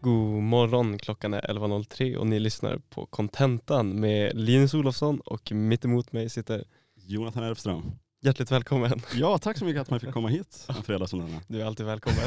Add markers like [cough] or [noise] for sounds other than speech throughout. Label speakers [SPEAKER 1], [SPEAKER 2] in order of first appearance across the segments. [SPEAKER 1] God morgon, klockan är 11.03 och ni lyssnar på Contentan med Linus Olofsson och mitt emot mig sitter
[SPEAKER 2] Jonathan Elfström.
[SPEAKER 1] hjärtligt välkommen.
[SPEAKER 2] Ja, tack så mycket att man fick komma [laughs] hit en fredag som denna.
[SPEAKER 1] Du är alltid
[SPEAKER 2] [laughs]
[SPEAKER 1] välkommen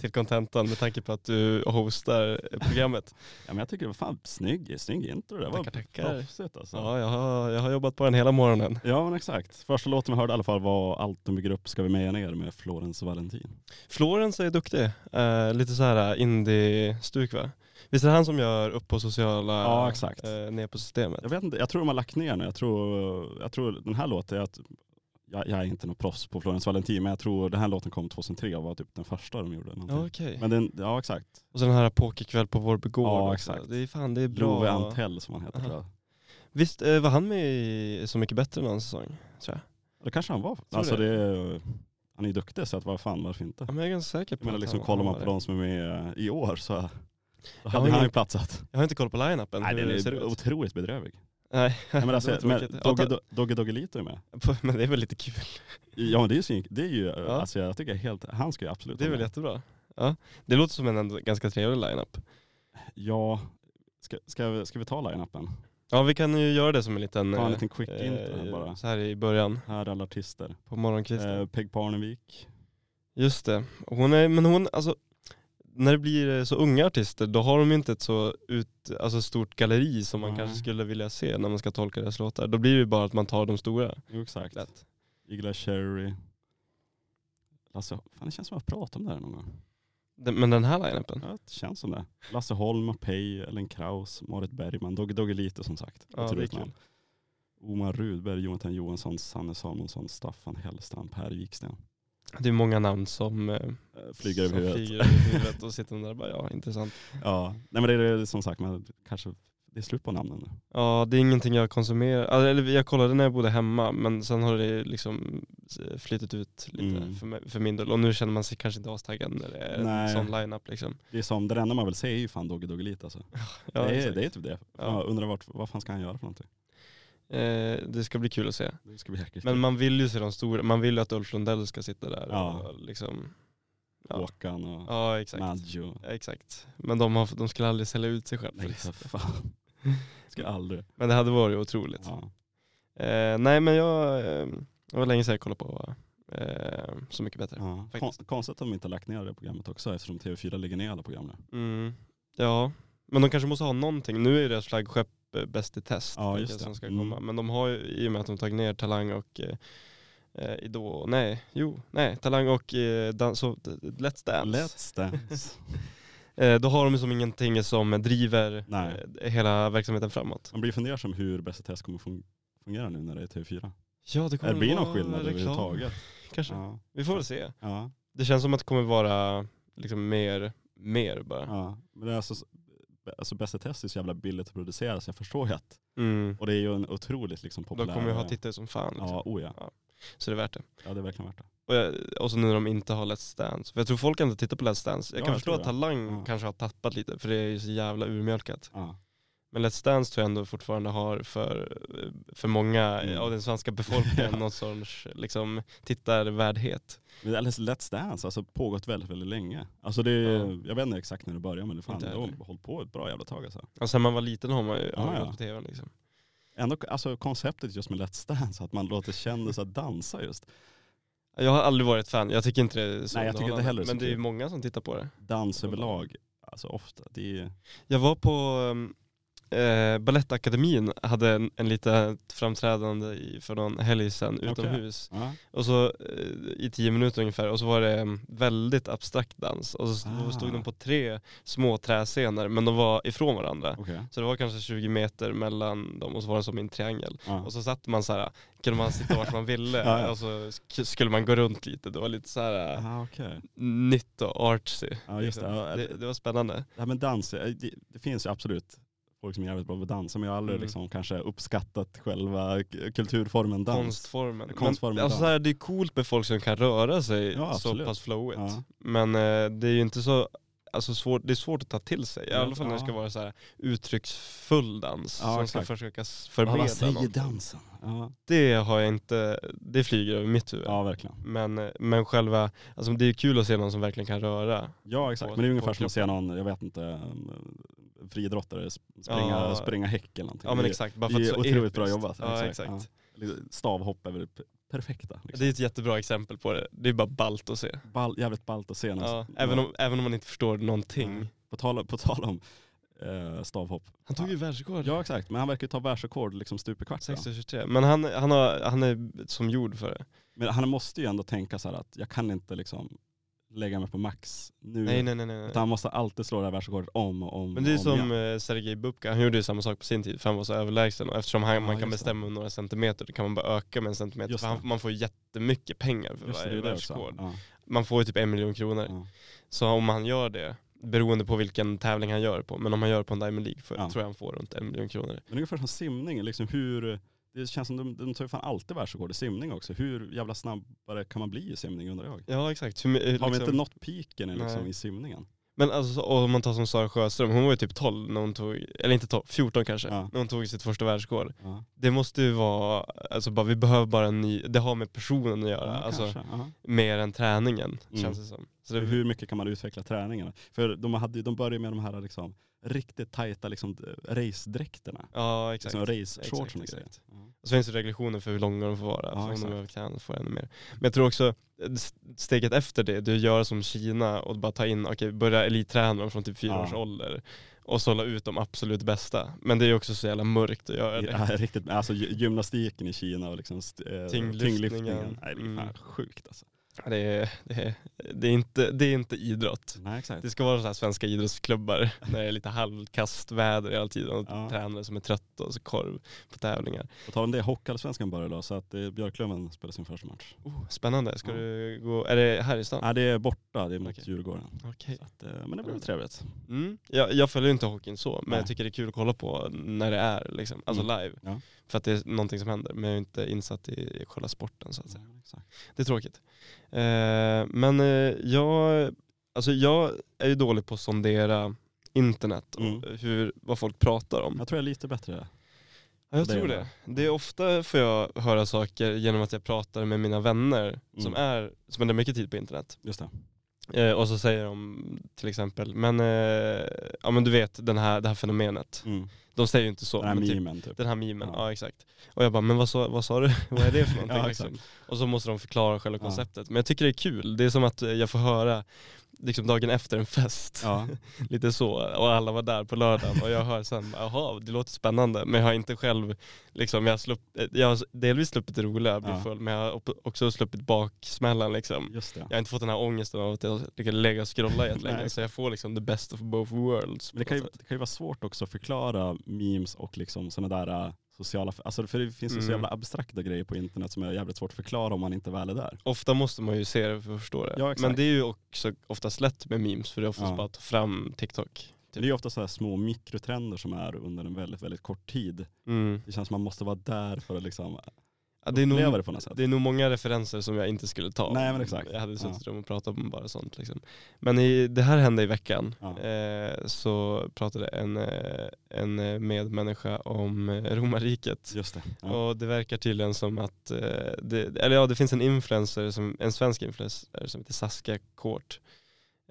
[SPEAKER 1] till Contentan med tanke på att du hostar programmet.
[SPEAKER 2] Ja, men jag tycker det var fan snygg, snygg intro. Det var
[SPEAKER 1] Tackar, tackar.
[SPEAKER 2] proffsigt alltså.
[SPEAKER 1] Ja,
[SPEAKER 2] Ja.
[SPEAKER 1] jag har, jag har jobbat på den hela morgonen.
[SPEAKER 2] men exakt. Första låten vi hörde i alla fall var Allt om grupp ska vi meja ner med Florence Valentin.
[SPEAKER 1] Florence är duktig, eh, lite så här indie-stuk va? Visst är det han som gör upp på sociala,
[SPEAKER 2] Ja, exakt.
[SPEAKER 1] eh, ner på systemet?
[SPEAKER 2] Jag vet inte, jag tror de har lagt ner nu. Jag tror, jag tror den här låten, jag, jag, jag är inte någon proffs på Florence Valentin, men jag tror den här låten kom 2003 och var typ den första de gjorde.
[SPEAKER 1] Ja,
[SPEAKER 2] någonting.
[SPEAKER 1] okej.
[SPEAKER 2] Men den, ja exakt.
[SPEAKER 1] Och så den här pokerkväll på vår begård.
[SPEAKER 2] Ja,
[SPEAKER 1] också.
[SPEAKER 2] exakt.
[SPEAKER 1] Det är fan, det är bra.
[SPEAKER 2] Love Antell som han heter
[SPEAKER 1] Aha.
[SPEAKER 2] tror jag.
[SPEAKER 1] Visst eh, var han med i Så mycket bättre någon säsong? Tror jag.
[SPEAKER 2] Det kanske han var. Alltså det är, han är ju duktig så att vad fan varför inte?
[SPEAKER 1] Ja, men jag är ganska säker på
[SPEAKER 2] Jag menar
[SPEAKER 1] att
[SPEAKER 2] liksom
[SPEAKER 1] han-
[SPEAKER 2] kollar man
[SPEAKER 1] han
[SPEAKER 2] på
[SPEAKER 1] var det.
[SPEAKER 2] de som är med eh, i år så då
[SPEAKER 1] har
[SPEAKER 2] hade han
[SPEAKER 1] ingen-
[SPEAKER 2] ju platsat.
[SPEAKER 1] Jag har inte koll på line-upen,
[SPEAKER 2] Nej
[SPEAKER 1] hur
[SPEAKER 2] den
[SPEAKER 1] det ser
[SPEAKER 2] är
[SPEAKER 1] ut.
[SPEAKER 2] otroligt bedrövlig.
[SPEAKER 1] Nej,
[SPEAKER 2] Nej, men alltså,
[SPEAKER 1] [laughs] det var
[SPEAKER 2] men
[SPEAKER 1] tråkigt. Ja,
[SPEAKER 2] Dogge
[SPEAKER 1] ta-
[SPEAKER 2] Do- Dogge Doggelito är med.
[SPEAKER 1] [laughs] men det är väl lite kul.
[SPEAKER 2] Ja men det är ju, svin- det är ju
[SPEAKER 1] Ja.
[SPEAKER 2] alltså jag tycker helt, han ska ju absolut
[SPEAKER 1] Det är
[SPEAKER 2] vara
[SPEAKER 1] väl
[SPEAKER 2] med.
[SPEAKER 1] jättebra. Ja. Det låter som en ändå ganska trevlig line-up.
[SPEAKER 2] Ja, ska, ska, vi, ska vi ta line-upen?
[SPEAKER 1] Ja, vi kan ju göra det som en liten...
[SPEAKER 2] Ta en
[SPEAKER 1] eh,
[SPEAKER 2] liten quick intro här
[SPEAKER 1] eh,
[SPEAKER 2] bara.
[SPEAKER 1] Så här i början,
[SPEAKER 2] Här är alla artister.
[SPEAKER 1] på morgonkvisten.
[SPEAKER 2] Eh, Peg Parnevik.
[SPEAKER 1] Just det. Hon är, men hon, alltså, när det blir eh, så unga artister, då har de ju inte ett så ut, alltså stort galleri som man
[SPEAKER 2] Nej.
[SPEAKER 1] kanske skulle vilja se när man ska tolka deras låtar. Då blir det ju bara att man tar de stora.
[SPEAKER 2] Jo exakt.
[SPEAKER 1] Lätt.
[SPEAKER 2] Igla Cherry. Lasse, fan det känns som att jag har pratat om det här någon gång.
[SPEAKER 1] Den- Men den här line-upen?
[SPEAKER 2] Ja, det känns som det. Lasse Holm, Pej, Ellen Kraus, Marit Bergman, Dogge Doggelito som sagt.
[SPEAKER 1] Ja, det är
[SPEAKER 2] Otroligt
[SPEAKER 1] kul.
[SPEAKER 2] namn. Omar Rudberg, Jonathan Johansson, Sanne Samuelsson, Staffan Hellstrand, Per Wiksten.
[SPEAKER 1] Det är många namn som eh,
[SPEAKER 2] Eh, Flyger över
[SPEAKER 1] som
[SPEAKER 2] huvudet.
[SPEAKER 1] flyger över huvudet och sitter man där och bara ja, intressant.
[SPEAKER 2] Ja, nej men det är som sagt, man kanske, det är slut på namnen nu.
[SPEAKER 1] Ja, det är ingenting jag konsumerar. Alltså, Eller jag kollade när jag bodde hemma men sen har det liksom flyttit ut lite
[SPEAKER 2] Mm.
[SPEAKER 1] för, mig, för min del. Och nu känner man sig kanske inte astaggad när det är en
[SPEAKER 2] Nej.
[SPEAKER 1] sån line-up liksom.
[SPEAKER 2] Det är som, det enda man vill se är ju fan Dogge Doggelito alltså.
[SPEAKER 1] Ja,
[SPEAKER 2] det, är,
[SPEAKER 1] exakt.
[SPEAKER 2] det är typ det.
[SPEAKER 1] Ja.
[SPEAKER 2] Ja. Undrar vart, vad fan ska han göra för någonting?
[SPEAKER 1] Eh, det ska bli kul att se.
[SPEAKER 2] Det ska bli jäkligt
[SPEAKER 1] Men
[SPEAKER 2] kul.
[SPEAKER 1] man vill ju se de stora, man vill ju att Ulf Lundell ska sitta där
[SPEAKER 2] Ja.
[SPEAKER 1] och liksom ja.
[SPEAKER 2] Håkan och
[SPEAKER 1] ja, exakt.
[SPEAKER 2] Maggio.
[SPEAKER 1] Exakt. Men de, har, de skulle aldrig sälja ut sig själva. liksom.
[SPEAKER 2] Nej
[SPEAKER 1] [laughs]
[SPEAKER 2] för fan. Ska aldrig.
[SPEAKER 1] Men det hade varit otroligt.
[SPEAKER 2] Ja.
[SPEAKER 1] Eh, nej men jag, eh, det var länge sedan jag kollade på eh, Så mycket bättre.
[SPEAKER 2] Ja. Kon-
[SPEAKER 1] Faktiskt.
[SPEAKER 2] Konstigt att de inte har lagt ner det programmet också eftersom TV4 lägger ner alla program nu.
[SPEAKER 1] Mm. Ja, men de kanske måste ha någonting. Nu är ju deras flaggskepp eh, Bäst i test
[SPEAKER 2] Ja,
[SPEAKER 1] tänker
[SPEAKER 2] just
[SPEAKER 1] jag,
[SPEAKER 2] det.
[SPEAKER 1] som ska
[SPEAKER 2] Mm.
[SPEAKER 1] komma. Men de har ju, i och med att de tagit ner Talang och eh, eh, Idol, nej, jo, nej, Talang och eh, dans, så, Let's Dance. [laughs]
[SPEAKER 2] Let's dance.
[SPEAKER 1] Eh, då har de som ingenting som driver
[SPEAKER 2] Nej.
[SPEAKER 1] eh, hela verksamheten framåt.
[SPEAKER 2] Man blir fundersam hur Bäst i test kommer fun- fungera nu när det är TV4.
[SPEAKER 1] Ja, det
[SPEAKER 2] Det
[SPEAKER 1] kommer
[SPEAKER 2] blir någon
[SPEAKER 1] vara
[SPEAKER 2] skillnad
[SPEAKER 1] reklam,
[SPEAKER 2] överhuvudtaget.
[SPEAKER 1] Kanske.
[SPEAKER 2] Ja.
[SPEAKER 1] Vi får väl se.
[SPEAKER 2] Ja.
[SPEAKER 1] Det känns som att det kommer vara liksom mer, mer bara.
[SPEAKER 2] ja. Men det är alltså, alltså Bäst i test är så jävla billigt att producera så jag förstår ju att,
[SPEAKER 1] Mm.
[SPEAKER 2] och det är ju en otroligt liksom
[SPEAKER 1] De
[SPEAKER 2] populär.
[SPEAKER 1] kommer ju ha tittare som fan. Liksom.
[SPEAKER 2] Ja, oh ja.
[SPEAKER 1] Så det är värt det.
[SPEAKER 2] ja, det är verkligen värt det.
[SPEAKER 1] Och, jag, och så nu när de inte har Let's Dance. För jag tror folk ändå tittar på Let's Dance. Jag
[SPEAKER 2] Ja,
[SPEAKER 1] kan
[SPEAKER 2] jag
[SPEAKER 1] förstå
[SPEAKER 2] tror
[SPEAKER 1] att
[SPEAKER 2] det.
[SPEAKER 1] Talang
[SPEAKER 2] Ja.
[SPEAKER 1] kanske har tappat lite för det är ju så jävla urmjölkat.
[SPEAKER 2] Ja.
[SPEAKER 1] Men Let's Dance tror jag ändå fortfarande har för, för många
[SPEAKER 2] Mm.
[SPEAKER 1] av den svenska befolkningen
[SPEAKER 2] [laughs] Ja.
[SPEAKER 1] någon sorts liksom, tittarvärdhet.
[SPEAKER 2] Men Alice Let's Dance har alltså pågått väldigt, väldigt länge. Alltså det är,
[SPEAKER 1] Ja.
[SPEAKER 2] Jag vet inte exakt när det började men det fan,
[SPEAKER 1] Inte
[SPEAKER 2] det
[SPEAKER 1] jag heller.
[SPEAKER 2] har hållit på ett bra jävla tag alltså.
[SPEAKER 1] Och sen man var liten har man ju ja,
[SPEAKER 2] Ja, ja.
[SPEAKER 1] på tvn liksom.
[SPEAKER 2] Ändå alltså, konceptet just med Let's Dance, att man låter kändisar [laughs] dansa just.
[SPEAKER 1] Jag har aldrig varit fan, jag tycker inte det är så
[SPEAKER 2] Nej, jag tycker inte heller det är så
[SPEAKER 1] Men det är ju
[SPEAKER 2] kul.
[SPEAKER 1] många som tittar på det.
[SPEAKER 2] Dans överlag, alltså ofta. Det är,
[SPEAKER 1] Jag var på ehm, eh, Balettakademin, hade en, en litet framträdande i, för någon helg sedan
[SPEAKER 2] Okej.
[SPEAKER 1] utomhus.
[SPEAKER 2] ja.
[SPEAKER 1] Och så eh, i tio minuter ungefär och så var det em, väldigt abstrakt dans. Och så
[SPEAKER 2] Ah.
[SPEAKER 1] stod de på tre små träscener men de var ifrån varandra.
[SPEAKER 2] Okej.
[SPEAKER 1] Så det var kanske 20 meter mellan dem och så var det som i en triangel.
[SPEAKER 2] Ja.
[SPEAKER 1] Och så satt man så här, kunde man sitta vart man ville
[SPEAKER 2] [laughs] Ja, ja.
[SPEAKER 1] och så sk- skulle man gå runt lite. Det var lite så här eh,
[SPEAKER 2] Ah, okej.
[SPEAKER 1] nytt och artsy.
[SPEAKER 2] Ja just det.
[SPEAKER 1] liksom.
[SPEAKER 2] Ja,
[SPEAKER 1] det, det var spännande.
[SPEAKER 2] det här med dans, eh, det, det finns ju absolut folk som är jävligt bra på att dansa men jag har aldrig
[SPEAKER 1] Mm.
[SPEAKER 2] liksom kanske uppskattat själva k- kulturformen dans.
[SPEAKER 1] Konstformen.
[SPEAKER 2] Konstformen
[SPEAKER 1] Men, alltså
[SPEAKER 2] dans.
[SPEAKER 1] så här, det är coolt med folk som kan röra sig så
[SPEAKER 2] Ja, absolut.
[SPEAKER 1] pass flowigt.
[SPEAKER 2] Ja.
[SPEAKER 1] Men eh, det är ju inte så alltså svår, det är svårt att ta till sig. I alla fall när det
[SPEAKER 2] Ja.
[SPEAKER 1] ska vara så här uttrycksfull dans
[SPEAKER 2] Ja,
[SPEAKER 1] som ska
[SPEAKER 2] exakt.
[SPEAKER 1] försöka s-
[SPEAKER 2] Ja,
[SPEAKER 1] förmedla
[SPEAKER 2] vad säger
[SPEAKER 1] något.
[SPEAKER 2] dansen? Ja,
[SPEAKER 1] Det har jag inte, det flyger över mitt huvud.
[SPEAKER 2] ja verkligen.
[SPEAKER 1] Men, eh, men själva, alltså det är kul att se någon som verkligen kan röra.
[SPEAKER 2] Ja exakt,
[SPEAKER 1] På-
[SPEAKER 2] men det är ungefär
[SPEAKER 1] på
[SPEAKER 2] som att se någon, jag vet inte, en friidrottare sp- springa,
[SPEAKER 1] Ja.
[SPEAKER 2] springa häck eller någonting.
[SPEAKER 1] Ja men
[SPEAKER 2] Det är-
[SPEAKER 1] exakt, bara
[SPEAKER 2] det
[SPEAKER 1] för
[SPEAKER 2] är
[SPEAKER 1] att så
[SPEAKER 2] otroligt
[SPEAKER 1] episkt.
[SPEAKER 2] bra jobbat.
[SPEAKER 1] Ja,
[SPEAKER 2] Exakt,
[SPEAKER 1] exakt.
[SPEAKER 2] lite- Stavhopp är väl p- perfekta. Liksom.
[SPEAKER 1] Det är ett jättebra exempel på det. Det är bara ballt att se.
[SPEAKER 2] Ball, jävligt ballt att se. någon-
[SPEAKER 1] Ja, även, om, även om man inte förstår någonting.
[SPEAKER 2] På tal, på tal om eh, stavhopp.
[SPEAKER 1] Han tog ju världsrekord.
[SPEAKER 2] Ja exakt, men han verkar ju ta världsrekord liksom stup i kvart. va?
[SPEAKER 1] 16-23. Men han, han, har, han är som gjord för det.
[SPEAKER 2] Men han måste ju ändå tänka så här att jag kan inte liksom lägga mig på max nu.
[SPEAKER 1] Nej nej nej. nej.
[SPEAKER 2] Utan Han måste alltid slå det här världsrekordet om och om
[SPEAKER 1] Men det är
[SPEAKER 2] och om
[SPEAKER 1] som
[SPEAKER 2] igen.
[SPEAKER 1] eh, Sergej Bubka, han gjorde ju samma sak på sin tid för han var så överlägsen och eftersom han,
[SPEAKER 2] Ja,
[SPEAKER 1] man kan
[SPEAKER 2] just det.
[SPEAKER 1] bestämma om några centimeter då kan man bara öka med en centimeter
[SPEAKER 2] Just
[SPEAKER 1] för han,
[SPEAKER 2] det.
[SPEAKER 1] man får ju jättemycket pengar för
[SPEAKER 2] Just det, det
[SPEAKER 1] varje
[SPEAKER 2] är det också.
[SPEAKER 1] världsrekord.
[SPEAKER 2] Ja,
[SPEAKER 1] Man får ju typ en miljon kronor.
[SPEAKER 2] ja.
[SPEAKER 1] Så om han gör det, beroende på vilken tävling han gör på, men om han gör på en Diamond League för,
[SPEAKER 2] Ja.
[SPEAKER 1] tror jag han får runt en miljon kronor.
[SPEAKER 2] Men ungefär som simning, liksom hur, det känns som de, de tar ju fan alltid världsrekord i simning också. Hur jävla snabbare kan man bli i simning undrar jag.
[SPEAKER 1] Ja exakt. Hur, my- hur,
[SPEAKER 2] Har vi
[SPEAKER 1] liksom-
[SPEAKER 2] inte nått piken i liksom,
[SPEAKER 1] Nej.
[SPEAKER 2] i simningen?
[SPEAKER 1] Men alltså och om man tar som Sara Sjöström, hon var ju typ 12 när hon tog, eller inte 12, 14 kanske,
[SPEAKER 2] Ja.
[SPEAKER 1] när hon tog sitt första världsrekord.
[SPEAKER 2] Ja,
[SPEAKER 1] Det måste ju vara, alltså bara, vi behöver bara en ny, det har med personen att göra.
[SPEAKER 2] ja,
[SPEAKER 1] alltså,
[SPEAKER 2] kanske. Ja.
[SPEAKER 1] mer än träningen
[SPEAKER 2] Mm.
[SPEAKER 1] känns det som. Så det,
[SPEAKER 2] Hur mycket kan man utveckla träningarna? För de, hade, ju- de började med de här liksom, riktigt tajta liksom, racedräkterna.
[SPEAKER 1] ja exakt.
[SPEAKER 2] Liksom race-shorts
[SPEAKER 1] Exakt,
[SPEAKER 2] och grejer.
[SPEAKER 1] exakt.
[SPEAKER 2] Ja.
[SPEAKER 1] Och så finns det regulationer för hur långa de får vara.
[SPEAKER 2] Ja,
[SPEAKER 1] för om de
[SPEAKER 2] exakt.
[SPEAKER 1] behöver träna får jag ännu mer. Men jag tror också eh, steget efter det, det är att göra som Kina och bara ta in, okej börja elitträna dem från typ fyra
[SPEAKER 2] Ja.
[SPEAKER 1] års ålder. Och sålla ut de absolut bästa. Men det är ju också så jävla mörkt att göra det.
[SPEAKER 2] Ja, [laughs] riktigt, alltså gy- gymnastiken i Kina och liksom st- eh,
[SPEAKER 1] Tyngdlyftningen.
[SPEAKER 2] Nej, det är fan
[SPEAKER 1] Mm.
[SPEAKER 2] sjukt alltså.
[SPEAKER 1] Det är, det, är, det, är inte, det är inte idrott.
[SPEAKER 2] Nej, exakt.
[SPEAKER 1] Det ska vara så här svenska idrottsklubbar [laughs] när det är lite halvkast väder hela tiden och
[SPEAKER 2] Ja.
[SPEAKER 1] tränare som är trötta och så korv på tävlingar.
[SPEAKER 2] På tal om det, Hockeyallsvenskan börjar idag så att eh, Björklöven spelar sin första match.
[SPEAKER 1] Oh, spännande, ska
[SPEAKER 2] Ja.
[SPEAKER 1] du gå, är det här i stan?
[SPEAKER 2] Nej det är borta, det är mot
[SPEAKER 1] Okej.
[SPEAKER 2] Djurgården.
[SPEAKER 1] Okej.
[SPEAKER 2] Så att, eh, men det blir väl trevligt.
[SPEAKER 1] Mm. Jag, jag följer inte hockeyn så, men
[SPEAKER 2] Nej.
[SPEAKER 1] jag tycker det är kul att kolla på när det är, liksom, alltså
[SPEAKER 2] Mm.
[SPEAKER 1] live.
[SPEAKER 2] Ja.
[SPEAKER 1] För att det är någonting som händer, men jag är inte insatt i själva sporten så att säga.
[SPEAKER 2] Mm.
[SPEAKER 1] Det är tråkigt. Eh, men eh, jag, alltså jag är ju dålig på att sondera internet och
[SPEAKER 2] Mm.
[SPEAKER 1] hur, vad folk pratar om.
[SPEAKER 2] Jag tror jag är lite bättre.
[SPEAKER 1] Ja, jag
[SPEAKER 2] Det
[SPEAKER 1] tror
[SPEAKER 2] är
[SPEAKER 1] det. Det är ofta får jag höra saker genom att jag pratar med mina vänner som,
[SPEAKER 2] Mm.
[SPEAKER 1] är, som ägnar mycket tid på internet.
[SPEAKER 2] Just det.
[SPEAKER 1] Eh, och så säger de till exempel, men, eh, ja, men du vet den här, det här fenomenet.
[SPEAKER 2] Mm.
[SPEAKER 1] De säger ju inte så.
[SPEAKER 2] Den här
[SPEAKER 1] men typ,
[SPEAKER 2] memen typ.
[SPEAKER 1] den här memen, ja.
[SPEAKER 2] Ja.
[SPEAKER 1] exakt. Och jag bara, men vad sa, vad sa du? [laughs] vad är det för någonting?
[SPEAKER 2] [laughs] Ja,
[SPEAKER 1] liksom? Och så måste de förklara själva
[SPEAKER 2] Ja.
[SPEAKER 1] konceptet. Men jag tycker det är kul, det är som att eh, jag får höra liksom dagen efter en fest,
[SPEAKER 2] Ja.
[SPEAKER 1] lite så, och alla var där på lördagen och jag hör sen, jaha det låter spännande, men jag har inte själv, liksom, jag, har slupp, eh, jag har delvis sluppit det roliga, att bli
[SPEAKER 2] Ja.
[SPEAKER 1] full, men jag har op- också sluppit baksmällan liksom. [laughs]
[SPEAKER 2] Just det.
[SPEAKER 1] Jag har inte fått den här ångesten av att jag ligger lägga och scrolla jättelänge.
[SPEAKER 2] [laughs] Nej.
[SPEAKER 1] så jag får liksom the best of both worlds.
[SPEAKER 2] Men det kan, ju,
[SPEAKER 1] på något
[SPEAKER 2] det kan ju vara svårt också att förklara memes och liksom sådana där eh, sociala, alltså för det finns ju så
[SPEAKER 1] Mm.
[SPEAKER 2] jävla abstrakta grejer på internet som är jävligt svårt att förklara om man inte väl är där.
[SPEAKER 1] sätt. Ofta måste man ju se det för att förstå det.
[SPEAKER 2] Ja, exakt.
[SPEAKER 1] Men det är ju också oftast lätt med memes för det är oftast
[SPEAKER 2] Ja.
[SPEAKER 1] bara att ta fram TikTok.
[SPEAKER 2] Det är ju ofta så här små mikrotrender som är under en väldigt, väldigt kort tid.
[SPEAKER 1] Mm.
[SPEAKER 2] Det känns som man måste vara där för att liksom
[SPEAKER 1] Ja, det, är
[SPEAKER 2] uppleva
[SPEAKER 1] nog,
[SPEAKER 2] det på något sätt.
[SPEAKER 1] det är nog många referenser som jag inte skulle ta.
[SPEAKER 2] Nej, men exakt.
[SPEAKER 1] Jag hade suttit
[SPEAKER 2] Ja.
[SPEAKER 1] ja. och pratat om bara sånt. Liksom. Men i, det här hände i veckan.
[SPEAKER 2] Ja.
[SPEAKER 1] Eh, så pratade en, eh, en eh, medmänniska om eh, romarriket.
[SPEAKER 2] Just det. Ja.
[SPEAKER 1] Och det verkar tydligen som att, eh, det, eller ja det finns en influencer, som, en svensk influencer som heter Saskia Kort.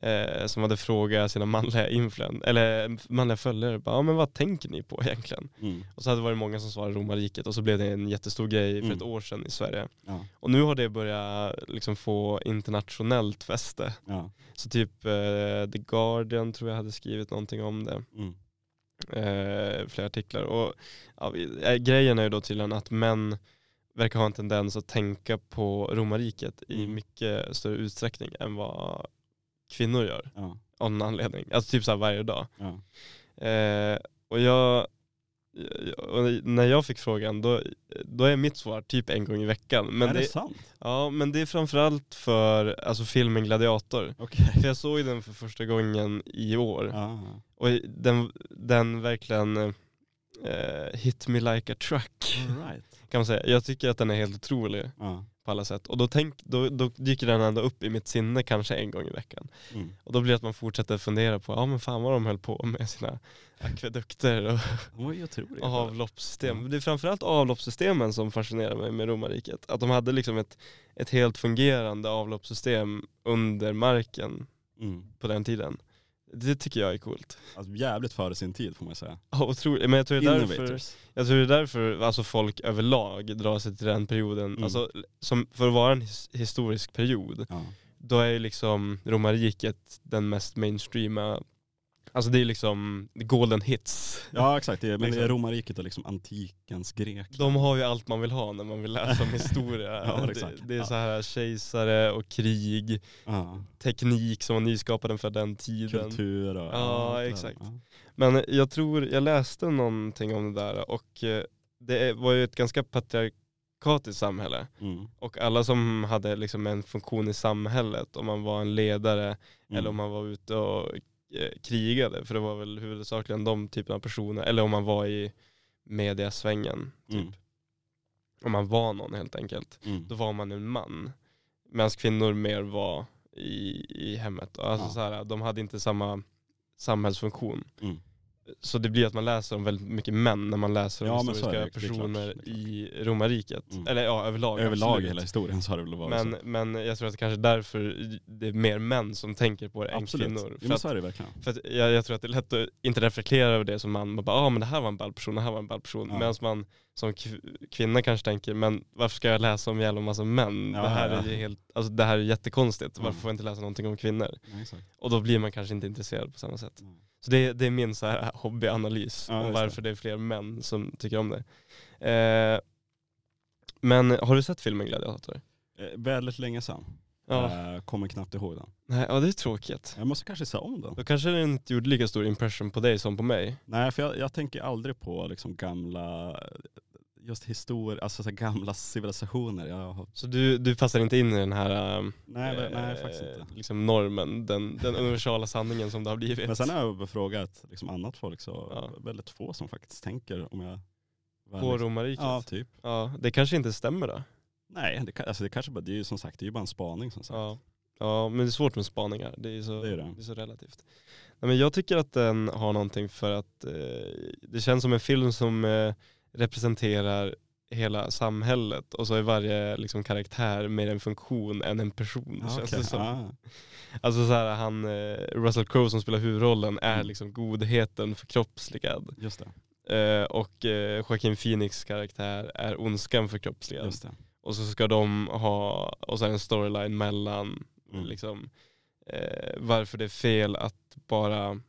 [SPEAKER 1] Eh, som hade frågat sina manliga, influen- eller eh, manliga följare, bara, ja, men vad tänker ni på egentligen?
[SPEAKER 2] Mm.
[SPEAKER 1] Och så hade det varit många som svarade romarriket och så blev det en jättestor grej för
[SPEAKER 2] Mm.
[SPEAKER 1] ett år sedan i Sverige.
[SPEAKER 2] Ja.
[SPEAKER 1] Och nu har det börjat liksom, få internationellt fäste.
[SPEAKER 2] Ja.
[SPEAKER 1] Så typ eh, The Guardian tror jag hade skrivit någonting om det
[SPEAKER 2] Mm.
[SPEAKER 1] eh, flera artiklar. Och, ja, vi- eh, grejen är ju då tydligen att män verkar ha en tendens att tänka på romarriket i
[SPEAKER 2] Mm.
[SPEAKER 1] mycket större utsträckning än vad kvinnor gör
[SPEAKER 2] Ja.
[SPEAKER 1] av någon anledning. Alltså typ så här varje dag.
[SPEAKER 2] Ja.
[SPEAKER 1] Eh, och jag, och när jag fick frågan då, då är mitt svar typ en gång i veckan. Men
[SPEAKER 2] är det,
[SPEAKER 1] det,
[SPEAKER 2] sant?
[SPEAKER 1] ja, men det är framförallt för alltså, filmen Gladiator.
[SPEAKER 2] Okej.
[SPEAKER 1] För jag såg den för första gången i år.
[SPEAKER 2] [laughs] Ja.
[SPEAKER 1] Och den, den verkligen eh, hit me like a truck
[SPEAKER 2] All right.
[SPEAKER 1] [laughs] kan man säga. Jag tycker att den är helt otrolig
[SPEAKER 2] Ja.
[SPEAKER 1] på på alla sätt. Och då, tänk, då, då dyker den ändå upp i mitt sinne kanske en gång i veckan.
[SPEAKER 2] Mm.
[SPEAKER 1] Och då blir det att man fortsätter fundera på, ja men fan vad de höll på med sina [laughs] akvedukter och
[SPEAKER 2] De var ju otroliga.
[SPEAKER 1] avloppssystem. Det är framförallt avloppssystemen som fascinerar mig med romarriket. Att de hade liksom ett, ett helt fungerande avloppssystem under marken
[SPEAKER 2] Mm.
[SPEAKER 1] på den tiden. Det tycker jag är coolt.
[SPEAKER 2] Alltså, jävligt före sin tid får man ju säga.
[SPEAKER 1] Ja, Otroligt. Men jag tror det är därför,
[SPEAKER 2] Innovators.
[SPEAKER 1] jag tror det är därför alltså folk överlag drar sig till den perioden.
[SPEAKER 2] Mm.
[SPEAKER 1] Alltså, som, för att vara en his- historisk period,
[SPEAKER 2] Ja.
[SPEAKER 1] då är ju liksom romarriket den mest mainstreama, alltså det är liksom golden hits.
[SPEAKER 2] ja exakt, det är, men det är
[SPEAKER 1] Exakt.
[SPEAKER 2] romarriket och liksom antikens grek.
[SPEAKER 1] De har ju allt man vill ha när man vill läsa om historia.
[SPEAKER 2] Typ. [laughs] Ja,
[SPEAKER 1] det,
[SPEAKER 2] exakt.
[SPEAKER 1] det är
[SPEAKER 2] Ja.
[SPEAKER 1] så här kejsare och krig,
[SPEAKER 2] Ja.
[SPEAKER 1] teknik som var nyskapad för den tiden.
[SPEAKER 2] Kultur och...
[SPEAKER 1] Ja,
[SPEAKER 2] allt det där.
[SPEAKER 1] exakt.
[SPEAKER 2] Ja.
[SPEAKER 1] Men jag tror, jag läste någonting om det där och eh, det är- var ju ett ganska patriarkatiskt samhälle.
[SPEAKER 2] Mm. Mm.
[SPEAKER 1] Och alla som hade liksom en funktion i samhället, om man var en ledare
[SPEAKER 2] Mm.
[SPEAKER 1] eller om man var ute och eh, krigade, för det var väl huvudsakligen de typerna av personer, eller om man var i mediasvängen, typ.
[SPEAKER 2] Mm.
[SPEAKER 1] om man var någon helt enkelt.
[SPEAKER 2] Mm.
[SPEAKER 1] då var man en man. Medan kvinnor mer var i, i hemmet. Alltså
[SPEAKER 2] Ja.
[SPEAKER 1] så här, de hade inte samma samhällsfunktion.
[SPEAKER 2] Mm.
[SPEAKER 1] Så det blir att man läser om väldigt mycket män när man läser om
[SPEAKER 2] Ja, men så är
[SPEAKER 1] historiska
[SPEAKER 2] det. Det är klart,
[SPEAKER 1] personer
[SPEAKER 2] det är klart.
[SPEAKER 1] i romarriket.
[SPEAKER 2] Mm.
[SPEAKER 1] Eller ja, överlag.
[SPEAKER 2] Överlag i
[SPEAKER 1] absolut.
[SPEAKER 2] hela historien så har det väl varit
[SPEAKER 1] men,
[SPEAKER 2] så.
[SPEAKER 1] men jag tror att det kanske är därför det är mer män som tänker på det än
[SPEAKER 2] Absolut.
[SPEAKER 1] kvinnor.
[SPEAKER 2] Jo,
[SPEAKER 1] För
[SPEAKER 2] men
[SPEAKER 1] att,
[SPEAKER 2] så är det verkligen.
[SPEAKER 1] för att jag, jag tror att det är lätt att inte reflektera över det som man. Man bara, ah, men det här var en ball person, det här var en ball person.
[SPEAKER 2] Ja.
[SPEAKER 1] Medan man som kv- kvinna kanske tänker, men varför ska jag läsa om jävla massa män?
[SPEAKER 2] Ja,
[SPEAKER 1] det, här
[SPEAKER 2] ja, ja.
[SPEAKER 1] Är ju helt, alltså, det här är jättekonstigt, varför
[SPEAKER 2] Mm.
[SPEAKER 1] får jag inte läsa någonting om kvinnor?
[SPEAKER 2] Ja, exakt.
[SPEAKER 1] Och då blir man kanske inte intresserad på samma sätt.
[SPEAKER 2] Mm.
[SPEAKER 1] Så det, är- det är min så här hobbyanalys
[SPEAKER 2] Ja,
[SPEAKER 1] om
[SPEAKER 2] just
[SPEAKER 1] varför det. är fler män som tycker om det. Eh, men har du sett filmen Gladiator?
[SPEAKER 2] Eh, Väldigt länge sedan.
[SPEAKER 1] Ja,
[SPEAKER 2] Eh, kommer knappt ihåg den.
[SPEAKER 1] Nej, ja det är tråkigt.
[SPEAKER 2] Jag måste kanske säga om den.
[SPEAKER 1] Då kanske den inte gjorde lika stor impression på dig som på mig.
[SPEAKER 2] Nej, för jag, jag tänker aldrig på liksom gamla, just historia, alltså så här gamla civilisationer. Jag har,
[SPEAKER 1] Så du, du passar inte in i den här ehm,
[SPEAKER 2] nej, men- nej,
[SPEAKER 1] eh,
[SPEAKER 2] faktiskt inte.
[SPEAKER 1] Liksom normen, den, den universala sanningen som det har blivit.
[SPEAKER 2] Men sen har jag frågat liksom annat folk så
[SPEAKER 1] Ja.
[SPEAKER 2] väldigt få som faktiskt tänker om jag... väl
[SPEAKER 1] På
[SPEAKER 2] liksom-
[SPEAKER 1] romarriket?
[SPEAKER 2] Ja,
[SPEAKER 1] Ja.
[SPEAKER 2] typ.
[SPEAKER 1] det kanske inte stämmer då.
[SPEAKER 2] Nej, det, kan- alltså det kanske bara, det är ju som sagt, det är ju bara en spaning som sagt.
[SPEAKER 1] Ja. ja, men det är svårt med spaningar. Det är så,
[SPEAKER 2] Det
[SPEAKER 1] det
[SPEAKER 2] är
[SPEAKER 1] är
[SPEAKER 2] det.
[SPEAKER 1] så relativt. Nej, men jag tycker att den har någonting för att eh, det känns som en film som eh, representerar hela samhället och så är varje liksom, karaktär mer en funktion än en person.
[SPEAKER 2] Ja,
[SPEAKER 1] känns
[SPEAKER 2] okej.
[SPEAKER 1] det som.
[SPEAKER 2] Ja.
[SPEAKER 1] Alltså så här, han, eh, Russell Crowe som spelar huvudrollen är
[SPEAKER 2] Mm.
[SPEAKER 1] liksom godheten förkroppsligad.
[SPEAKER 2] Just det,
[SPEAKER 1] Eh, och eh, Joaquin Phoenix karaktär är ondskan förkroppsligad.
[SPEAKER 2] just det.
[SPEAKER 1] Och så ska de ha, och så är det en storyline mellan
[SPEAKER 2] Mm.
[SPEAKER 1] liksom, eh, varför det är fel att bara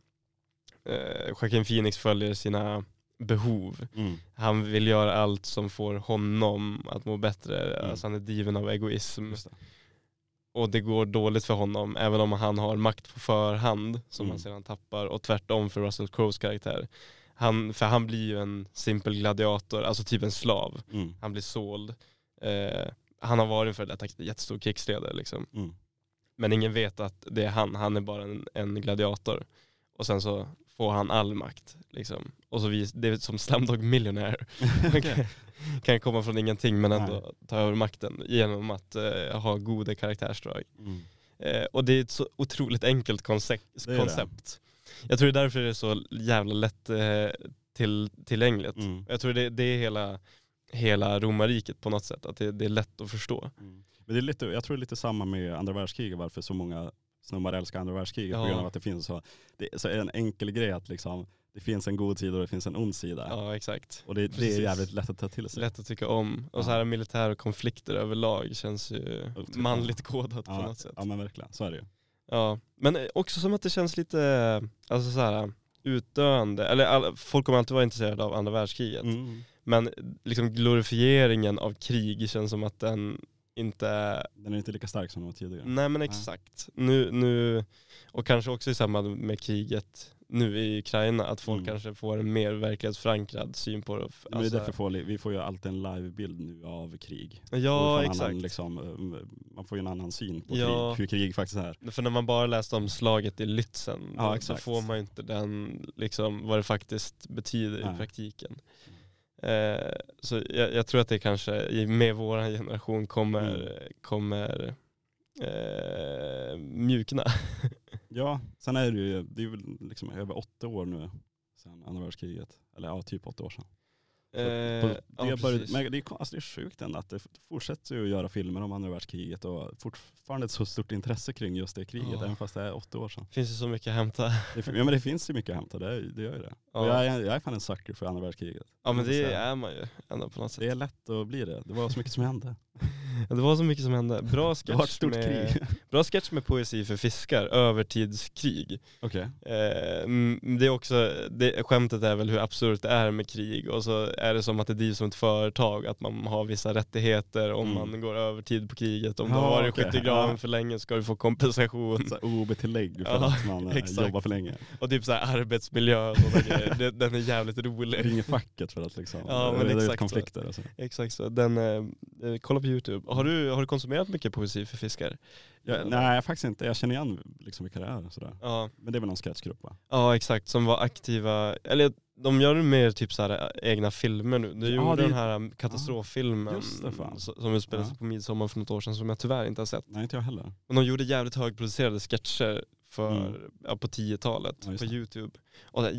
[SPEAKER 1] eh, Joaquin Phoenix följer sina behov.
[SPEAKER 2] Mm.
[SPEAKER 1] Han vill göra allt som får honom att må bättre.
[SPEAKER 2] Mm.
[SPEAKER 1] Alltså han är driven av egoism.
[SPEAKER 2] Just det.
[SPEAKER 1] Och det går dåligt för honom även om han har makt på förhand som
[SPEAKER 2] Mm.
[SPEAKER 1] han sedan tappar. Och tvärtom för Russell Crowes karaktär. Han, för han blir ju en simpel gladiator, alltså typ en slav.
[SPEAKER 2] Mm.
[SPEAKER 1] Han blir såld. Eh, han har varit för detta jättestor krigsledare liksom.
[SPEAKER 2] Mm.
[SPEAKER 1] Men ingen vet att det är han, han är bara en, en gladiator. Och sen så får han all makt liksom. Och så vis, det är som Slumdog Millionaire. Han kan, kan komma från ingenting men ändå ta över makten genom att eh, ha goda karaktärsdrag.
[SPEAKER 2] Mm.
[SPEAKER 1] Eh, och det är ett så otroligt enkelt koncept.
[SPEAKER 2] Det är det.
[SPEAKER 1] koncept. Jag tror det är därför det är så jävla lätt eh, till, tillgängligt.
[SPEAKER 2] Mm.
[SPEAKER 1] Jag tror det, det är hela, hela romarriket på något sätt, att det, det är lätt att förstå.
[SPEAKER 2] Mm. Men det är lite, jag tror det är lite samma med andra världskriget, varför så många snubbar älskar andra världskriget på
[SPEAKER 1] Ja.
[SPEAKER 2] grund av att det finns så, det, är så en enkel grej att liksom, det finns en god sida och det finns en ond sida.
[SPEAKER 1] Ja, exakt.
[SPEAKER 2] Och det, det är
[SPEAKER 1] precis.
[SPEAKER 2] jävligt lätt att ta till sig.
[SPEAKER 1] Lätt att tycka om. Och så här militära konflikter överlag känns ju
[SPEAKER 2] Otroligt.
[SPEAKER 1] manligt kodat på
[SPEAKER 2] Ja,
[SPEAKER 1] något sätt.
[SPEAKER 2] Ja men verkligen, så är det ju.
[SPEAKER 1] Ja. Men eh, också som att det känns lite, alltså så här utdöende, eller alla- folk kommer alltid vara intresserade av andra världskriget.
[SPEAKER 2] Mm.
[SPEAKER 1] Men liksom glorifieringen av krig känns som att den inte är
[SPEAKER 2] Den är inte lika stark som den var tidigare.
[SPEAKER 1] Nej men exakt. Nu, nu, och kanske också i samband med kriget nu i Ukraina, att folk
[SPEAKER 2] Mm.
[SPEAKER 1] kanske får en mer verklighetsförankrad syn på det.
[SPEAKER 2] Men det
[SPEAKER 1] Alltså-
[SPEAKER 2] är därför får, li- vi får ju alltid en livebild nu av krig. Och
[SPEAKER 1] ja
[SPEAKER 2] vi får en
[SPEAKER 1] exakt.
[SPEAKER 2] Annan, liksom, um, man får ju en annan syn på
[SPEAKER 1] Ja.
[SPEAKER 2] krig, hur krig faktiskt är.
[SPEAKER 1] För när man bara läste om slaget i Lützen,
[SPEAKER 2] Ja,
[SPEAKER 1] då, då
[SPEAKER 2] exakt.
[SPEAKER 1] får man ju inte den, liksom, vad det faktiskt betyder
[SPEAKER 2] Nej. Mm.
[SPEAKER 1] i praktiken. Eh, så jag, jag tror att det kanske i- med vår generation kommer,
[SPEAKER 2] Mm.
[SPEAKER 1] kommer eh, mjukna.
[SPEAKER 2] Ja, sen är det ju, det är väl liksom över åtta år nu sedan andra världskriget. Eller ja, typ åtta år sedan.
[SPEAKER 1] Eh,
[SPEAKER 2] Och det,
[SPEAKER 1] ja,
[SPEAKER 2] började,
[SPEAKER 1] precis.
[SPEAKER 2] men det, är, kon- alltså det är sjukt ändå att det f- fortsätter ju att göra filmer om andra världskriget och fortfarande ett så stort intresse kring just det kriget,
[SPEAKER 1] Ja.
[SPEAKER 2] även fast det är åtta år sedan.
[SPEAKER 1] finns ju så mycket att hämta.
[SPEAKER 2] Det, fin- ja men det finns ju mycket att hämta, det, är- det gör ju det.
[SPEAKER 1] Ja,
[SPEAKER 2] Och jag, är- jag är fan en sucker för andra världskriget.
[SPEAKER 1] ja men det
[SPEAKER 2] måste säga.
[SPEAKER 1] är man ju ändå på något sätt.
[SPEAKER 2] Det är lätt att bli det, det var så mycket som hände.
[SPEAKER 1] Ja, Det var så mycket som hände. Bra sketch,
[SPEAKER 2] Det var ett stort
[SPEAKER 1] med, [laughs]
[SPEAKER 2] krig.
[SPEAKER 1] Bra sketch med poesi för fiskar, övertidskrig.
[SPEAKER 2] Okej,
[SPEAKER 1] Eh, mm, det är också, det, skämtet är väl hur absurt det är med krig och så är det som att det drivs som ett företag, att man har vissa rättigheter om
[SPEAKER 2] Mm.
[SPEAKER 1] man går övertid på kriget. Om du
[SPEAKER 2] Ja,
[SPEAKER 1] har varit i
[SPEAKER 2] okej.
[SPEAKER 1] skyttegraven
[SPEAKER 2] Ja.
[SPEAKER 1] för länge ska du få kompensation.
[SPEAKER 2] Så här OB-tillägg för
[SPEAKER 1] Ja,
[SPEAKER 2] att man eh,
[SPEAKER 1] exakt.
[SPEAKER 2] jobbar för länge.
[SPEAKER 1] Och typ så här arbetsmiljö och
[SPEAKER 2] [laughs]
[SPEAKER 1] sådana grejer. Det- Den är jävligt rolig.
[SPEAKER 2] Ringer facket för att liksom
[SPEAKER 1] Ja, men
[SPEAKER 2] reda ut
[SPEAKER 1] exakt så.
[SPEAKER 2] konflikter och så.
[SPEAKER 1] Exakt så. Den, eh, eh, kolla på YouTube. Har du, har du konsumerat mycket poesi för fiskar?
[SPEAKER 2] Jag, nej faktiskt inte, jag känner igen liksom vilka det är och sådär.
[SPEAKER 1] Ja.
[SPEAKER 2] Men det är väl någon sketchgrupp va?
[SPEAKER 1] Ja exakt, som var aktiva, eller de gör mer typ så här egna filmer nu. De
[SPEAKER 2] Ja,
[SPEAKER 1] gjorde
[SPEAKER 2] det-
[SPEAKER 1] den här katastroffilmen
[SPEAKER 2] Just det, fan.
[SPEAKER 1] so- som utspelade sig
[SPEAKER 2] Ja.
[SPEAKER 1] på midsommar för något år sedan som jag tyvärr inte har sett.
[SPEAKER 2] Nej inte jag heller.
[SPEAKER 1] Men de gjorde jävligt högproducerade sketcher för,
[SPEAKER 2] Mm.
[SPEAKER 1] ja, på 10-talet
[SPEAKER 2] Ja, just
[SPEAKER 1] på
[SPEAKER 2] det.
[SPEAKER 1] YouTube. Och så här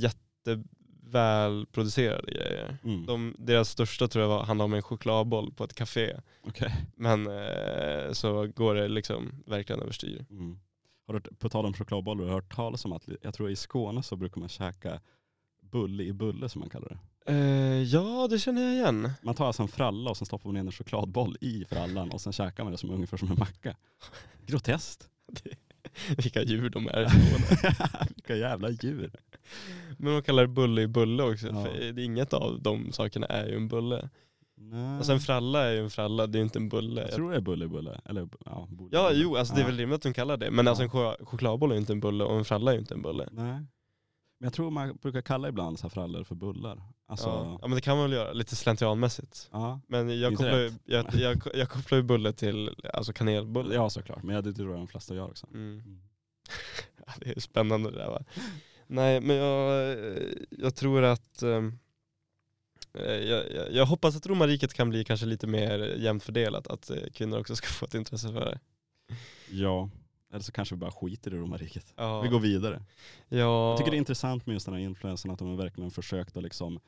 [SPEAKER 1] jättevälproducerade grejer.
[SPEAKER 2] Mm.
[SPEAKER 1] De, deras största tror jag var, handlade om en chokladboll på ett café.
[SPEAKER 2] Okej.
[SPEAKER 1] Men eh, så går det liksom verkligen överstyr.
[SPEAKER 2] Mm. Har du, hört- på tal om chokladbollar, har du hört talas om att jag tror i Skåne så brukar man käka bulle i bulle som man kallar det.
[SPEAKER 1] Eh, ja, det känner jag igen.
[SPEAKER 2] Man tar alltså en fralla och sen stoppar man in en chokladboll i frallan och sen käkar man det som ungefär som en macka. Groteskt.
[SPEAKER 1] [laughs] Vilka djur de [laughs] är.
[SPEAKER 2] [laughs] Vilka jävla djur.
[SPEAKER 1] Men de kallar det bulle i bulle också,
[SPEAKER 2] Ja.
[SPEAKER 1] för det, inget av de sakerna är ju en bulle.
[SPEAKER 2] Nej.
[SPEAKER 1] Och sen fralla är ju en fralla, det är ju inte en Alltså, bulle.
[SPEAKER 2] jag tror det är bulle i bulle. Eller, ja, bulle.
[SPEAKER 1] Ja
[SPEAKER 2] i bulle.
[SPEAKER 1] jo, alltså det är
[SPEAKER 2] Ja.
[SPEAKER 1] väl rimligt att de kallar det. Men
[SPEAKER 2] Ja.
[SPEAKER 1] alltså en chok- chokladboll är ju inte en bulle och en fralla är ju inte en bulle.
[SPEAKER 2] Nej. Men jag tror man brukar kalla ibland så här frallor för bullar. Alltså,
[SPEAKER 1] Ja.
[SPEAKER 2] ja.
[SPEAKER 1] ja men det kan man väl göra, lite slentrianmässigt.
[SPEAKER 2] Ja.
[SPEAKER 1] Men jag
[SPEAKER 2] Inte
[SPEAKER 1] kopplar, ju-
[SPEAKER 2] rätt.
[SPEAKER 1] jag, jag, jag kopplar ju bulle till alltså kanelbulle.
[SPEAKER 2] såklart. Men det tror jag de flesta gör också.
[SPEAKER 1] Mm.
[SPEAKER 2] Mm.
[SPEAKER 1] [laughs] Ja, Det är spännande det där va. Nej men jag, eh, jag tror att ehm, eh, jag, jag, jag hoppas att romarriket kan bli kanske lite mer jämnt fördelat, att eh, kvinnor också ska [laughs] få ett intresse för det.
[SPEAKER 2] Ja, eller så kanske vi bara skiter i romarriket.
[SPEAKER 1] Ja.
[SPEAKER 2] Vi går vidare.
[SPEAKER 1] Ja,
[SPEAKER 2] Jag tycker det är intressant med just den här influensen att de har verkligen försökt att liksom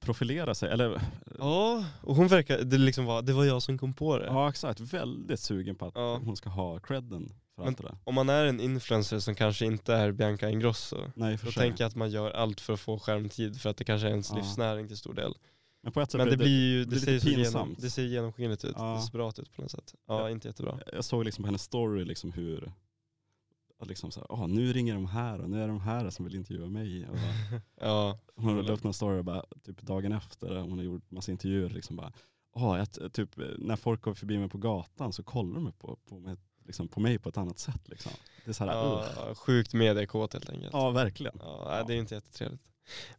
[SPEAKER 2] profilera sig. Eller
[SPEAKER 1] ja och hon verkar, det liksom var, det var jag som kom på det.
[SPEAKER 2] ja exakt, väldigt sugen på att
[SPEAKER 1] Ja.
[SPEAKER 2] hon ska ha credden för allt det där.
[SPEAKER 1] Om man är en influencer som kanske inte är Bianca Ingrosso,
[SPEAKER 2] Nej
[SPEAKER 1] då
[SPEAKER 2] för sig.
[SPEAKER 1] tänker jag att man gör allt för att få skärmtid för att det kanske är ens
[SPEAKER 2] Ja.
[SPEAKER 1] livsnäring till stor del.
[SPEAKER 2] Men på ett sätt,
[SPEAKER 1] Men det blir ju, det
[SPEAKER 2] blir
[SPEAKER 1] ser ju
[SPEAKER 2] lite
[SPEAKER 1] så genom,
[SPEAKER 2] pinsamt.
[SPEAKER 1] det ser genomskinligt ut,
[SPEAKER 2] Ja.
[SPEAKER 1] desperat ut på något sätt. Ja,
[SPEAKER 2] Ja.
[SPEAKER 1] inte jättebra.
[SPEAKER 2] jag såg liksom på hennes story liksom hur, att liksom så här, "Ah, nu ringer de här och nu är de här som vill intervjua mig. Och bara,
[SPEAKER 1] Ja,
[SPEAKER 2] Hon
[SPEAKER 1] Eller-
[SPEAKER 2] la upp någon story bara, typ dagen efter, hon har gjort massa intervjuer liksom bara, ja, jag t- typ när folk går förbi mig på gatan så kollar de på, på, mig, liksom, på mig på ett annat sätt liksom. Det är så här, ja,
[SPEAKER 1] ja sjukt mediekåt helt enkelt.
[SPEAKER 2] ja verkligen.
[SPEAKER 1] Ja, nej, det är ju inte jättetrevligt.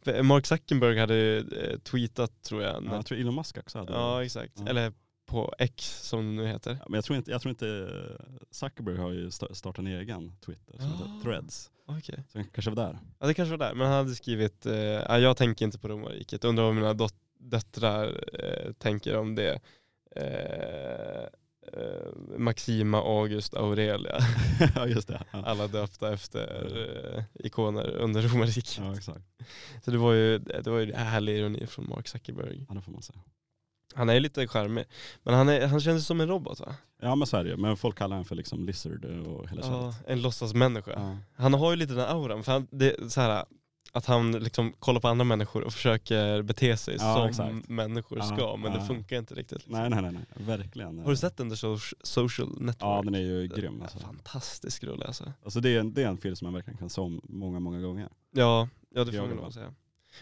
[SPEAKER 1] eh, Mark Zuckerberg hade ju, eh, tweetat tror jag.
[SPEAKER 2] Ja,
[SPEAKER 1] när-
[SPEAKER 2] jag tror Elon Musk också hade
[SPEAKER 1] ja exakt.
[SPEAKER 2] Ja.
[SPEAKER 1] Eller på X som det nu heter.
[SPEAKER 2] Ja, Men jag tror, inte, jag tror inte, Zuckerberg har ju sta- startat en egen Twitter som
[SPEAKER 1] Ah.
[SPEAKER 2] heter Threads.
[SPEAKER 1] Okej.
[SPEAKER 2] Så han kanske var där. [laughs]
[SPEAKER 1] Ja det kanske var där, men han hade skrivit eh, "Ja, jag tänker inte på romarriket, undrar vad mina dot- döttrar eh, tänker om det. Eh, eh, Maxima, August, Aurelia,
[SPEAKER 2] ja just det. Ja.
[SPEAKER 1] [laughs] alla döpta efter eh, ikoner under romarriket.
[SPEAKER 2] ja exakt,
[SPEAKER 1] Så det var ju, det var ju härlig ironi från Mark Zuckerberg.
[SPEAKER 2] ja, det får man säga.
[SPEAKER 1] Han är ju lite charmig, men han, är, han känns som en robot va?
[SPEAKER 2] Ja men så är det ju, men folk kallar honom för liksom Lizard och hela
[SPEAKER 1] Ja,
[SPEAKER 2] köret.
[SPEAKER 1] en låtsasmänniska.
[SPEAKER 2] Ja.
[SPEAKER 1] Han har ju lite den auran, för han, det är så här, att han liksom kollar på andra människor och försöker bete sig
[SPEAKER 2] Ja,
[SPEAKER 1] som
[SPEAKER 2] exakt.
[SPEAKER 1] människor
[SPEAKER 2] Ja,
[SPEAKER 1] ska, men
[SPEAKER 2] ja.
[SPEAKER 1] det funkar inte riktigt. Liksom.
[SPEAKER 2] Nej nej nej, nej. verkligen.
[SPEAKER 1] Har du sett den, The So- Social Network?
[SPEAKER 2] Ja den är ju grym alltså.
[SPEAKER 1] Fantastisk rulle alltså.
[SPEAKER 2] Alltså det är, en, det är en film som man verkligen kan se om många, många gånger.
[SPEAKER 1] Ja, ja det får
[SPEAKER 2] Jag
[SPEAKER 1] man
[SPEAKER 2] vill
[SPEAKER 1] väl
[SPEAKER 2] vara.
[SPEAKER 1] säga.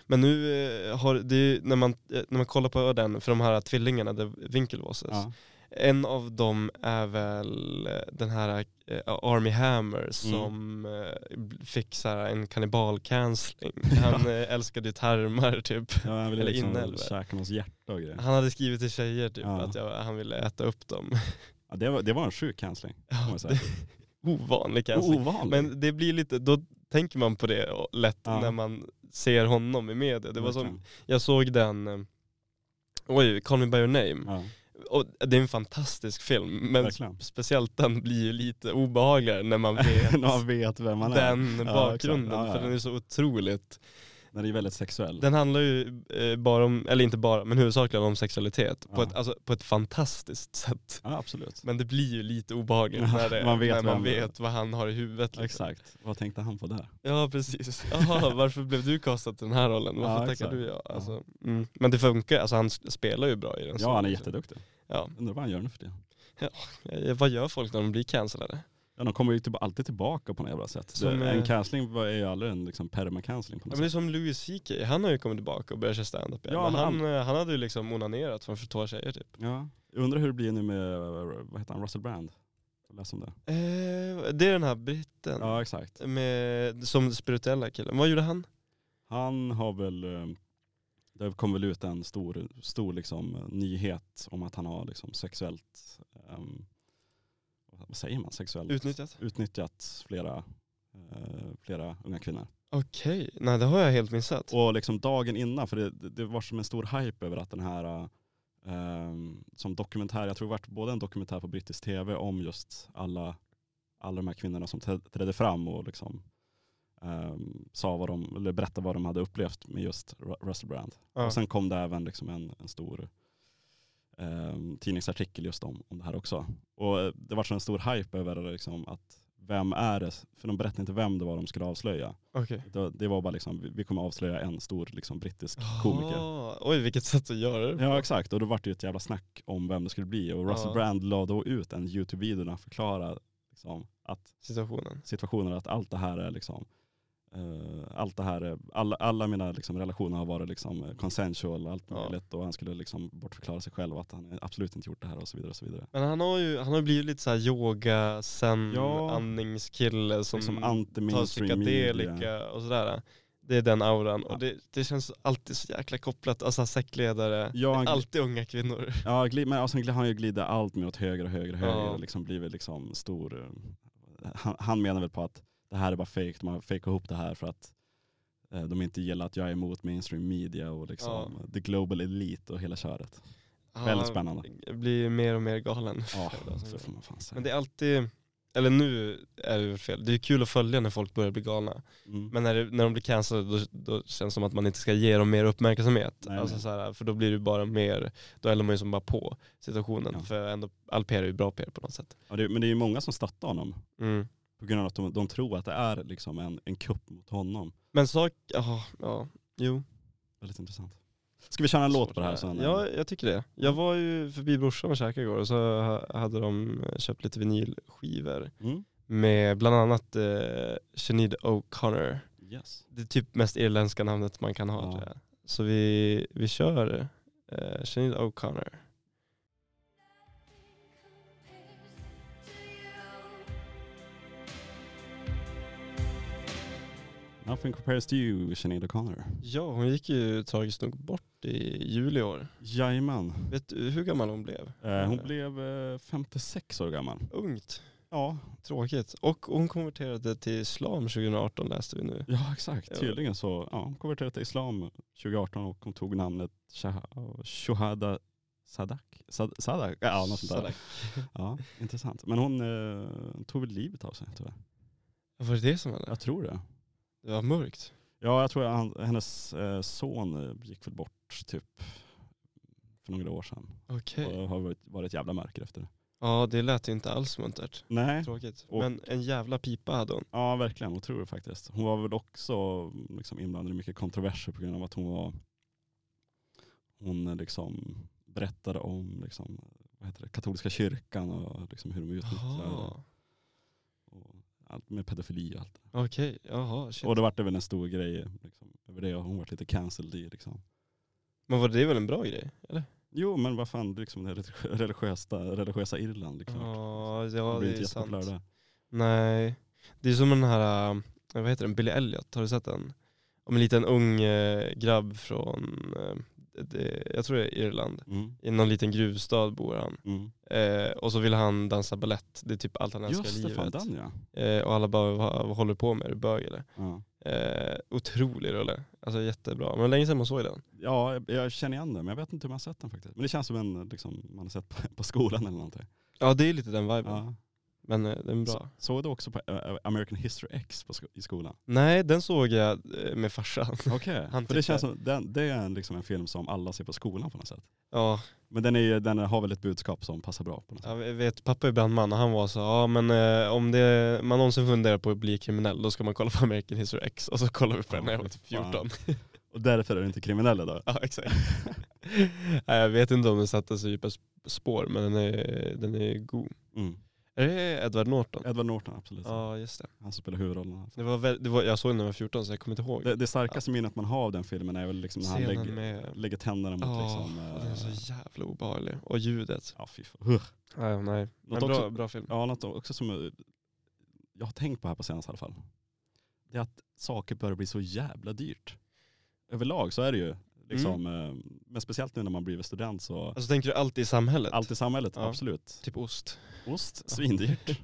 [SPEAKER 1] Men nu eh, har, det är ju, när, man, eh, när man kollar på den, för de här tvillingarna, The Winkelvosses,
[SPEAKER 2] Ja.
[SPEAKER 1] en av dem är väl eh, den här eh, Army
[SPEAKER 2] Mm.
[SPEAKER 1] Hammer som eh, fick så här, en
[SPEAKER 2] [laughs]
[SPEAKER 1] kannibalcancelling. Han eh, älskade ju tarmar typ.
[SPEAKER 2] Ja, jag ville
[SPEAKER 1] Eller
[SPEAKER 2] liksom
[SPEAKER 1] inälvor.
[SPEAKER 2] käka någons hjärta och grejer.
[SPEAKER 1] Han hade skrivit till tjejer typ
[SPEAKER 2] Ja.
[SPEAKER 1] att jag, han ville äta upp dem.
[SPEAKER 2] Ja, det, var, det var en sjuk cancelling.
[SPEAKER 1] [laughs] Ja,
[SPEAKER 2] man säga.
[SPEAKER 1] [laughs] det, ovanlig cancelling.
[SPEAKER 2] Ovanlig.
[SPEAKER 1] Men det blir lite, då tänker man på det och- lätt
[SPEAKER 2] Ja.
[SPEAKER 1] när man ser honom i media. Det var som,
[SPEAKER 2] verkligen.
[SPEAKER 1] jag såg den, eh, oj, Call Me By Your Name.
[SPEAKER 2] Ja,
[SPEAKER 1] Och det är en fantastisk film, men
[SPEAKER 2] verkligen.
[SPEAKER 1] speciellt den blir ju lite obehagligare när man vet
[SPEAKER 2] [laughs] När man vet vem man är.
[SPEAKER 1] den
[SPEAKER 2] Ja,
[SPEAKER 1] bakgrunden,
[SPEAKER 2] exakt. Ja, ja,
[SPEAKER 1] för
[SPEAKER 2] ja.
[SPEAKER 1] den är så otroligt.
[SPEAKER 2] När det är väldigt sexuell.
[SPEAKER 1] Den handlar ju eh, bara om, eller inte bara, men huvudsakligen om sexualitet på,
[SPEAKER 2] Ja.
[SPEAKER 1] ett, alltså, på ett fantastiskt sätt.
[SPEAKER 2] Ja, absolut.
[SPEAKER 1] Men det blir ju lite obehagligt
[SPEAKER 2] Ja,
[SPEAKER 1] när, det,
[SPEAKER 2] man vet
[SPEAKER 1] när man
[SPEAKER 2] vem-
[SPEAKER 1] vet vad han har i huvudet. Liksom.
[SPEAKER 2] Exakt. Vad tänkte han på där?
[SPEAKER 1] Ja precis. Jaha, varför blev du castad till den här rollen? Varför
[SPEAKER 2] Ja,
[SPEAKER 1] tackar
[SPEAKER 2] exakt.
[SPEAKER 1] du ja? Alltså, mm. Men det funkar, alltså, han spelar ju bra i den.
[SPEAKER 2] Ja, han är
[SPEAKER 1] också.
[SPEAKER 2] jätteduktig.
[SPEAKER 1] Ja.
[SPEAKER 2] Undrar vad han gör nu för det.
[SPEAKER 1] Eh, Vad gör folk när de blir cancellade?
[SPEAKER 2] Ja, de kommer ju typ alltid tillbaka på något jävla sätt.
[SPEAKER 1] Som,
[SPEAKER 2] det, en
[SPEAKER 1] eh,
[SPEAKER 2] cancelling var- är ju aldrig en liksom, perma-cancelling på
[SPEAKER 1] Ja,
[SPEAKER 2] något
[SPEAKER 1] men det är
[SPEAKER 2] sätt.
[SPEAKER 1] som Louis CK, han har ju kommit tillbaka och börjat köra standup igen.
[SPEAKER 2] Ja,
[SPEAKER 1] men
[SPEAKER 2] men
[SPEAKER 1] han, eh, han hade ju liksom onanerat framför två tjejer typ.
[SPEAKER 2] Ja. Jag undrar hur det blir nu med, eh, vad heter han, Russell Brand? Jag läste om det.
[SPEAKER 1] Eh, det är den här britten.
[SPEAKER 2] Ja, exakt.
[SPEAKER 1] Med, som spirituella killen. Vad gjorde han?
[SPEAKER 2] Han har väl, eh, det kom väl ut en stor, stor liksom, eh, nyhet om att han har liksom, sexuellt, ehm, vad säger man, sexuellt
[SPEAKER 1] Utnyttjat?
[SPEAKER 2] utnyttjat flera, eh, flera unga kvinnor.
[SPEAKER 1] Okej, nej det har jag helt missat.
[SPEAKER 2] Och liksom dagen innan, för det, det var som en stor hype över att den här, eh, ehm, som dokumentär, jag tror det vart både en dokumentär på brittisk tv om just alla, alla de här kvinnorna som träd- trädde fram och liksom ehm, sa vad de, eller berättade vad de hade upplevt med just Ru- Russell Brand.
[SPEAKER 1] Ja.
[SPEAKER 2] Och sen kom det även liksom en, en stor ehm, tidningsartikel just om, om det här också. Och eh, det var så en stor hype över liksom att vem är det, för de berättade inte vem det var de skulle avslöja.
[SPEAKER 1] Okej.
[SPEAKER 2] Det, det var bara liksom, vi- vi kommer avslöja en stor liksom, brittisk komiker.
[SPEAKER 1] Ah, oj vilket sätt att göra det
[SPEAKER 2] Ja exakt, och då var det ju ett jävla snack om vem det skulle bli. Och Russell
[SPEAKER 1] Ja.
[SPEAKER 2] Brand la då ut en YouTube-video där han förklarar liksom, att
[SPEAKER 1] situationen.
[SPEAKER 2] situationen, att allt det här är liksom, eh, allt det här är, alla, alla mina liksom, relationer har varit liksom, eh, consensual och allt
[SPEAKER 1] Ja.
[SPEAKER 2] möjligt. Och han skulle liksom bortförklara sig själv att han absolut inte gjort det här och så vidare. Och så vidare.
[SPEAKER 1] Men han har ju han har blivit lite såhär yoga, zen,
[SPEAKER 2] Ja.
[SPEAKER 1] andningskille som
[SPEAKER 2] Liksom
[SPEAKER 1] tar
[SPEAKER 2] anti-mainstream media.
[SPEAKER 1] psykedelika och sådär. Det är den auran
[SPEAKER 2] Ja.
[SPEAKER 1] och det, det känns alltid så jäkla kopplat, alltså sektledare,
[SPEAKER 2] Ja, han-
[SPEAKER 1] alltid unga kvinnor.
[SPEAKER 2] Ja, gli- men och sen har han ju glidit allt mer åt höger och höger och höger
[SPEAKER 1] Ja.
[SPEAKER 2] och liksom blivit liksom stor. eh, Han, han menar väl på att det här är bara fake, de har fejkat ihop det här för att eh, de inte gillar att jag är emot mainstream media och liksom the global elite och hela köret. Väldigt spännande.
[SPEAKER 1] Han blir mer och mer galen.
[SPEAKER 2] Ja,
[SPEAKER 1] för det som
[SPEAKER 2] så får man fan säga.
[SPEAKER 1] Men det är alltid, eller nu är det väl fel, det är kul att följa när folk börjar bli galna.
[SPEAKER 2] mm.
[SPEAKER 1] Men när, det, när de blir cancellade då, då känns det som att man inte ska ge dem mer uppmärksamhet.
[SPEAKER 2] Nej,
[SPEAKER 1] alltså
[SPEAKER 2] nej.
[SPEAKER 1] Så här, för då blir det bara mer, då eldar man ju som bara på situationen.
[SPEAKER 2] Ja.
[SPEAKER 1] För ändå, all PR är ju bra PR på något sätt.
[SPEAKER 2] Ja, det, men det är ju många som stöttar honom
[SPEAKER 1] Mm.
[SPEAKER 2] på grund av att de, de tror att det är liksom en, en kupp mot honom.
[SPEAKER 1] Men sak, ja, ja, jo.
[SPEAKER 2] Väldigt intressant. Ska vi köra en låt på det här
[SPEAKER 1] Svårt
[SPEAKER 2] sen?
[SPEAKER 1] Ja, jag tycker det. Jag var ju förbi brorsan och käkade igår och så ha- hade de köpt lite vinylskivor
[SPEAKER 2] Mm?
[SPEAKER 1] med bland annat eh, Sinead O'Connor.
[SPEAKER 2] Yes.
[SPEAKER 1] det är typ mest irländska namnet man kan ha
[SPEAKER 2] Ja.
[SPEAKER 1] tror jag. Så vi, vi kör eh, Sinead O'Connor.
[SPEAKER 2] Nothing compares to you, Sinead O'Connor.
[SPEAKER 1] Ja, hon gick ju tragiskt nog bort i juli i år.
[SPEAKER 2] Jajamän.
[SPEAKER 1] Vet du hur gammal hon blev?
[SPEAKER 2] Eh, hon blev eh, 56 år gammal.
[SPEAKER 1] Ungt,
[SPEAKER 2] Ja,
[SPEAKER 1] tråkigt. Och hon konverterade till islam 2018 läste vi nu.
[SPEAKER 2] ja exakt.
[SPEAKER 1] Ja.
[SPEAKER 2] Tydligen så ja, hon konverterade till islam 2018 och hon tog namnet Shah- Shohada Sadak. Sad- Sadak? Ja, något sånt där.
[SPEAKER 1] Sadak.
[SPEAKER 2] Ja, intressant. Men hon eh, tog väl livet av sig tyvärr.
[SPEAKER 1] Var det det som hände?
[SPEAKER 2] Jag tror det.
[SPEAKER 1] Det var mörkt.
[SPEAKER 2] Ja, jag tror att han, hennes eh, son eh, gick väl bort typ för några år sedan.
[SPEAKER 1] Okej.
[SPEAKER 2] Och har varit, varit jävla mörker efter det.
[SPEAKER 1] Ja, det lät ju inte alls muntert.
[SPEAKER 2] Nej,
[SPEAKER 1] Tråkigt.
[SPEAKER 2] Och-
[SPEAKER 1] Men en jävla pipa hade hon.
[SPEAKER 2] Ja verkligen, otroligt faktiskt. Hon var väl också liksom, inblandad i mycket kontroverser på grund av att hon var hon eh, liksom berättade om liksom, vad heter det, katolska kyrkan och liksom, hur de utnyttjade
[SPEAKER 1] Jaha.
[SPEAKER 2] och allt med pedofili och allt. det.
[SPEAKER 1] Okej, jaha. Shit.
[SPEAKER 2] Och det vart det väl en stor grej liksom, över det och hon vart lite cancelled i liksom.
[SPEAKER 1] Men var det väl en bra grej? Eller?
[SPEAKER 2] Jo men vad fan, liksom, det religi- religiösa, religiösa Irland liksom.
[SPEAKER 1] Ja,
[SPEAKER 2] Hon
[SPEAKER 1] ja
[SPEAKER 2] blev
[SPEAKER 1] det
[SPEAKER 2] inte
[SPEAKER 1] är sant.
[SPEAKER 2] jättepopulär där.
[SPEAKER 1] Nej, det är som den här, äh, vad heter den, Billy Elliot, har du sett den? Om en liten ung eh, grabb äh, från, eh, det, jag tror det är Irland.
[SPEAKER 2] Mm.
[SPEAKER 1] I någon liten gruvstad bor han.
[SPEAKER 2] Mm.
[SPEAKER 1] Eh, och så vill han dansa ballett. Det är typ allt han älskar i
[SPEAKER 2] Just det, fan
[SPEAKER 1] livet.
[SPEAKER 2] den ja.
[SPEAKER 1] Eh, och alla bara, vad, vad håller du på med? Är du bög eller?
[SPEAKER 2] ja.
[SPEAKER 1] Eh, otrolig rulle. Alltså jättebra. Men länge sedan man såg den.
[SPEAKER 2] Ja, jag, jag känner igen den men jag vet inte hur man har sett den faktiskt. Men det känns som en liksom, man har sett på, på skolan eller någonting.
[SPEAKER 1] Ja det är lite den viben.
[SPEAKER 2] Ja.
[SPEAKER 1] Men eh, den är bra.
[SPEAKER 2] Så, såg du också på eh, American History X på sko-
[SPEAKER 1] [laughs]
[SPEAKER 2] i skolan?
[SPEAKER 1] Nej den såg jag eh, med farsan. [laughs]
[SPEAKER 2] Okej.
[SPEAKER 1] Han
[SPEAKER 2] För det
[SPEAKER 1] tyckte-
[SPEAKER 2] känns som, den, det är en, liksom en film som alla ser på skolan på något sätt.
[SPEAKER 1] ja,
[SPEAKER 2] Men den, är, ju- den har väl ett budskap som passar bra på något sätt.
[SPEAKER 1] jag vet pappa är brandman och han var så, ja men eh, om det, man någonsin funderar på att bli kriminell då ska man kolla på American History X. Och så kollar vi på den när jag var typ 14.
[SPEAKER 2] Och därför är den inte kriminell idag.
[SPEAKER 1] [laughs] ja exakt. [laughs] Nej, jag vet inte om den satte så djupa sp- spår men den är, den är god.
[SPEAKER 2] Mm.
[SPEAKER 1] Är det Edward Norton?
[SPEAKER 2] Edward Norton, absolut.
[SPEAKER 1] Ja just det.
[SPEAKER 2] Han spelar huvudrollen.
[SPEAKER 1] det, var väl, det var, jag såg den när jag var 14 så jag kommer inte ihåg.
[SPEAKER 2] Det, det starkaste minnet man har av den filmen är väl liksom när han lägger,
[SPEAKER 1] Scenen med...
[SPEAKER 2] lägger tänderna mot
[SPEAKER 1] Ja,
[SPEAKER 2] liksom...
[SPEAKER 1] och den är
[SPEAKER 2] eh,
[SPEAKER 1] så jävla obehaglig. Och ljudet.
[SPEAKER 2] Ja, fy fan. Ugh.
[SPEAKER 1] Nej, nej. Men
[SPEAKER 2] Något
[SPEAKER 1] bra,
[SPEAKER 2] också,
[SPEAKER 1] bra film.
[SPEAKER 2] ja, något också som eh, jag har tänkt på här på senaste i alla fall. Det är att saker börjar bli så jävla dyrt. Överlag så är det ju. Liksom,
[SPEAKER 1] Mm.
[SPEAKER 2] eh, Men speciellt nu när man blivit student så,
[SPEAKER 1] Alltså tänker du allt i samhället?
[SPEAKER 2] allt i samhället,
[SPEAKER 1] Ja.
[SPEAKER 2] absolut.
[SPEAKER 1] Typ ost. [laughs]
[SPEAKER 2] Ost, svindyrt.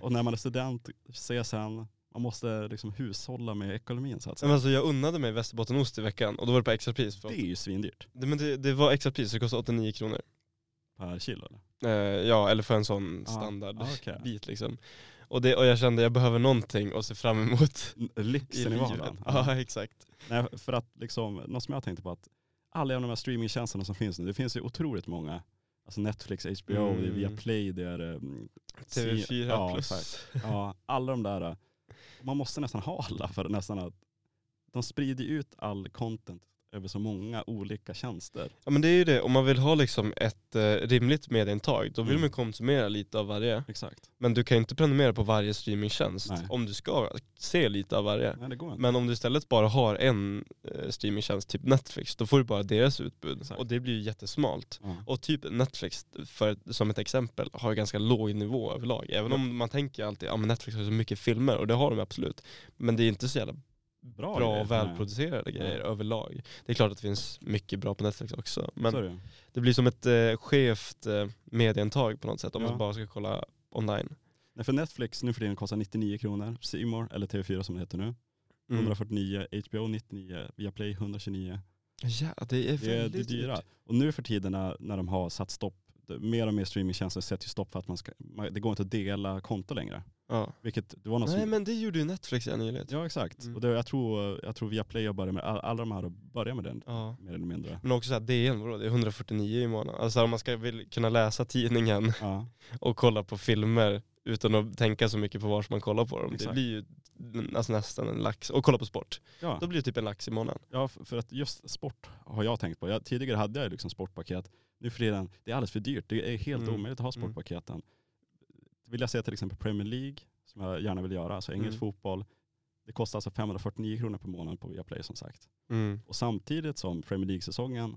[SPEAKER 2] Och när man är student, CSN, man måste liksom hushålla med ekonomin så att
[SPEAKER 1] Men
[SPEAKER 2] säga.
[SPEAKER 1] alltså jag unnade mig västerbottenost i veckan och då var det på extrapris. För
[SPEAKER 2] Det är ju svindyrt
[SPEAKER 1] det, men det, det var extrapris, det kostade 89 kronor.
[SPEAKER 2] per kilo. Eller?
[SPEAKER 1] Eh, ja, eller för en sån
[SPEAKER 2] Ja,
[SPEAKER 1] standardbit
[SPEAKER 2] ja, okej.
[SPEAKER 1] liksom. Och, det, och jag kände jag behöver någonting att se fram emot i
[SPEAKER 2] Lyxen i
[SPEAKER 1] livet.
[SPEAKER 2] vardagen. Ja.
[SPEAKER 1] Ja, exakt.
[SPEAKER 2] Nej, för att liksom, något som jag tänkte på att alla de här streamingtjänsterna som finns nu, det finns ju otroligt många. Alltså Netflix, HBO,
[SPEAKER 1] Mm.
[SPEAKER 2] det är Viaplay, det är... mm,
[SPEAKER 1] TV4
[SPEAKER 2] C- ja, exakt.
[SPEAKER 1] plus.
[SPEAKER 2] Ja, alla de där. eh, Man måste nästan ha alla för nästan att de sprider ju ut all content över så många olika tjänster.
[SPEAKER 1] [laughs] Ja men det är ju det, om man vill ha liksom ett eh, rimligt medieintag då vill
[SPEAKER 2] Mm.
[SPEAKER 1] man konsumera lite av varje.
[SPEAKER 2] Exakt.
[SPEAKER 1] Men du kan ju inte prenumerera på varje streamingtjänst
[SPEAKER 2] Nej. Mm.
[SPEAKER 1] om du ska se lite av varje.
[SPEAKER 2] Nej, det går inte.
[SPEAKER 1] Men om du istället bara har en eh, streamingtjänst, typ Netflix, då får du bara deras utbud.
[SPEAKER 2] Exakt.
[SPEAKER 1] Och det blir ju jättesmalt.
[SPEAKER 2] Ja.
[SPEAKER 1] Och typ Netflix, för, som ett exempel, har ju ganska låg nivå överlag. Även
[SPEAKER 2] Ja.
[SPEAKER 1] om man tänker alltid att ja, men Netflix har så mycket filmer, och det har de absolut. Men det är inte så jävla
[SPEAKER 2] Bra,
[SPEAKER 1] bra
[SPEAKER 2] grejer.
[SPEAKER 1] och välproducerade
[SPEAKER 2] Nej.
[SPEAKER 1] grejer överlag. Det är klart att det finns mycket bra på Netflix också.
[SPEAKER 2] Nej,
[SPEAKER 1] Men
[SPEAKER 2] så är det ju.
[SPEAKER 1] det blir som ett eh, skevt eh, medieintag på något sätt om
[SPEAKER 2] Ja.
[SPEAKER 1] man bara ska kolla online.
[SPEAKER 2] Nej, för Netflix nu för tiden kostar 99 kronor, C More eller TV4 som det heter nu,
[SPEAKER 1] Mm.
[SPEAKER 2] 149, HBO 99, Viaplay 129.
[SPEAKER 1] Ja, det är
[SPEAKER 2] Det är
[SPEAKER 1] väldigt
[SPEAKER 2] det är dyra.
[SPEAKER 1] dyrt.
[SPEAKER 2] Och nu för tiden när, när de har satt stopp, det- mer och mer streamingtjänster sätter ju stopp för att man ska, man, det går inte att dela konto längre.
[SPEAKER 1] Ja.
[SPEAKER 2] Vilket det var något
[SPEAKER 1] Nej
[SPEAKER 2] som,
[SPEAKER 1] men det gjorde ju Netflix ja, nyligen.
[SPEAKER 2] Ja exakt.
[SPEAKER 1] Mm.
[SPEAKER 2] Och det, jag, tror, jag tror Viaplay har börjat med, all- alla de här har börjat med den
[SPEAKER 1] Ja.
[SPEAKER 2] mer
[SPEAKER 1] [laughs]
[SPEAKER 2] eller mindre.
[SPEAKER 1] Men också såhär DN, vadå? Det är 149 i månaden. Alltså om man ska vill kunna läsa tidningen
[SPEAKER 2] Ja,
[SPEAKER 1] och kolla på filmer utan att tänka så mycket på var man kollar på dem.
[SPEAKER 2] Exakt.
[SPEAKER 1] Det blir ju mm, alltså, nästan en lax. Och kolla på sport.
[SPEAKER 2] ja.
[SPEAKER 1] Då blir det typ en lax i månaden.
[SPEAKER 2] ja f- för att just sport har jag tänkt på. Jag, tidigare hade jag ju liksom sportpaket. Nu för tiden, det är alldeles för dyrt. Det är helt
[SPEAKER 1] Mm.
[SPEAKER 2] omöjligt att ha
[SPEAKER 1] Mm.
[SPEAKER 2] sportpaketen. Vill jag se till exempel Premier League, som jag gärna vill göra, alltså engelsk
[SPEAKER 1] Mm.
[SPEAKER 2] fotboll. Det kostar alltså 549 kronor per månad på Viaplay som sagt. Och samtidigt som Premier League-säsongen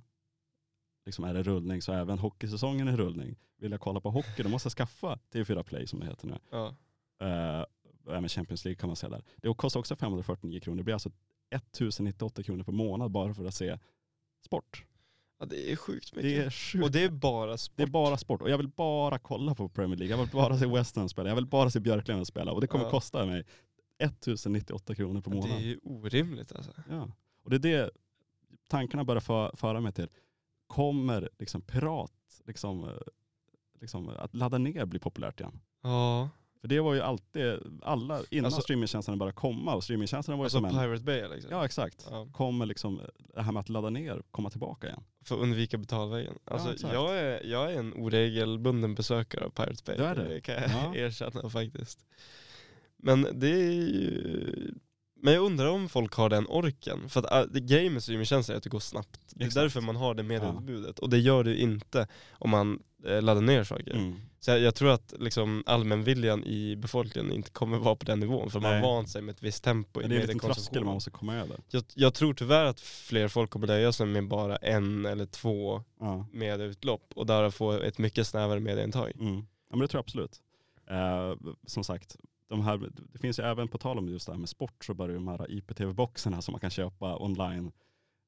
[SPEAKER 2] liksom är en rullning så är även hockeysäsongen en rullning. Vill jag kolla på hockey då måste jag skaffa TV4 Play som det heter nu.
[SPEAKER 1] Ja.
[SPEAKER 2] Eh, och även Champions League kan man säga där. Det kostar också 549 kronor. Det blir alltså 1098 kronor per månad bara för att se sport.
[SPEAKER 1] ja, det är sjukt mycket.
[SPEAKER 2] Det är
[SPEAKER 1] Och
[SPEAKER 2] sjukt.
[SPEAKER 1] det är bara sport.
[SPEAKER 2] Det är bara sport och jag vill bara kolla på Premier League. Jag vill bara se West Ham spela. Jag vill bara se Björklöven spela och det kommer
[SPEAKER 1] Ja.
[SPEAKER 2] kosta mig 1098 kronor per
[SPEAKER 1] Ja,
[SPEAKER 2] månad.
[SPEAKER 1] det är ju orimligt alltså.
[SPEAKER 2] Ja. Och det är det tankarna börjar för, föra mig till. Kommer liksom pirat, liksom, eh, liksom, att ladda ner bli populärt igen?
[SPEAKER 1] Ja.
[SPEAKER 2] För det var ju alltid, alla, innan
[SPEAKER 1] Alltså-
[SPEAKER 2] streamingtjänsterna började komma och streamingtjänsterna var ju
[SPEAKER 1] Alltså
[SPEAKER 2] som en,
[SPEAKER 1] Pirate Bay liksom.
[SPEAKER 2] ja exakt,
[SPEAKER 1] Ja.
[SPEAKER 2] kommer liksom det här med att ladda ner komma tillbaka igen.
[SPEAKER 1] För att undvika betalvägen. Alltså
[SPEAKER 2] exakt.
[SPEAKER 1] jag, är, jag är en oregelbunden besökare av Pirate Bay.
[SPEAKER 2] Du är det?
[SPEAKER 1] kan jag [laughs]
[SPEAKER 2] Ja.
[SPEAKER 1] erkänna faktiskt. Men det är ju... Men jag undrar om folk har den orken. För att äh, det grejen med streamingtjänster är att det går snabbt. Det är
[SPEAKER 2] Exakt.
[SPEAKER 1] därför man har det medieutbudet. Och det gör du inte om man eh, laddar ner saker.
[SPEAKER 2] Mm.
[SPEAKER 1] Så jag, jag tror att liksom allmänviljan i befolkningen inte kommer vara på den nivån. För man
[SPEAKER 2] Nej.
[SPEAKER 1] har vant sig med ett visst tempo i
[SPEAKER 2] Men det är en liten tröskel
[SPEAKER 1] mediekonsumtionen.
[SPEAKER 2] man måste komma över.
[SPEAKER 1] Jag, jag tror tyvärr att fler folk kommer nöja sig med bara en eller två
[SPEAKER 2] Ja.
[SPEAKER 1] med utlopp och där få ett mycket snävare medieintag.
[SPEAKER 2] Mm. Ja men det tror jag absolut. Eh, som sagt, de här, det finns ju även på tal om just det här med sport så börjar ju de här IPTV-boxarna som man kan köpa online.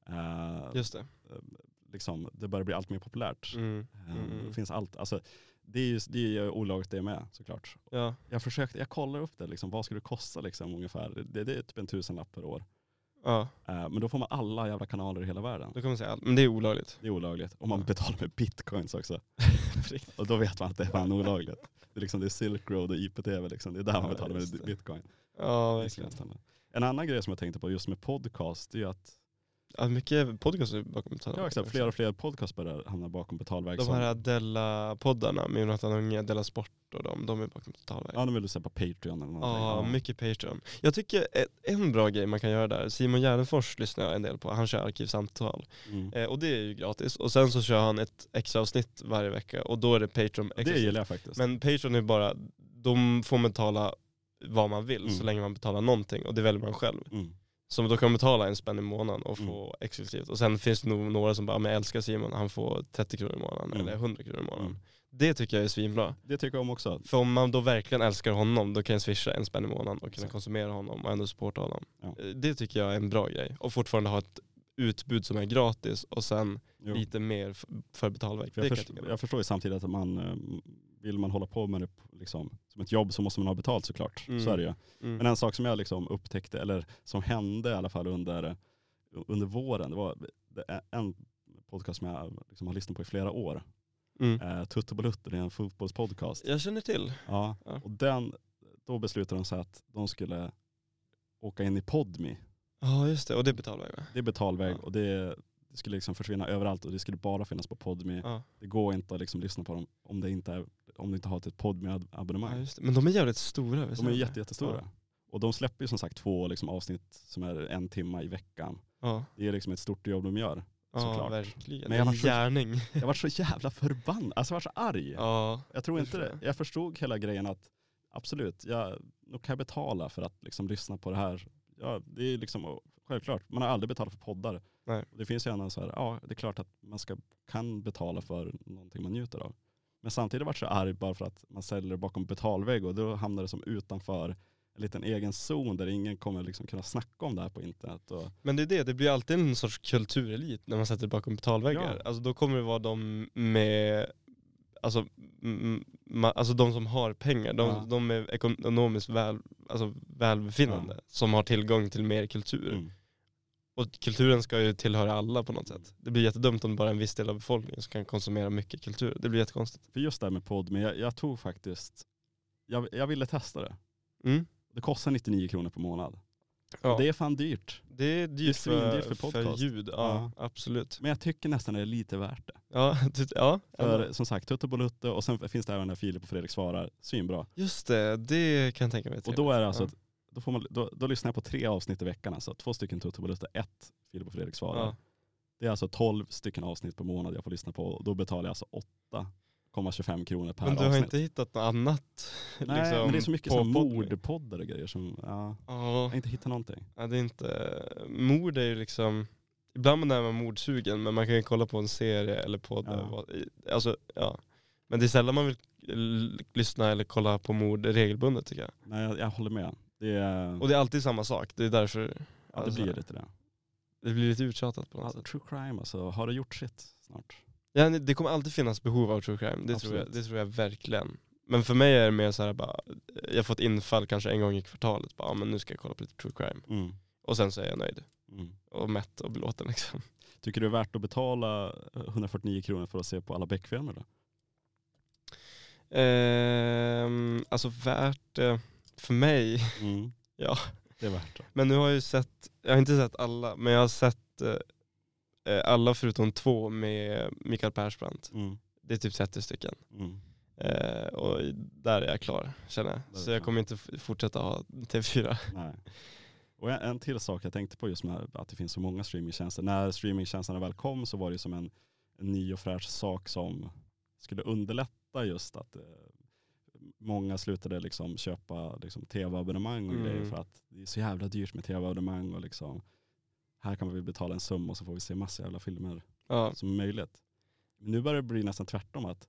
[SPEAKER 2] eh,
[SPEAKER 1] Just det.
[SPEAKER 2] liksom, det börjar bli allt mer populärt.
[SPEAKER 1] Mm.
[SPEAKER 2] Ehm,
[SPEAKER 1] Mm.
[SPEAKER 2] Det finns allt, alltså, det är ju det är ju olagligt det med såklart.
[SPEAKER 1] Ja.
[SPEAKER 2] Jag försökte, jag kollar upp det liksom, vad skulle det kosta liksom ungefär? Det, det är typ en tusenlapp per år.
[SPEAKER 1] ja,
[SPEAKER 2] Ehm, men då får man alla jävla kanaler i hela världen.
[SPEAKER 1] då kommer man säga allt. Men det är olagligt.
[SPEAKER 2] Det är olagligt. Och man
[SPEAKER 1] Ja.
[SPEAKER 2] betalar med bitcoins också.
[SPEAKER 1] [laughs]
[SPEAKER 2] och då vet man att det är fan olagligt. Det är, liksom, det är Silk Road och IPTV, liksom. det är där
[SPEAKER 1] Ja,
[SPEAKER 2] man betalar
[SPEAKER 1] just
[SPEAKER 2] med
[SPEAKER 1] det.
[SPEAKER 2] bitcoin.
[SPEAKER 1] Ja,
[SPEAKER 2] Det skulle
[SPEAKER 1] verkligen.
[SPEAKER 2] jag stanna. En annan grej som jag tänkte på just med podcast, det är ju att
[SPEAKER 1] Ja, mycket podcaster bakom betalväg.
[SPEAKER 2] ja, exakt, fler liksom. och fler podcast börjar hamna bakom betalväg.
[SPEAKER 1] De
[SPEAKER 2] som-
[SPEAKER 1] här Della-poddarna med Jonathan Unge, Della Sport och de, de är bakom betalväg.
[SPEAKER 2] Ja, de vill du säga på Patreon eller någonting.
[SPEAKER 1] Ja, mycket Patreon. Jag tycker ett- en bra grej man kan göra där, Simon Gärdenfors lyssnar jag en del på, han kör arkivsamtal.
[SPEAKER 2] Mm.
[SPEAKER 1] Eh, och det är ju gratis. Och sen så kör han ett extra avsnitt varje vecka och då är det Patreon extra
[SPEAKER 2] Det gillar jag faktiskt.
[SPEAKER 1] Men Patreon är bara, de får betala vad man vill så
[SPEAKER 2] Mm.
[SPEAKER 1] länge man betalar någonting och det väljer man själv.
[SPEAKER 2] Mm.
[SPEAKER 1] Så då kan man betala en spänn i månaden och få
[SPEAKER 2] Mm.
[SPEAKER 1] exklusivt. Och sen finns det nog några som bara, men jag älskar Simon, han får 30 kronor i månaden
[SPEAKER 2] Mm.
[SPEAKER 1] eller 100 kronor i månaden.
[SPEAKER 2] Mm.
[SPEAKER 1] Det tycker jag är svinbra.
[SPEAKER 2] Det tycker jag om också.
[SPEAKER 1] För om man då verkligen älskar honom, då kan jag swisha en spänn i månaden och kunna
[SPEAKER 2] Exakt.
[SPEAKER 1] konsumera honom och ändå supporta honom.
[SPEAKER 2] Ja.
[SPEAKER 1] Eh, Det tycker jag är en bra grej. Och fortfarande ha ett utbud som är gratis och sen
[SPEAKER 2] Jo.
[SPEAKER 1] lite mer f- för betalverk.
[SPEAKER 2] För
[SPEAKER 1] Det
[SPEAKER 2] jag,
[SPEAKER 1] kan jag
[SPEAKER 2] först,
[SPEAKER 1] tycka är bra.
[SPEAKER 2] jag förstår ju samtidigt att man, eh, vill man hålla på med det på- liksom, som ett jobb så måste man ha betalt såklart.
[SPEAKER 1] Mm.
[SPEAKER 2] Så är det ju.
[SPEAKER 1] Mm.
[SPEAKER 2] Men en sak som jag liksom upptäckte, eller som hände i alla fall under, under våren, det var det är en podcast som jag liksom har lyssnat på i flera år.
[SPEAKER 1] Mm.
[SPEAKER 2] Eh, Tutte Bolutte, det är en fotbollspodcast.
[SPEAKER 1] Jag känner till.
[SPEAKER 2] Ja.
[SPEAKER 1] Ja.
[SPEAKER 2] Och den, då beslutade de sig att de skulle åka in i Podmi.
[SPEAKER 1] Ja just det, och det betalar jag med.
[SPEAKER 2] Det är betalväg
[SPEAKER 1] Ja.
[SPEAKER 2] och det, det skulle liksom försvinna överallt och det skulle bara finnas på Podmi.
[SPEAKER 1] Ja.
[SPEAKER 2] Det går inte att liksom lyssna på dem om, det inte är, om du inte har ett
[SPEAKER 1] Ja,
[SPEAKER 2] Podmi-abonnemang.
[SPEAKER 1] just det. Men de är jävligt stora. visst
[SPEAKER 2] de är
[SPEAKER 1] det?
[SPEAKER 2] jätte, jättestora. Och de släpper ju som sagt två liksom, avsnitt som är en timme i veckan.
[SPEAKER 1] Ja,
[SPEAKER 2] Det är liksom ett stort jobb de gör.
[SPEAKER 1] ja
[SPEAKER 2] Såklart.
[SPEAKER 1] verkligen.
[SPEAKER 2] Men jag
[SPEAKER 1] en
[SPEAKER 2] var så-
[SPEAKER 1] gärning.
[SPEAKER 2] Jag var så jävla förbannad, alltså jag var så arg.
[SPEAKER 1] Ja.
[SPEAKER 2] jag tror
[SPEAKER 1] det
[SPEAKER 2] inte
[SPEAKER 1] förstår
[SPEAKER 2] det. Jag förstod hela grejen att absolut, jag, nog kan jag betala för att liksom lyssna på det här. Ja, det är liksom och självklart, man har aldrig betalat för poddar.
[SPEAKER 1] Nej.
[SPEAKER 2] Och Det finns ju en annan så här, ja det är klart att man ska, kan betala för någonting man njuter av. Men samtidigt vart jag så arg bara för att man säljer det bakom betalvägg och då hamnar det som utanför en liten egen zon där ingen kommer liksom kunna snacka om det här på internet. Och,
[SPEAKER 1] Men det är det, det blir alltid en sorts kulturelit när man sätter bakom betalväggar.
[SPEAKER 2] Ja.
[SPEAKER 1] Alltså då kommer det vara de med, alltså, mm, ma, alltså de som har pengar, de,
[SPEAKER 2] Ja.
[SPEAKER 1] de är ekonomiskt väl, alltså, välbefinnande, som har tillgång till mer kultur.
[SPEAKER 2] Mm.
[SPEAKER 1] Och kulturen ska ju tillhöra alla på något sätt. Det blir jättedumt om bara en viss del av befolkningen som kan konsumera mycket kultur. Det blir jättekonstigt.
[SPEAKER 2] För just det här med podd, men jag, jag tog faktiskt, jag, jag ville testa det.
[SPEAKER 1] Mm.
[SPEAKER 2] Det kostar 99 kronor per månad.
[SPEAKER 1] Ja.
[SPEAKER 2] Det är fan dyrt.
[SPEAKER 1] Det är dyrt för,
[SPEAKER 2] svindyrt
[SPEAKER 1] för,
[SPEAKER 2] för podcast.
[SPEAKER 1] ljud, ja, absolut.
[SPEAKER 2] Men jag tycker nästan det är lite värt det.
[SPEAKER 1] Ja, [laughs] du, ja.
[SPEAKER 2] För som sagt, Tutte Bolutte och sen finns det även när Filip och Fredrik svarar, svinbra.
[SPEAKER 1] Just det, det kan jag tänka mig.
[SPEAKER 2] Och då är det alltså,
[SPEAKER 1] Ja.
[SPEAKER 2] att- då, får man, då, då lyssnar jag på tre avsnitt i veckan alltså. Två stycken Tutte Bolutte, ett Filip och Fredrik svarar.
[SPEAKER 1] Ja.
[SPEAKER 2] Det är alltså 12 stycken avsnitt per månad jag får lyssna på och då betalar jag alltså 8,25 kronor per
[SPEAKER 1] Men du har
[SPEAKER 2] avsnitt.
[SPEAKER 1] inte hittat något annat?
[SPEAKER 2] Nej,
[SPEAKER 1] liksom,
[SPEAKER 2] men det är så mycket
[SPEAKER 1] på
[SPEAKER 2] så här
[SPEAKER 1] Podme?
[SPEAKER 2] mordpoddar och grejer som, ja,
[SPEAKER 1] Ja,
[SPEAKER 2] jag har inte hittat någonting.
[SPEAKER 1] ja, det är inte... Mord är ju liksom... Ibland är man mordsugen, men man kan ju kolla på en serie eller på
[SPEAKER 2] Ja.
[SPEAKER 1] det. Alltså, ja. Men det är sällan man vill l- lyssna eller kolla på mord regelbundet tycker jag.
[SPEAKER 2] Nej, jag, jag håller med. Det, är,
[SPEAKER 1] Och det är alltid samma sak, det är därför
[SPEAKER 2] ja, det
[SPEAKER 1] alltså,
[SPEAKER 2] blir lite det.
[SPEAKER 1] det blir lite uttjatat på något
[SPEAKER 2] Ja,
[SPEAKER 1] sätt.
[SPEAKER 2] true crime alltså, har det gjort sitt snart?
[SPEAKER 1] Ja, det kommer alltid finnas behov av true crime, det, tror
[SPEAKER 2] Absolut.
[SPEAKER 1] jag, det tror jag verkligen. Men för mig är det mer så här bara, jag får ett infall kanske en gång i kvartalet, bara, ja, men nu ska jag kolla på lite true crime.
[SPEAKER 2] Mm.
[SPEAKER 1] Och sen så är jag nöjd
[SPEAKER 2] Mm.
[SPEAKER 1] och mätt och belåten liksom. [laughs]
[SPEAKER 2] Tycker du det är värt att betala 149 kronor för att se på alla Beck-filmer då?
[SPEAKER 1] Ehm, alltså värt det för mig, [laughs]
[SPEAKER 2] Mm.
[SPEAKER 1] Ja.
[SPEAKER 2] Det är värt det.
[SPEAKER 1] men nu har jag ju sett, jag har inte sett alla, men jag har sett eh, eh, alla förutom två med Mikael Persbrandt.
[SPEAKER 2] Mm.
[SPEAKER 1] Det är typ 30 stycken.
[SPEAKER 2] Mm.
[SPEAKER 1] Eh, och där är jag klar känner jag.
[SPEAKER 2] Där är
[SPEAKER 1] Så
[SPEAKER 2] du
[SPEAKER 1] jag
[SPEAKER 2] klar.
[SPEAKER 1] kommer inte f- fortsätta ha TV4.
[SPEAKER 2] Nej. Och en, en till sak jag tänkte på just med att det finns så många streamingtjänster. När streamingtjänsterna väl kom så var det ju som en, en ny och fräsch sak som skulle underlätta just att eh, många slutade liksom köpa liksom tv-abonnemang och
[SPEAKER 1] Mm.
[SPEAKER 2] grejer för att det är så jävla dyrt med tv-abonnemang och liksom här kan vi betala en summa och så får vi se massa jävla filmer
[SPEAKER 1] Ja.
[SPEAKER 2] som möjligt. Men nu börjar det bli nästan tvärtom att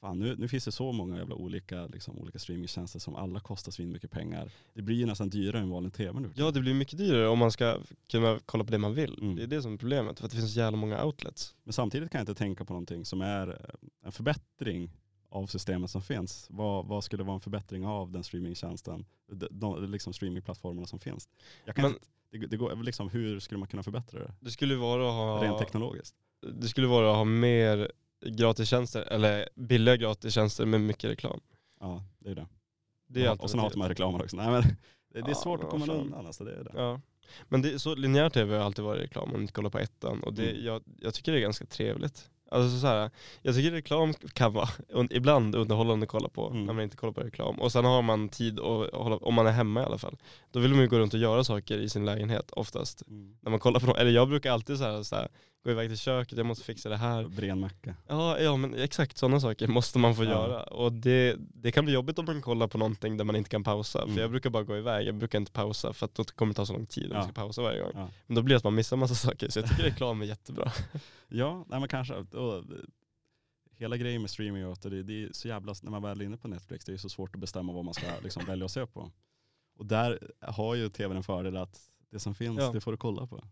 [SPEAKER 2] Fan, nu, nu finns det så många jävla olika, liksom, olika streamingtjänster som alla kostar svin mycket pengar. Det blir ju nästan dyrare än vanlig tv nu.
[SPEAKER 1] Ja det blir mycket dyrare om man ska kunna kolla på det man vill.
[SPEAKER 2] Mm.
[SPEAKER 1] Det är det som är problemet, för att det finns så jävla många outlets.
[SPEAKER 2] Men samtidigt kan jag inte tänka på någonting som är eh, en förbättring av systemet som finns. Vad, vad skulle vara en förbättring av den streamingtjänsten, de, de, liksom streamingplattformarna som finns? Jag kan
[SPEAKER 1] Men-
[SPEAKER 2] inte, det, det går, liksom, hur skulle man kunna förbättra det
[SPEAKER 1] Det skulle vara att ha...
[SPEAKER 2] rent teknologiskt?
[SPEAKER 1] det skulle vara att ha mer gratistjänster, eller billiga gratistjänster med mycket reklam.
[SPEAKER 2] Ja, det är det.
[SPEAKER 1] Det är
[SPEAKER 2] och, och sen hatar
[SPEAKER 1] alternativet.
[SPEAKER 2] man reklamer också. Nej, men, det, det är
[SPEAKER 1] Ja,
[SPEAKER 2] svårt
[SPEAKER 1] men
[SPEAKER 2] att
[SPEAKER 1] vad
[SPEAKER 2] komma
[SPEAKER 1] fan.
[SPEAKER 2] undan. Alltså, det är det.
[SPEAKER 1] Ja. Men det, så linjär tv har alltid varit reklam om man inte kollar på ettan och det,
[SPEAKER 2] Mm.
[SPEAKER 1] jag, jag tycker det är ganska trevligt. Alltså så här, jag tycker reklam kan vara [laughs] un, ibland underhållande att kolla på
[SPEAKER 2] Mm.
[SPEAKER 1] när man inte kollar på reklam. Och sen har man tid att hålla, om man är hemma i alla fall. Då vill man ju gå runt och göra saker i sin lägenhet oftast.
[SPEAKER 2] Mm.
[SPEAKER 1] När man kollar på något, eller jag brukar alltid så här, så här, gå iväg till köket, jag måste fixa det här.
[SPEAKER 2] [laughs] Bren macka.
[SPEAKER 1] Ja, ja men exakt sådana saker måste man få
[SPEAKER 2] Ja.
[SPEAKER 1] göra. Och det, det kan bli jobbigt om man kollar på någonting där man inte kan pausa.
[SPEAKER 2] Mm.
[SPEAKER 1] För jag brukar bara gå iväg, jag brukar inte pausa för att då kommer det ta så lång tid om
[SPEAKER 2] Ja.
[SPEAKER 1] man ska pausa varje gång.
[SPEAKER 2] Ja.
[SPEAKER 1] Men då blir det att man missar massa [laughs] saker. Så jag tycker reklam är jättebra.
[SPEAKER 2] Ja, nej, men kanske. Och, eh, hela grejen med streaming är att det, det är så jävla, när man väl är inne på Netflix, det är så svårt att bestämma vad man ska liksom, välja att se på. Och där har ju tvn en fördel att det som finns,
[SPEAKER 1] Ja.
[SPEAKER 2] det får du kolla på.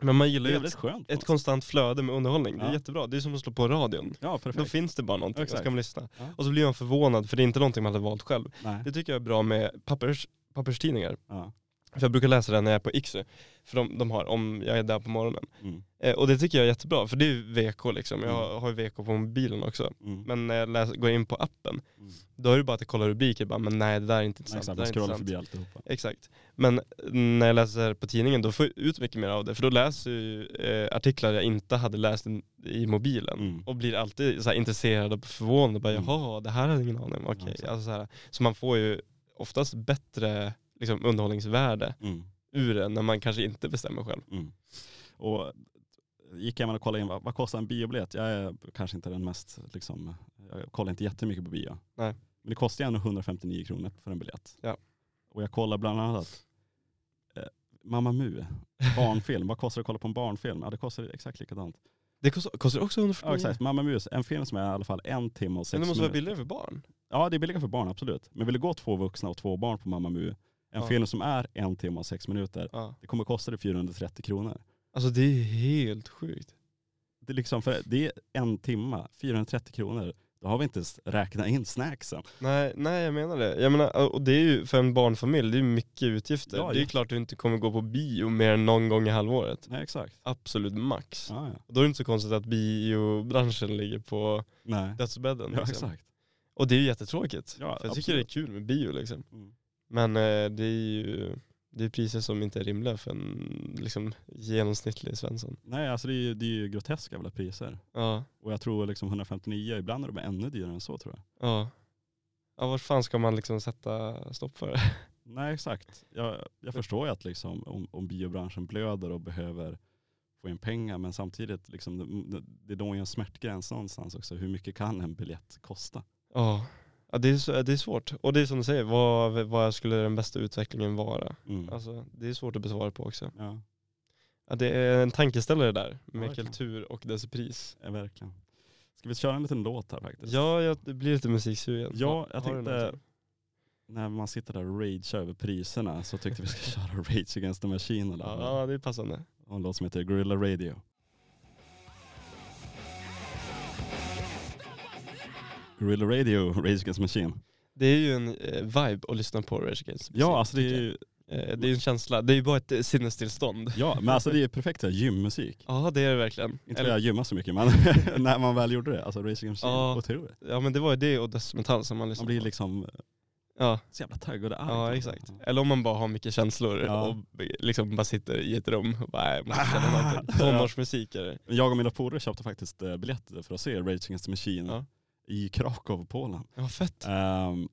[SPEAKER 1] Men man
[SPEAKER 2] Det
[SPEAKER 1] gillar
[SPEAKER 2] är
[SPEAKER 1] ju ett,
[SPEAKER 2] jävligt skönt. på
[SPEAKER 1] ett
[SPEAKER 2] något sätt.
[SPEAKER 1] konstant flöde med underhållning. Det är
[SPEAKER 2] Ja.
[SPEAKER 1] jättebra. Det är som att slå på radion.
[SPEAKER 2] Ja,
[SPEAKER 1] Då
[SPEAKER 2] perfekt.
[SPEAKER 1] finns det bara någonting och så
[SPEAKER 2] Exakt.
[SPEAKER 1] kan man lyssna.
[SPEAKER 2] Ja.
[SPEAKER 1] Och så blir man förvånad för det är inte någonting man hade valt själv.
[SPEAKER 2] Nej.
[SPEAKER 1] Det tycker jag är bra med pappers, papperstidningar.
[SPEAKER 2] Ja.
[SPEAKER 1] För jag brukar läsa det när jag är på Iksu. För de, de har, om jag är där på morgonen.
[SPEAKER 2] Mm.
[SPEAKER 1] Eh, och det tycker jag är jättebra, för det är ju VK liksom. Jag
[SPEAKER 2] Mm.
[SPEAKER 1] har ju VK på mobilen också.
[SPEAKER 2] Mm.
[SPEAKER 1] Men när jag läser, går in på appen,
[SPEAKER 2] mm.
[SPEAKER 1] då är det bara att jag kollar rubriker bara, men nej det där är inte
[SPEAKER 2] Nej,
[SPEAKER 1] intressant.
[SPEAKER 2] exakt,
[SPEAKER 1] det
[SPEAKER 2] man
[SPEAKER 1] där är
[SPEAKER 2] scrollar
[SPEAKER 1] intressant.
[SPEAKER 2] förbi alltihopa.
[SPEAKER 1] Exakt. Men när jag läser på tidningen då får jag ut mycket mer av det, för då läser jag ju eh, artiklar jag inte hade läst i- i mobilen.
[SPEAKER 2] Mm.
[SPEAKER 1] Och blir alltid så här intresserad och förvånad, och bara
[SPEAKER 2] Mm.
[SPEAKER 1] jaha, det här hade jag ingen aning om.
[SPEAKER 2] Ja,
[SPEAKER 1] Okej.
[SPEAKER 2] exakt.
[SPEAKER 1] alltså, så, här. så man får ju oftast bättre liksom, underhållningsvärde
[SPEAKER 2] Mm.
[SPEAKER 1] ur det när man kanske inte bestämmer själv.
[SPEAKER 2] Mm. Och gick jag med och kollade in, vad, vad kostar en biobiljett? Jag är kanske inte den mest, liksom, jag kollar inte jättemycket på bio.
[SPEAKER 1] Nej.
[SPEAKER 2] Men det kostar ju ändå 159 kronor för en biljett.
[SPEAKER 1] Ja.
[SPEAKER 2] Och jag kollar bland annat eh, Mamma Mu, barnfilm. vad kostar det att kolla på en barnfilm? Ja det kostar exakt likadant.
[SPEAKER 1] Det kostar, kostar också 149
[SPEAKER 2] Ja exakt, Mamma Mu, en film som är i alla fall en timme och sex
[SPEAKER 1] Mm. Men det måste vara
[SPEAKER 2] minuter.
[SPEAKER 1] billigare för barn.
[SPEAKER 2] Ja det är billigare för barn absolut. Men vill det gå två vuxna och två barn på Mamma Mu, en
[SPEAKER 1] Ja.
[SPEAKER 2] film som är en timme och sex minuter,
[SPEAKER 1] Ja.
[SPEAKER 2] det kommer kosta dig 430 kronor.
[SPEAKER 1] Alltså det är helt sjukt.
[SPEAKER 2] det, är liksom för det är en timma, 430 kronor. Då har vi inte ens räknat in snacksen.
[SPEAKER 1] Nej, nej jag menar det. Jag menar, och det är ju för en barnfamilj, det är ju mycket utgifter.
[SPEAKER 2] Ja,
[SPEAKER 1] det är ju
[SPEAKER 2] ja.
[SPEAKER 1] klart du inte kommer gå på bio mer än någon gång i halvåret.
[SPEAKER 2] Nej exakt.
[SPEAKER 1] Absolut max.
[SPEAKER 2] Ja, ja.
[SPEAKER 1] Då är det inte så konstigt att biobranschen ligger på
[SPEAKER 2] Nej.
[SPEAKER 1] dödsbädden.
[SPEAKER 2] Ja,
[SPEAKER 1] liksom.
[SPEAKER 2] exakt.
[SPEAKER 1] Och det är ju jättetråkigt.
[SPEAKER 2] Ja,
[SPEAKER 1] för jag tycker det är kul med bio liksom.
[SPEAKER 2] Mm.
[SPEAKER 1] Men eh, det är ju det är priser som inte är rimliga för en liksom, genomsnittlig svensson.
[SPEAKER 2] Nej alltså det är, ju- det är ju groteska jävla priser.
[SPEAKER 1] Ja,
[SPEAKER 2] Och jag tror liksom 159, ibland är de ännu dyrare än så tror jag.
[SPEAKER 1] ja. Ja, vart fan ska man liksom sätta stopp för det?
[SPEAKER 2] Nej exakt. Jag, jag förstår ju att liksom, om, om biobranschen blöder och behöver få in pengar men samtidigt liksom, det, det är då en smärtgräns någonstans också. Hur mycket kan en biljett kosta?
[SPEAKER 1] Ja, ja det, är, så- det är svårt. Och det är som du säger, vad, vad skulle den bästa utvecklingen vara?
[SPEAKER 2] Mm.
[SPEAKER 1] Alltså, det är svårt att besvara på också.
[SPEAKER 2] Ja,
[SPEAKER 1] Ja, det är en tankeställare där, med
[SPEAKER 2] verkligen.
[SPEAKER 1] kultur och dess pris.
[SPEAKER 2] ja, verkligen. Ska vi köra en liten låt här faktiskt?
[SPEAKER 1] Ja, jag det blir lite musiksugen.
[SPEAKER 2] Ja,
[SPEAKER 1] Har-
[SPEAKER 2] jag
[SPEAKER 1] har du
[SPEAKER 2] tänkte-
[SPEAKER 1] någonting?
[SPEAKER 2] när man sitter där och ragear över priserna så tyckte vi ska [laughs] köra Rage Against the Machine eller
[SPEAKER 1] Ja, ja, det är passande.
[SPEAKER 2] och en låt som heter Gorilla Radio. Gorilla Radio, Rage Against the Machine.
[SPEAKER 1] Det är ju en eh, vibe att lyssna på Rage Against the Machine,
[SPEAKER 2] Ja, alltså det är
[SPEAKER 1] tycker
[SPEAKER 2] ju,
[SPEAKER 1] jag. Eh, det är ju en känsla, det är ju bara ett eh, sinnestillstånd.
[SPEAKER 2] ja, men alltså det är ju perfekt så här gymmusik.
[SPEAKER 1] Ja, det är det verkligen.
[SPEAKER 2] Inte för
[SPEAKER 1] Eller-
[SPEAKER 2] jag gymmar så mycket men [laughs] när man väl gjorde det, alltså Rage Against the Machine,
[SPEAKER 1] Ja.
[SPEAKER 2] otroligt.
[SPEAKER 1] Ja, men det var ju det och dödsmetall som man
[SPEAKER 2] Man
[SPEAKER 1] lyssnade
[SPEAKER 2] blir
[SPEAKER 1] på.
[SPEAKER 2] liksom
[SPEAKER 1] Ja.
[SPEAKER 2] så jävla taggad och arg.
[SPEAKER 1] Ja exakt. Eller om man bara har mycket känslor
[SPEAKER 2] Ja.
[SPEAKER 1] och b- liksom bara sitter i ett rum och bara, "Nej, jag måste känna
[SPEAKER 2] Ah! [laughs]
[SPEAKER 1] någonting. Tonårsmusik är det.
[SPEAKER 2] Jag och mina polare köpte faktiskt eh, biljetter för att se Rage Against the Machine
[SPEAKER 1] Ja.
[SPEAKER 2] i Krakow, Polen.
[SPEAKER 1] Ja fett.
[SPEAKER 2] Ehm,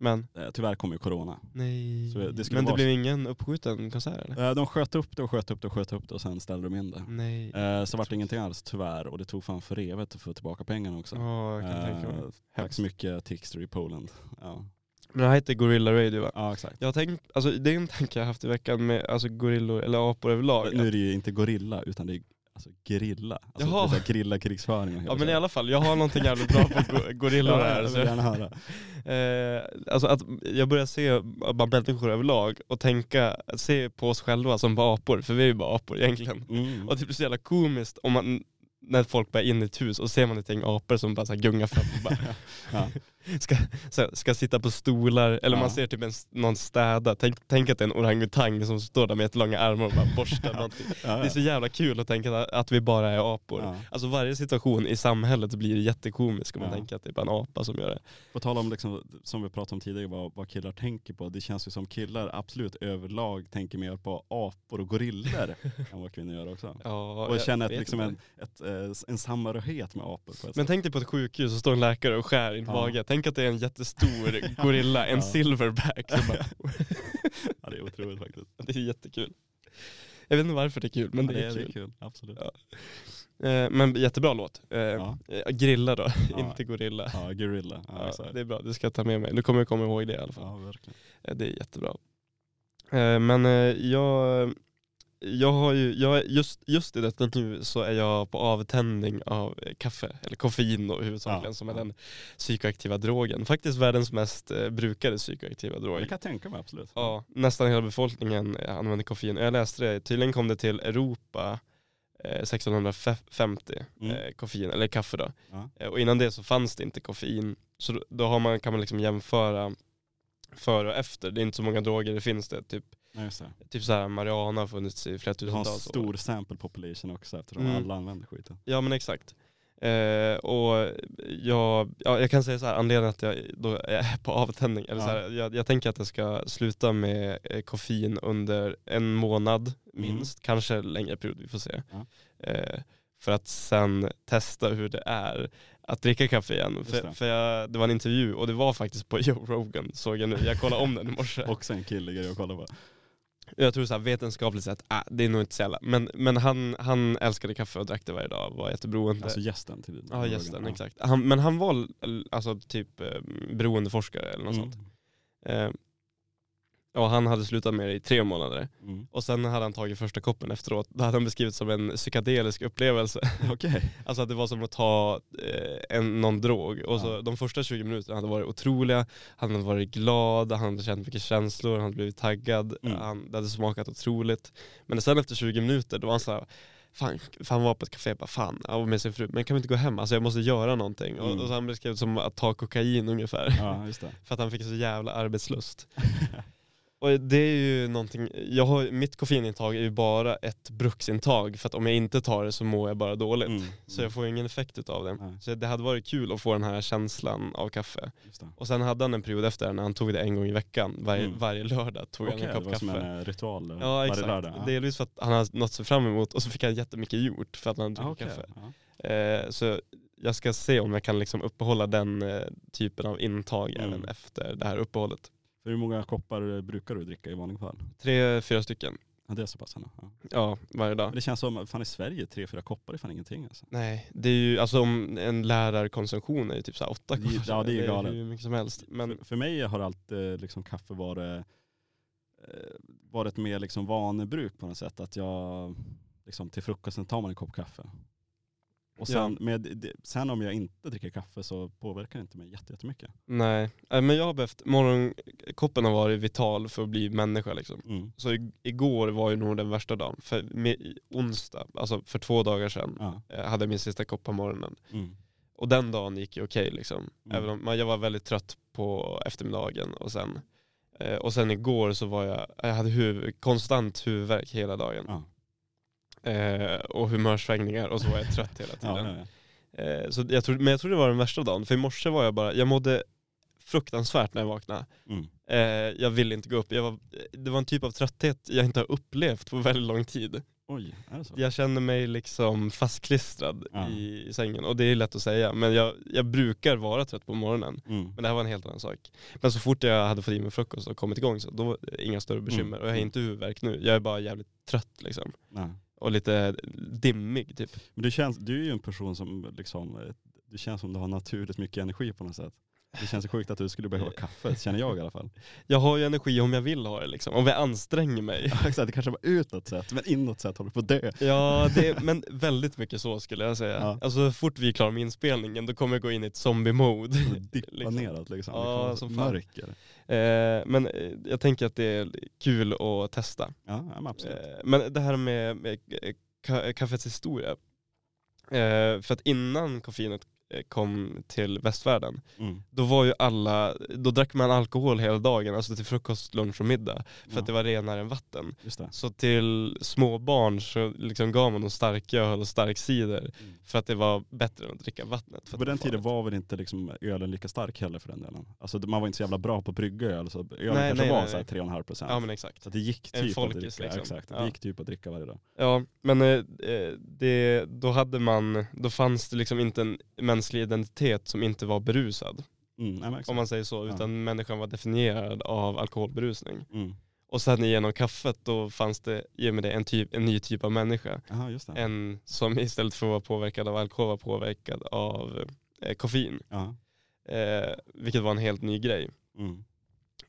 [SPEAKER 1] Men
[SPEAKER 2] eh, tyvärr kom ju corona.
[SPEAKER 1] nej.
[SPEAKER 2] Så det skulle
[SPEAKER 1] Men det
[SPEAKER 2] vara
[SPEAKER 1] blev ingen uppskjuten konsert eller?
[SPEAKER 2] Eh, De sköt upp det och sköt upp det och sköt upp det och sen ställde de in det.
[SPEAKER 1] Nej.
[SPEAKER 2] Eh, Så vart det ingenting alls tyvärr och det tog fan för revet att få tillbaka pengarna också.
[SPEAKER 1] Ja jag kan tänka mig.
[SPEAKER 2] Eh, Tack så mycket Tixter i Poland. Ja,
[SPEAKER 1] Men det här heter Gorilla Radio va?
[SPEAKER 2] ja exakt.
[SPEAKER 1] Jag har tänkt, alltså det är en tanke jag har haft i veckan med alltså gorillor eller apor överlag.
[SPEAKER 2] Nu är det ju inte gorilla utan det är alltså grilla. Alltså,
[SPEAKER 1] Jaha.
[SPEAKER 2] det är så här, grilla krigsföring. och hela
[SPEAKER 1] Ja men i
[SPEAKER 2] tiden.
[SPEAKER 1] alla fall, jag har någonting jävligt bra på
[SPEAKER 2] [laughs]
[SPEAKER 1] go- gorillor
[SPEAKER 2] Ja,
[SPEAKER 1] här.
[SPEAKER 2] jag
[SPEAKER 1] Så,
[SPEAKER 2] vill gärna
[SPEAKER 1] [laughs]
[SPEAKER 2] höra.
[SPEAKER 1] eh, alltså att jag börjar se bara människor överlag och tänka, se på oss själva som bara apor, för vi är ju bara apor egentligen.
[SPEAKER 2] Mm.
[SPEAKER 1] Och typ det är så jävla komiskt om man, när folk börjar in i ett hus och ser man ett gäng apor som bara så här gungar fram och
[SPEAKER 2] [laughs]
[SPEAKER 1] bara
[SPEAKER 2] [laughs] Ja.
[SPEAKER 1] ska, så här, ska sitta på stolar, eller
[SPEAKER 2] Ja.
[SPEAKER 1] man ser typ en, s- någon städa. Tänk, tänk att det är en orangutang som står där med ett långa armar och bara borstar någonting.
[SPEAKER 2] [laughs]
[SPEAKER 1] [laughs]
[SPEAKER 2] Ja,
[SPEAKER 1] Det är så jävla kul att tänka att- att vi bara är apor.
[SPEAKER 2] ja.
[SPEAKER 1] Alltså varje situation i samhället blir jättekomisk om man
[SPEAKER 2] Ja.
[SPEAKER 1] tänker att det är bara en apa som gör det.
[SPEAKER 2] På tal om, liksom, som vi pratade om tidigare, vad, vad killar tänker på. Det känns ju som killar absolut överlag tänker mer på apor
[SPEAKER 1] [laughs]
[SPEAKER 2] och gorillor än vad kvinnor gör också.
[SPEAKER 1] Ja,
[SPEAKER 2] Och
[SPEAKER 1] jag
[SPEAKER 2] känner att
[SPEAKER 1] vet
[SPEAKER 2] liksom en,
[SPEAKER 1] inte.
[SPEAKER 2] ett, eh, en samhörighet med apor. På ett
[SPEAKER 1] Men tänk dig på ett sjukhus och står en läkare och skär i en
[SPEAKER 2] Ja.
[SPEAKER 1] mage. Tänk att det är en jättestor gorilla, en
[SPEAKER 2] [laughs] Ja. [laughs]
[SPEAKER 1] silverback.
[SPEAKER 2] sätt.
[SPEAKER 1] Som bara, [laughs]
[SPEAKER 2] ja, det är otroligt faktiskt.
[SPEAKER 1] det är jättekul. Jag vet inte varför det är kul, [laughs] men
[SPEAKER 2] ja,
[SPEAKER 1] det, är kul.
[SPEAKER 2] Absolut.
[SPEAKER 1] Ja. Eh, men jättebra låt. Eh,
[SPEAKER 2] Ja.
[SPEAKER 1] eh, Grilla då, [laughs]
[SPEAKER 2] Ja.
[SPEAKER 1] inte gorilla.
[SPEAKER 2] Ja, gorilla. Ja,
[SPEAKER 1] Ja,
[SPEAKER 2] exakt.
[SPEAKER 1] det är bra, det ska jag ta med mig. Nu kommer jag komma ihåg det i alla fall.
[SPEAKER 2] ja verkligen.
[SPEAKER 1] Eh, Det är jättebra. Eh, Men eh, jag, jag har ju, jag, är- just, just i detta nu så är jag på avtändning av eh, kaffe, eller koffein då huvudsakligen,
[SPEAKER 2] Ja,
[SPEAKER 1] som är
[SPEAKER 2] ja.
[SPEAKER 1] den psykoaktiva drogen. Faktiskt världens mest eh, brukade psykoaktiva drog.
[SPEAKER 2] Det kan jag tänka mig absolut.
[SPEAKER 1] Ja, nästan hela befolkningen eh, använder koffein. Jag läste det, tydligen kom det till Europa eh, 1650,
[SPEAKER 2] Mm.
[SPEAKER 1] eh, koffein, eller kaffe då.
[SPEAKER 2] Ja.
[SPEAKER 1] Eh, och innan det så fanns det inte koffein. Så då, då har man, kan man liksom jämföra före och efter. Det är inte så många droger det finns det. Typ,
[SPEAKER 2] Nej, just det.
[SPEAKER 1] typ så här, marijuana har funnits i flera
[SPEAKER 2] Du har en
[SPEAKER 1] tusentals år.
[SPEAKER 2] stor sample population också eftersom
[SPEAKER 1] Mm.
[SPEAKER 2] alla använder skiten.
[SPEAKER 1] Ja men exakt. Eh, och jag, ja, jag kan säga så här, anledningen till att jag då är [laughs] på avtändning, eller
[SPEAKER 2] Ja.
[SPEAKER 1] så här, jag, jag tänker att jag ska sluta med eh, koffein under en månad minst, kanske längre period, vi får se.
[SPEAKER 2] Mm. Ja.
[SPEAKER 1] Eh, för att sen testa hur det är att dricka kaffe igen.
[SPEAKER 2] Just
[SPEAKER 1] För,
[SPEAKER 2] det.
[SPEAKER 1] för jag, det var en intervju och det var faktiskt på [laughs] Joe Rogan, såg jag nu. Jag kollade om den i
[SPEAKER 2] [laughs]
[SPEAKER 1] morse.
[SPEAKER 2] Också en killig grej att kolla på.
[SPEAKER 1] Jag tror så här, vetenskapligt sett, ah, det är nog inte så jävla. Men, men han, han älskade kaffe och drack det varje dag, var jätteberoende.
[SPEAKER 2] Alltså gästen till
[SPEAKER 1] Ja gästen, exakt. Han, men han var l- alltså typ eh, beroendeforskare eller
[SPEAKER 2] Mm.
[SPEAKER 1] något sånt. Eh, och han hade slutat med det i tre månader. [laughs]
[SPEAKER 2] Mm.
[SPEAKER 1] Och sen hade han tagit första koppen efteråt. Det hade han beskrivit som en psykedelisk upplevelse.
[SPEAKER 2] Okej.
[SPEAKER 1] Alltså att det var som att ta eh, en, någon drog. Och så
[SPEAKER 2] Ja.
[SPEAKER 1] de första 20 minuterna hade varit otroliga. Han hade varit glad, han hade känt mycket känslor, han hade blivit taggad.
[SPEAKER 2] Mm.
[SPEAKER 1] Han, det hade smakat otroligt. Men sen efter 20 minuter då var han såhär, fan, fan var på ett café, bara fan, jag var med sin fru, men kan vi inte gå hem? Alltså jag måste göra någonting. Och,
[SPEAKER 2] Mm.
[SPEAKER 1] och så han beskrev det som att ta kokain ungefär. [laughs]
[SPEAKER 2] Ja, just det.
[SPEAKER 1] För att han fick så jävla
[SPEAKER 2] [laughs]
[SPEAKER 1] arbetslust. Och det är ju någonting, jag har, mitt koffeinintag är ju bara ett bruksintag för att om jag inte tar det så mår jag bara dåligt.
[SPEAKER 2] Mm.
[SPEAKER 1] Så jag får ingen effekt utav det.
[SPEAKER 2] Nej.
[SPEAKER 1] Så det hade varit kul att få den här känslan av kaffe.
[SPEAKER 2] Just det.
[SPEAKER 1] Och sen hade han en period efter när han tog det en gång i veckan. Varje,
[SPEAKER 2] Mm.
[SPEAKER 1] varje lördag tog
[SPEAKER 2] Okej,
[SPEAKER 1] han en
[SPEAKER 2] det
[SPEAKER 1] kopp
[SPEAKER 2] var som
[SPEAKER 1] kaffe.
[SPEAKER 2] en eh, ritual eh,
[SPEAKER 1] Ja
[SPEAKER 2] varje
[SPEAKER 1] exakt.
[SPEAKER 2] lördag. Ja.
[SPEAKER 1] Delvis för att han hade något sig fram emot och så fick han jättemycket gjort för att han
[SPEAKER 2] Ah,
[SPEAKER 1] hade druckit
[SPEAKER 2] okej.
[SPEAKER 1] kaffe.
[SPEAKER 2] Ja.
[SPEAKER 1] Eh, så jag ska se om jag kan liksom uppehålla den eh, typen av intag
[SPEAKER 2] Mm.
[SPEAKER 1] även efter det här uppehållet.
[SPEAKER 2] För hur många koppar eh, brukar du dricka i vanliga fall?
[SPEAKER 1] Tre, fyra stycken.
[SPEAKER 2] Ja, det är så pass ändå. Ja.
[SPEAKER 1] Ja, varje dag.
[SPEAKER 2] Men det känns som, fan i Sverige, tre, fyra koppar är fan ingenting alltså.
[SPEAKER 1] Nej, det är ju, alltså om en lärarkonsumtion är ju typ så här åtta
[SPEAKER 2] Det- ja, det är ju galet.
[SPEAKER 1] hur mycket som helst. Men
[SPEAKER 2] För, för mig har alltid liksom, kaffe varit, eh, varit mer liksom, vanebruk på något sätt. Att jag, liksom, till frukosten tar man en kopp kaffe. Och sen, med, det, sen om jag inte dricker kaffe så påverkar det inte mig jätte- jättemycket.
[SPEAKER 1] Nej, Eh, men jag har behövt, morgonkoppen har varit vital för att bli människa liksom.
[SPEAKER 2] Mm.
[SPEAKER 1] Så ig- igår var ju nog den värsta dagen, för med, i onsdag, alltså för två dagar sedan,
[SPEAKER 2] Ja.
[SPEAKER 1] eh, hade jag min sista kopp på morgonen.
[SPEAKER 2] Mm.
[SPEAKER 1] Och den dagen gick ju okej liksom.
[SPEAKER 2] Mm.
[SPEAKER 1] Även om, men jag var väldigt trött på eftermiddagen och sen, eh, och sen igår så var jag, jag hade huvud, konstant huvudvärk hela dagen.
[SPEAKER 2] Ja.
[SPEAKER 1] Eh, och humörsvängningar och så var jag trött hela tiden.
[SPEAKER 2] [laughs] Ja, ja, ja.
[SPEAKER 1] Eh, så jag tror, men jag tror det var den värsta dagen, för i morse var jag bara, jag mådde fruktansvärt när jag vaknade.
[SPEAKER 2] Mm.
[SPEAKER 1] Eh, jag ville inte gå upp. Jag var, det var en typ av trötthet jag inte har upplevt på väldigt lång tid.
[SPEAKER 2] Oj, är det så?
[SPEAKER 1] Jag känner mig liksom fastklistrad
[SPEAKER 2] Ja.
[SPEAKER 1] i sängen och det är lätt att säga, men jag, jag brukar vara trött på morgonen.
[SPEAKER 2] Mm.
[SPEAKER 1] Men det här var en helt annan sak. Men så fort jag hade fått i mig frukost och kommit igång så då var det inga större bekymmer.
[SPEAKER 2] Mm.
[SPEAKER 1] Och jag har inte huvudvärk nu, jag är bara jävligt trött liksom.
[SPEAKER 2] Nej.
[SPEAKER 1] Och lite dimmig typ.
[SPEAKER 2] Men du, känns, du är ju en person som liksom, eh, det känns som du har naturligt mycket energi på något sätt. Det känns sjukt att du skulle behöva kaffe, känner jag i alla fall.
[SPEAKER 1] Jag har ju energi om jag vill ha det liksom, om jag anstränger mig.
[SPEAKER 2] Ja, Exakt, det kanske var utåt sett, men inåt sett håller du på att dö.
[SPEAKER 1] Ja, det, men väldigt mycket så skulle jag säga.
[SPEAKER 2] Ja.
[SPEAKER 1] Alltså så fort vi är klara med inspelningen då kommer jag gå in i ett zombie-mode.
[SPEAKER 2] Du [laughs] dippar
[SPEAKER 1] Liksom.
[SPEAKER 2] neråt liksom.
[SPEAKER 1] Ja,
[SPEAKER 2] det kommer
[SPEAKER 1] som fan.
[SPEAKER 2] mörker.
[SPEAKER 1] Eh, men eh, jag tänker att det är kul att testa.
[SPEAKER 2] Ja, ja, men absolut.
[SPEAKER 1] Eh, men det här med, med eh, ka- kaffets historia. Eh, för att innan koffeinet eh, kom till västvärlden,
[SPEAKER 2] Mm.
[SPEAKER 1] då var ju alla, då drack man alkohol hela dagen, alltså till frukost, lunch och middag. För
[SPEAKER 2] Ja,
[SPEAKER 1] att det var renare än vatten.
[SPEAKER 2] Just det.
[SPEAKER 1] Så till småbarn så liksom gav man dem stark öl och stark cider
[SPEAKER 2] Mm.
[SPEAKER 1] för att det var bättre än att dricka vattnet. För att
[SPEAKER 2] På
[SPEAKER 1] det
[SPEAKER 2] den tiden
[SPEAKER 1] farligt.
[SPEAKER 2] var väl inte liksom ölen lika stark heller för den delen. Alltså man var inte så jävla bra på att brygga öl, så ölen
[SPEAKER 1] Nej,
[SPEAKER 2] kanske
[SPEAKER 1] nej,
[SPEAKER 2] var
[SPEAKER 1] nej,
[SPEAKER 2] så här
[SPEAKER 1] nej.
[SPEAKER 2] 3,5 procent.
[SPEAKER 1] Ja men exakt.
[SPEAKER 2] Så att det gick
[SPEAKER 1] En
[SPEAKER 2] typ att
[SPEAKER 1] folkis,
[SPEAKER 2] dricka,
[SPEAKER 1] liksom.
[SPEAKER 2] exakt. Det
[SPEAKER 1] Ja.
[SPEAKER 2] gick typ att dricka varje dag.
[SPEAKER 1] Ja men eh, eh, det, då hade man, då fanns det liksom inte en mänsklig identitet som inte var berusad.
[SPEAKER 2] Mm, nej, men exakt.
[SPEAKER 1] Om man säger så.
[SPEAKER 2] Ja.
[SPEAKER 1] Utan människan var definierad av alkoholberusning.
[SPEAKER 2] Mm.
[SPEAKER 1] Och sen genom kaffet då fanns det, i och med det, en, typ, en ny typ av människa.
[SPEAKER 2] Aha, just det.
[SPEAKER 1] En som istället för att vara påverkad av alkohol var påverkad av eh, koffein.
[SPEAKER 2] Ja.
[SPEAKER 1] Eh, vilket var en helt ny grej.
[SPEAKER 2] Mm.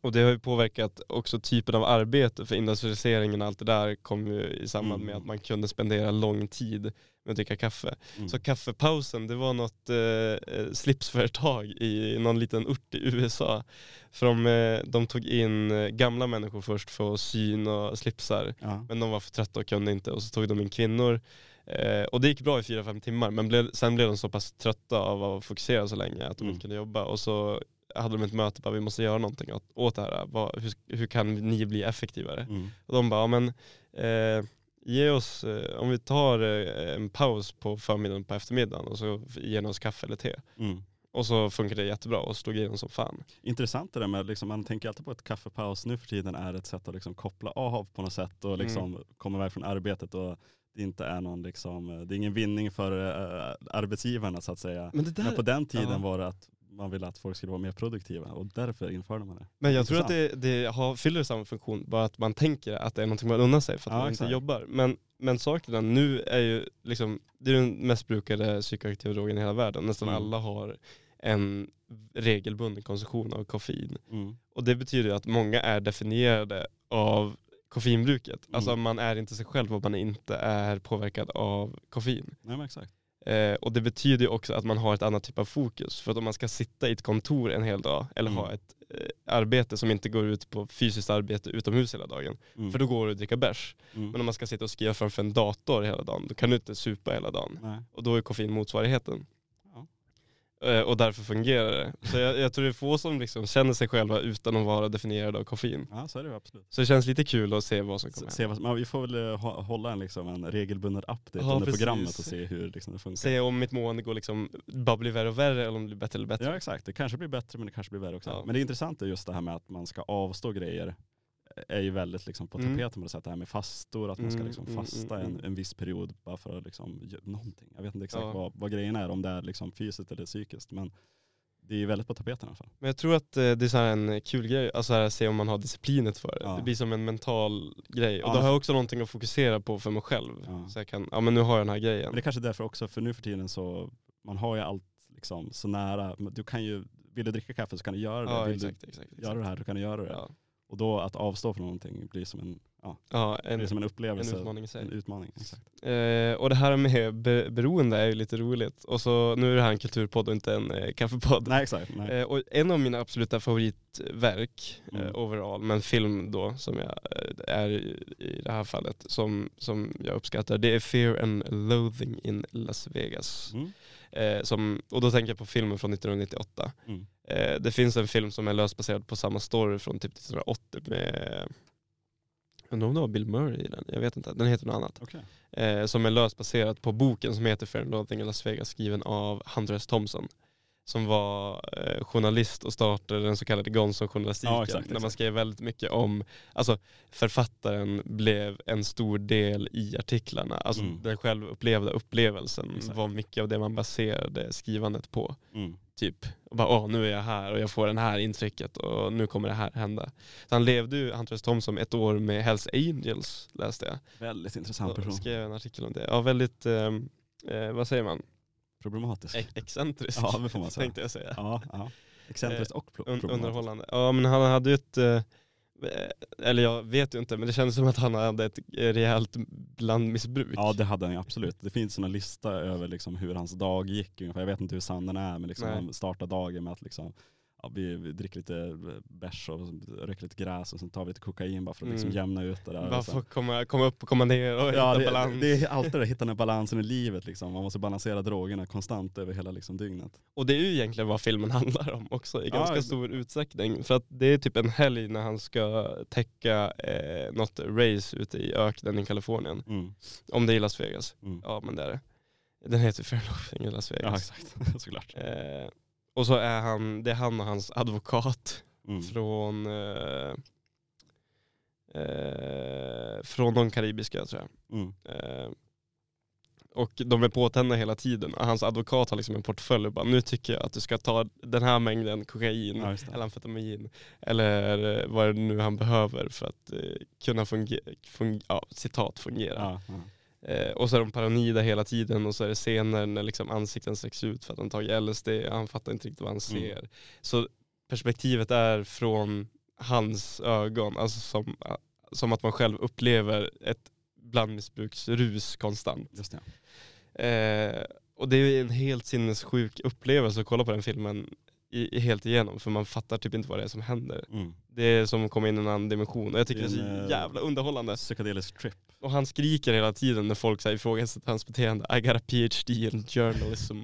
[SPEAKER 1] Och det har ju påverkat också typen av arbete för industrialiseringen och allt det där kom ju i samband
[SPEAKER 2] Mm.
[SPEAKER 1] med att man kunde spendera lång tid med att dricka kaffe.
[SPEAKER 2] Mm.
[SPEAKER 1] Så kaffepausen, det var något eh, eh, slipsföretag i någon liten ort i USA. För de, eh, de tog in eh, gamla människor först för att syn och slipsar.
[SPEAKER 2] ja.
[SPEAKER 1] Men de var för trötta och kunde inte och så tog de in kvinnor. Eh, och det gick bra i fyra fem timmar men blev, sen blev de så pass trötta av att fokusera så länge att de
[SPEAKER 2] Mm.
[SPEAKER 1] inte kunde jobba. Och så hade de ett möte bara vi måste göra någonting åt, åt det här. Vad, hur, hur kan ni bli effektivare?
[SPEAKER 2] Mm.
[SPEAKER 1] Och de bara, ja, men eh, ge oss, eh, om vi tar eh, en paus på förmiddagen och på eftermiddagen och så ger ni oss kaffe eller te.
[SPEAKER 2] Mm.
[SPEAKER 1] Och så funkade det jättebra och slog igenom som fan.
[SPEAKER 2] Intressant det där med, liksom, man tänker alltid på att kaffepaus nu för tiden är ett sätt att liksom, koppla av på något sätt och liksom,
[SPEAKER 1] Mm.
[SPEAKER 2] komma iväg från arbetet. Och det, inte är någon, liksom, det är ingen vinning för eh, arbetsgivarna så att säga.
[SPEAKER 1] Men, det
[SPEAKER 2] Men på den tiden
[SPEAKER 1] ja.
[SPEAKER 2] var det att man ville att folk skulle vara mer produktiva och därför införde man det.
[SPEAKER 1] Men jag tror att det,
[SPEAKER 2] Intressant.
[SPEAKER 1] det har, fyller samma funktion, bara att man tänker att det är någonting man unnar sig för att
[SPEAKER 2] Ja,
[SPEAKER 1] man
[SPEAKER 2] exakt.
[SPEAKER 1] inte jobbar. Men, men saken är, nu är ju liksom, det är den mest brukade psykoaktiva drogen i hela världen. Nästan
[SPEAKER 2] Mm.
[SPEAKER 1] alla har en regelbunden konsumtion av koffein.
[SPEAKER 2] Mm.
[SPEAKER 1] Och det betyder ju att många är definierade av koffeinbruket. Alltså
[SPEAKER 2] Mm.
[SPEAKER 1] man är inte sig själv och man inte är påverkad av koffein.
[SPEAKER 2] Nej, men exakt.
[SPEAKER 1] Eh, och det betyder ju också att man har ett annat typ av fokus. För att om man ska sitta i ett kontor en hel dag eller
[SPEAKER 2] Mm.
[SPEAKER 1] ha ett eh, arbete som inte går ut på fysiskt arbete utomhus hela dagen,
[SPEAKER 2] Mm.
[SPEAKER 1] för då går det att dricka bärs.
[SPEAKER 2] Mm.
[SPEAKER 1] Men om man ska sitta och skriva framför en dator hela dagen, då kan du inte supa hela dagen.
[SPEAKER 2] Nej.
[SPEAKER 1] Och då är koffein motsvarigheten.
[SPEAKER 2] Ja.
[SPEAKER 1] Eh, och därför fungerar det. Så jag, jag tror det är få som liksom känner sig själva utan att vara definierade av koffein.
[SPEAKER 2] Ja, så är det ju absolut.
[SPEAKER 1] Så det känns lite kul att se vad som kommer
[SPEAKER 2] Se,
[SPEAKER 1] hända.
[SPEAKER 2] se vad, som- ja, vi får väl eh, ha- hålla en, liksom, en regelbunden update
[SPEAKER 1] Ja,
[SPEAKER 2] under
[SPEAKER 1] precis.
[SPEAKER 2] programmet och se hur liksom, det funkar.
[SPEAKER 1] Se om mitt mående går liksom, bara blir värre och värre eller om det blir bättre och bättre.
[SPEAKER 2] Ja exakt, det kanske blir bättre men det kanske blir värre också.
[SPEAKER 1] Ja.
[SPEAKER 2] Men det intressanta är just det här med att man ska avstå grejer är ju väldigt liksom på
[SPEAKER 1] Mm.
[SPEAKER 2] tapeten på något sätt. Det här med fastor, att man ska
[SPEAKER 1] Mm,
[SPEAKER 2] liksom
[SPEAKER 1] mm,
[SPEAKER 2] fasta
[SPEAKER 1] mm,
[SPEAKER 2] En,
[SPEAKER 1] mm.
[SPEAKER 2] en viss period bara för att liksom göra någonting. Jag vet inte exakt
[SPEAKER 1] Ja.
[SPEAKER 2] vad, vad grejen är, om det är liksom fysiskt eller psykiskt. Men det är ju väldigt på tapeten i alla fall.
[SPEAKER 1] Men jag tror att eh, det är så här en kul grej, alltså här, se om man har disciplinet för det.
[SPEAKER 2] Ja.
[SPEAKER 1] Det blir som en mental grej. Och då
[SPEAKER 2] Ja, men-
[SPEAKER 1] har jag också någonting att fokusera på för mig själv.
[SPEAKER 2] Ja.
[SPEAKER 1] Så jag kan, ja men nu har jag den här
[SPEAKER 2] Men
[SPEAKER 1] grejen.
[SPEAKER 2] det är kanske är därför också, för nu för tiden så, man har ju allt liksom så nära. Men Du kan ju, vill du dricka kaffe så kan du göra det.
[SPEAKER 1] Ja
[SPEAKER 2] vill
[SPEAKER 1] exakt, exakt.
[SPEAKER 2] du
[SPEAKER 1] exakt.
[SPEAKER 2] göra det här så kan du göra det.
[SPEAKER 1] Ja,
[SPEAKER 2] Och då att avstå från någonting blir som en, ja,
[SPEAKER 1] ja en,
[SPEAKER 2] blir som en Mm.
[SPEAKER 1] en
[SPEAKER 2] upplevelse.
[SPEAKER 1] utmaning i sig.
[SPEAKER 2] En utmaning, exakt.
[SPEAKER 1] Eh, och det här med be- beroende är ju lite roligt. Och så, nu är det här en kulturpodd och inte en eh,
[SPEAKER 2] [laughs]
[SPEAKER 1] kaffepodd.
[SPEAKER 2] Nej exakt. Nej.
[SPEAKER 1] Eh, och en av mina absoluta favoritverk
[SPEAKER 2] Mm.
[SPEAKER 1] eh, overall, men film då som jag eh, är i, i det här fallet, som, som jag uppskattar, det är Fear and Loathing in Las Vegas.
[SPEAKER 2] Mm.
[SPEAKER 1] Eh, som, och då tänker jag på filmen från 1998.
[SPEAKER 2] Mm.
[SPEAKER 1] Eh, det finns en film som är löst baserad på samma story från typ 1980 med, jag undrar om det var Bill Murray i den, jag vet inte, den heter något annat.
[SPEAKER 2] Okej.
[SPEAKER 1] eh, som är löst baserat på boken som heter Fair and Loathing in Las Vegas skriven av Hunter S. Thompson som var eh, journalist och startade den så kallade Gonzo-journalistiken.
[SPEAKER 2] Ja, exakt,
[SPEAKER 1] När man
[SPEAKER 2] exakt.
[SPEAKER 1] skrev väldigt mycket om, alltså författaren blev en stor del i artiklarna. Alltså
[SPEAKER 2] Mm.
[SPEAKER 1] den självupplevda upplevelsen
[SPEAKER 2] Exakt.
[SPEAKER 1] var mycket av det man baserade skrivandet på.
[SPEAKER 2] Mm.
[SPEAKER 1] Typ, och bara åh nu är jag här och jag får det här intrycket och nu kommer det här hända. Så han levde ju, Hunter S. Thompson, ett år med Hells Angels läste jag.
[SPEAKER 2] Väldigt intressant
[SPEAKER 1] Och
[SPEAKER 2] person.
[SPEAKER 1] skrev en artikel om det. Ja, väldigt, ehm, eh, vad säger man,
[SPEAKER 2] Problematisk.
[SPEAKER 1] E- excentrisk [laughs]
[SPEAKER 2] Ja, det får man säga.
[SPEAKER 1] tänkte jag säga.
[SPEAKER 2] Ja, ja. Excentriskt och pl-
[SPEAKER 1] Eh, Un-
[SPEAKER 2] problematiskt.
[SPEAKER 1] underhållande. Ja men han hade ju ett, eh, eller jag vet ju inte, men det kändes som att han hade ett eh, rejält blandmissbruk.
[SPEAKER 2] Ja det hade han ju absolut. Det finns en lista över liksom hur hans dag gick ungefär. Jag vet inte hur sann den är men liksom
[SPEAKER 1] Nej.
[SPEAKER 2] han startar dagen med att liksom, ja, vi, vi dricker lite eh, bärs och röker lite gräs och sen tar vi lite kokain bara för att liksom
[SPEAKER 1] Mm.
[SPEAKER 2] jämna ut det där.
[SPEAKER 1] Bara
[SPEAKER 2] Och sen-
[SPEAKER 1] få komma, komma upp och komma ner och
[SPEAKER 2] Ja,
[SPEAKER 1] hitta
[SPEAKER 2] det,
[SPEAKER 1] balans.
[SPEAKER 2] det är alltid det, där, hitta den här balansen i livet liksom. Man måste balansera drogerna konstant över hela liksom, dygnet.
[SPEAKER 1] Och det är ju egentligen vad filmen [laughs] handlar om också i
[SPEAKER 2] Ja,
[SPEAKER 1] ganska
[SPEAKER 2] det-
[SPEAKER 1] stor utsträckning. För att det är typ en helg när han ska täcka eh, något race ute i öknen i Kalifornien.
[SPEAKER 2] Mm.
[SPEAKER 1] Om det är Las Vegas.
[SPEAKER 2] Mm.
[SPEAKER 1] Ja men det är det. Den heter Fair Loafing i Las
[SPEAKER 2] Ja
[SPEAKER 1] Vegas.
[SPEAKER 2] exakt, [laughs] såklart.
[SPEAKER 1] eh, och så är han, det är han och hans advokat
[SPEAKER 2] Mm.
[SPEAKER 1] från eh, eh, från de karibiska tror jag.
[SPEAKER 2] Mm.
[SPEAKER 1] Eh, och de är påtända hela tiden. Och hans advokat har liksom en portfölj och bara, nu tycker jag att du ska ta den här mängden kokain,
[SPEAKER 2] Ja, just det.
[SPEAKER 1] eller amfetamin, eller eh, vad är det nu han behöver för att eh, kunna fungera, fung- ja, citat fungera.
[SPEAKER 2] Ja, ja.
[SPEAKER 1] Eh, och så är de paranoida hela tiden och så är det scener när liksom ansikten sträcks ut för att han tagit LSD och han fattar inte riktigt vad han ser. Så perspektivet är från hans ögon, alltså som, som att man själv upplever ett blandmissbruksrus konstant.
[SPEAKER 2] Just det.
[SPEAKER 1] Eh, och det är en helt sinnessjuk upplevelse att kolla på den filmen i, i helt igenom för man fattar typ inte vad det är som händer.
[SPEAKER 2] Mm.
[SPEAKER 1] Det är som att komma in i en annan dimension och jag tycker det är
[SPEAKER 2] En,
[SPEAKER 1] så
[SPEAKER 2] eh,
[SPEAKER 1] jävla underhållande.
[SPEAKER 2] Psykedelic [laughs] trip.
[SPEAKER 1] Och han skriker hela tiden när folk så här ifrågasätter hans beteende. I got a PhD in [laughs] journalism.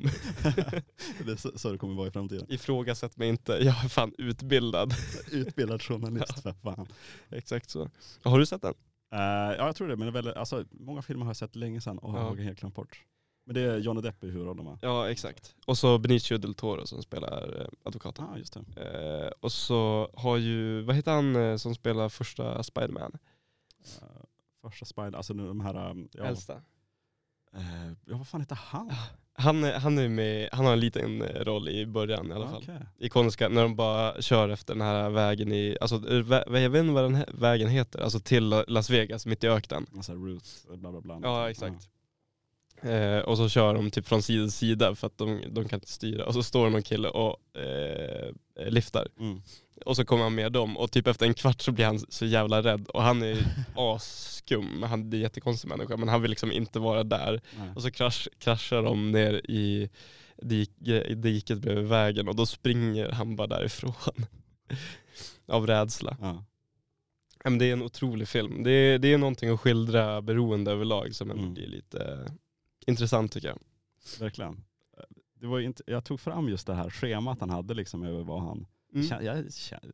[SPEAKER 2] det är så, så det kommer vara i framtiden.
[SPEAKER 1] Ifrågasätt mig inte, jag är fan utbildad. [laughs]
[SPEAKER 2] Utbildad journalist för fan.
[SPEAKER 1] Exakt så. Har du sett den?
[SPEAKER 2] Eh, ja jag tror det, men det är väldigt, alltså, många filmer har jag sett länge sedan och har
[SPEAKER 1] Ja.
[SPEAKER 2] jag helt glömt bort. Men det är Johnny Depp i huvudrollen va?
[SPEAKER 1] Ja, exakt. Och så Benicio del Toro som spelar eh, advokaten.
[SPEAKER 2] ah, just det.
[SPEAKER 1] Eh, och så har ju, vad heter han eh, som spelar första Spiderman?
[SPEAKER 2] Eh, första Spider, alltså nu de här, um, ja,
[SPEAKER 1] Äldsta.
[SPEAKER 2] eh, ja vad fan heter han?
[SPEAKER 1] Han, är- han, är med, han har en liten eh, roll i början i alla fall.
[SPEAKER 2] Okej.
[SPEAKER 1] Ikoniska, när de bara kör efter den här vägen i, alltså eh, vä- jag vet inte vad den här vägen heter, alltså till Las Vegas mitt i öknen.
[SPEAKER 2] Alltså Roots, bla bla bla.
[SPEAKER 1] Ja exakt. Eh, och så kör de typ från sida till sida för att de, de kan inte styra. Och så står det någon kille och eh, lyftar.
[SPEAKER 2] Ja. Mm.
[SPEAKER 1] Och så kommer han med dem och typ efter en kvart så blir han så jävla rädd. Och han är asskum, men han det är en jättekonstig människa. Men han vill liksom inte vara där.
[SPEAKER 2] Nej.
[SPEAKER 1] Och så krasch, kraschar de ner i dike, i diket bredvid vägen och då springer han bara därifrån. [laughs] Av rädsla.
[SPEAKER 2] Ja.
[SPEAKER 1] Ja, men det är en otrolig film. Det är, det är någonting att skildra beroende överlag som ändå
[SPEAKER 2] Mm.
[SPEAKER 1] blir lite intressant tycker jag.
[SPEAKER 2] Verkligen. Eh, Det var ju inte, jag tog fram just det här schemat han hade liksom över vad han
[SPEAKER 1] Mm.
[SPEAKER 2] Kän- Jag, kän-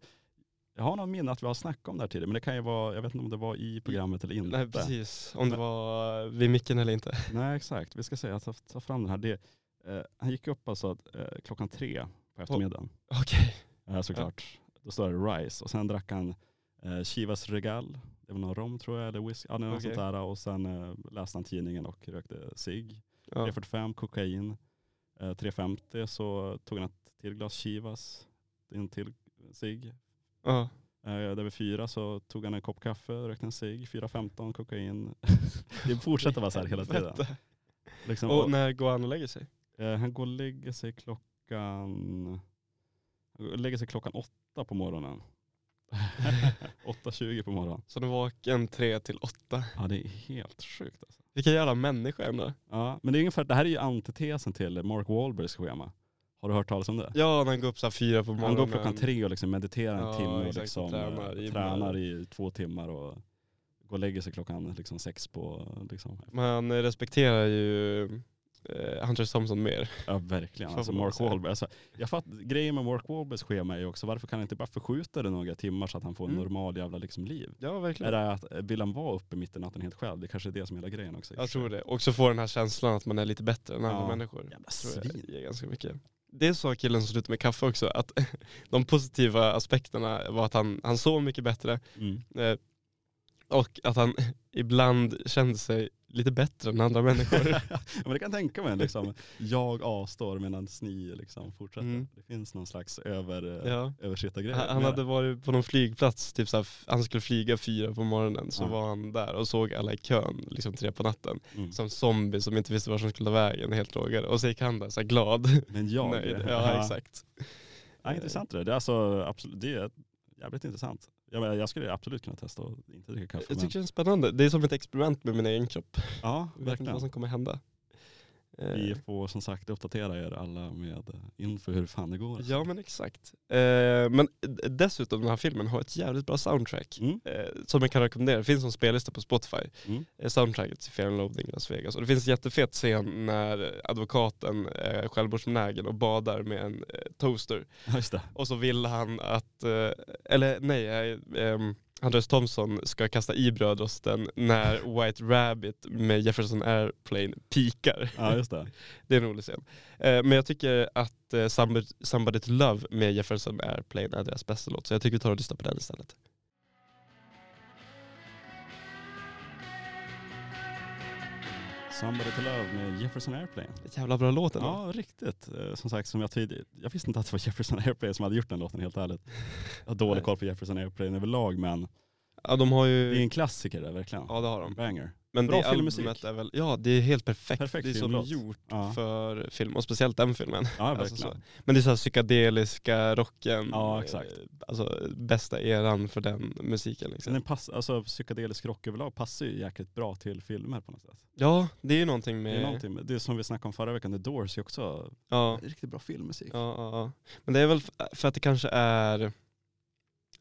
[SPEAKER 2] jag har någon minne att vi har snackat om det här tidigare, men det kan ju vara, jag vet inte om det var i programmet eller inte.
[SPEAKER 1] Nej precis, om det var vid micken eller inte. [laughs]
[SPEAKER 2] Nej, exakt. Vi ska säga, ta, ta fram den här. Det, eh, han gick upp alltså att, eh, klockan tre på eftermiddagen,
[SPEAKER 1] Okej.
[SPEAKER 2] eh, såklart. Då står det Rice och sen drack han eh, Chivas Regal, det var någon rom tror jag, eller whisky, ja, det var något
[SPEAKER 1] Okej.
[SPEAKER 2] sånt där. Och sen eh, läste han tidningen och rökte cigg.
[SPEAKER 1] Ja.
[SPEAKER 2] 3.45 kokain, eh, 3.50 så tog han ett till glas Chivas, en till cigg,
[SPEAKER 1] Ja.
[SPEAKER 2] Eh, Där vid fyra så tog han en kopp kaffe, rökte en cigg, 4.15 kokain. [laughs] Det fortsätter vara så här hela tiden.
[SPEAKER 1] Helvete.
[SPEAKER 2] Liksom,
[SPEAKER 1] Och
[SPEAKER 2] och,
[SPEAKER 1] när går han och lägger sig?
[SPEAKER 2] eh, han går och lägger sig klockan, han går och lägger sig klockan åtta på [laughs] morgonen. 8.20 på morgonen.
[SPEAKER 1] Så han är vaken tre till åtta.
[SPEAKER 2] Ja det är helt sjukt alltså.
[SPEAKER 1] Vilken jävla människa ändå.
[SPEAKER 2] Ja, men det är ungefär, det här är ju antitesen till Mark Wahlbergs schema. Har du hört talas om det?
[SPEAKER 1] Ja, när han går upp så här fyra på morgonen.
[SPEAKER 2] Han går klockan tre och liksom mediterar en
[SPEAKER 1] Ja,
[SPEAKER 2] timme och
[SPEAKER 1] exakt, och
[SPEAKER 2] liksom,
[SPEAKER 1] tränar
[SPEAKER 2] tränar,
[SPEAKER 1] i-
[SPEAKER 2] i, tränar i två timmar och går och lägger sig klockan liksom sex på liksom,
[SPEAKER 1] Man respekterar ju eh, Hunter Thompson mer.
[SPEAKER 2] Ja verkligen.
[SPEAKER 1] Fan,
[SPEAKER 2] Alltså
[SPEAKER 1] vad man
[SPEAKER 2] Mark
[SPEAKER 1] säger.
[SPEAKER 2] Wahlberg. Alltså, jag fatt, grejen med Mark Wahlbergs schema är ju också varför kan han inte bara förskjuta det några timmar så att han får en
[SPEAKER 1] Mm.
[SPEAKER 2] normal jävla liksom, liv?
[SPEAKER 1] Ja,
[SPEAKER 2] Är
[SPEAKER 1] verkligen.
[SPEAKER 2] det att, eh, vill han vara uppe mitt i natten helt själv? Det kanske är det som är hela grejen också.
[SPEAKER 1] Jag tror det. Och så får den här känslan att man är lite bättre än andra
[SPEAKER 2] Ja.
[SPEAKER 1] människor.
[SPEAKER 2] Jävla
[SPEAKER 1] tror
[SPEAKER 2] svin.
[SPEAKER 1] jag ger ganska mycket. Det sa killen som slutade med kaffe också, att [laughs] de positiva aspekterna var att han, han sov mycket bättre [laughs]
[SPEAKER 2] Mm.
[SPEAKER 1] eh, och att han [laughs] ibland kände sig lite bättre än andra
[SPEAKER 2] [laughs]
[SPEAKER 1] människor.
[SPEAKER 2] ja, men det kan jag tänka mig. Liksom, jag avstår medan ni liksom, fortsätter.
[SPEAKER 1] Mm.
[SPEAKER 2] Det finns någon slags över, ja.
[SPEAKER 1] ja.
[SPEAKER 2] översittargrej.
[SPEAKER 1] Han han
[SPEAKER 2] Men-
[SPEAKER 1] hade varit på någon flygplats, typ så här, f- han skulle flyga fyra på morgonen, så
[SPEAKER 2] Ja.
[SPEAKER 1] var han där och såg alla i kön liksom tre på natten.
[SPEAKER 2] mm.
[SPEAKER 1] Som zombie som inte [laughs] visste var som skulle ta vägen, helt drogad. Och så gick han där så här, glad,
[SPEAKER 2] Men jag,
[SPEAKER 1] nöjd. Ja, exakt.
[SPEAKER 2] Ja, intressant det där. Det är, alltså, absolut, det är jävligt intressant. Jag, menar, jag skulle absolut kunna testa att inte dricka kaffe.
[SPEAKER 1] Jag
[SPEAKER 2] Men,
[SPEAKER 1] tycker det är spännande. Det är som ett experiment med min egen kropp.
[SPEAKER 2] ja,
[SPEAKER 1] Jag vet inte vad
[SPEAKER 2] verkligen.
[SPEAKER 1] som kommer hända. Eh,
[SPEAKER 2] Vi får som sagt uppdatera er alla med eh, info hur fan det går.
[SPEAKER 1] Ja men exakt. Eh, men d- dessutom den här filmen har ett jävligt bra soundtrack.
[SPEAKER 2] Mm.
[SPEAKER 1] Eh, som jag kan rekommendera. Det finns som spellista på Spotify.
[SPEAKER 2] Mm.
[SPEAKER 1] Eh, soundtracket till Fear and Loathing i Las Vegas. Och det finns en jättefet scen när advokaten eh, är självmordsbenägen och badar med en eh, toaster.
[SPEAKER 2] Ja, just det.
[SPEAKER 1] Och så vill han att, eh, eller nej, eh, ehm, Andreas Thompson ska kasta i brödrosten när White Rabbit med Jefferson Airplane pikar.
[SPEAKER 2] Ja, just det.
[SPEAKER 1] Det är en rolig scen. Eh, men jag tycker att eh, Somebody, Somebody to Love med Jefferson Airplane är deras bästa låt. Så jag tycker vi tar och lyssnar på den istället.
[SPEAKER 2] Somebody to love med Jefferson Airplane.
[SPEAKER 1] Jävla bra låt ändå.
[SPEAKER 2] Ja, riktigt. Eh, Som sagt, som jag tidigare, jag visste inte att det var Jefferson Airplane som hade gjort den låten helt ärligt. Jag har dålig
[SPEAKER 1] Nej.
[SPEAKER 2] koll på Jefferson Airplane överlag men
[SPEAKER 1] Ja, de har
[SPEAKER 2] det är
[SPEAKER 1] ju...
[SPEAKER 2] en klassiker där verkligen.
[SPEAKER 1] Ja det har de.
[SPEAKER 2] Banger.
[SPEAKER 1] Men
[SPEAKER 2] Bra
[SPEAKER 1] det
[SPEAKER 2] filmmusik.
[SPEAKER 1] albumet är väl, ja det är helt perfekt.
[SPEAKER 2] Perfekt
[SPEAKER 1] det är som
[SPEAKER 2] filmlåt.
[SPEAKER 1] gjort
[SPEAKER 2] Ja,
[SPEAKER 1] för film och speciellt den filmen. [laughs]
[SPEAKER 2] ja
[SPEAKER 1] alltså
[SPEAKER 2] verkligen.
[SPEAKER 1] Men det är så här psykedeliska rocken.
[SPEAKER 2] Ja, exakt.
[SPEAKER 1] eh, Alltså bästa eran för den musiken liksom.
[SPEAKER 2] Den pass, alltså, psykedelisk rock överlag passar ju jäkligt bra till filmer på något sätt.
[SPEAKER 1] Ja det är ju någonting
[SPEAKER 2] Det
[SPEAKER 1] med...
[SPEAKER 2] är, någonting, med- det är som vi snackade om förra veckan, The Doors är också
[SPEAKER 1] Ja.
[SPEAKER 2] riktigt bra filmmusik.
[SPEAKER 1] Ja, ja, ja. Men det är väl f- för att det kanske är,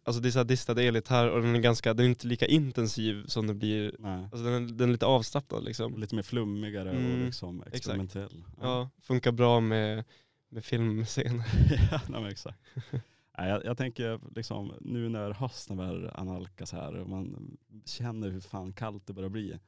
[SPEAKER 1] alltså det är så här distad elgitarr och den är ganska, den är inte lika intensiv som det blir,
[SPEAKER 2] Nej.
[SPEAKER 1] alltså den är, den är lite avslappnad liksom.
[SPEAKER 2] Lite mer flummigare och
[SPEAKER 1] Mm,
[SPEAKER 2] liksom experimentell.
[SPEAKER 1] Ja, funkar bra med, med filmscener.
[SPEAKER 2] [laughs] ja, nej,
[SPEAKER 1] [laughs]
[SPEAKER 2] men exakt. Nej, jag, jag tänker liksom nu när hösten börjar analkas här och man känner hur fan kallt det börjar bli.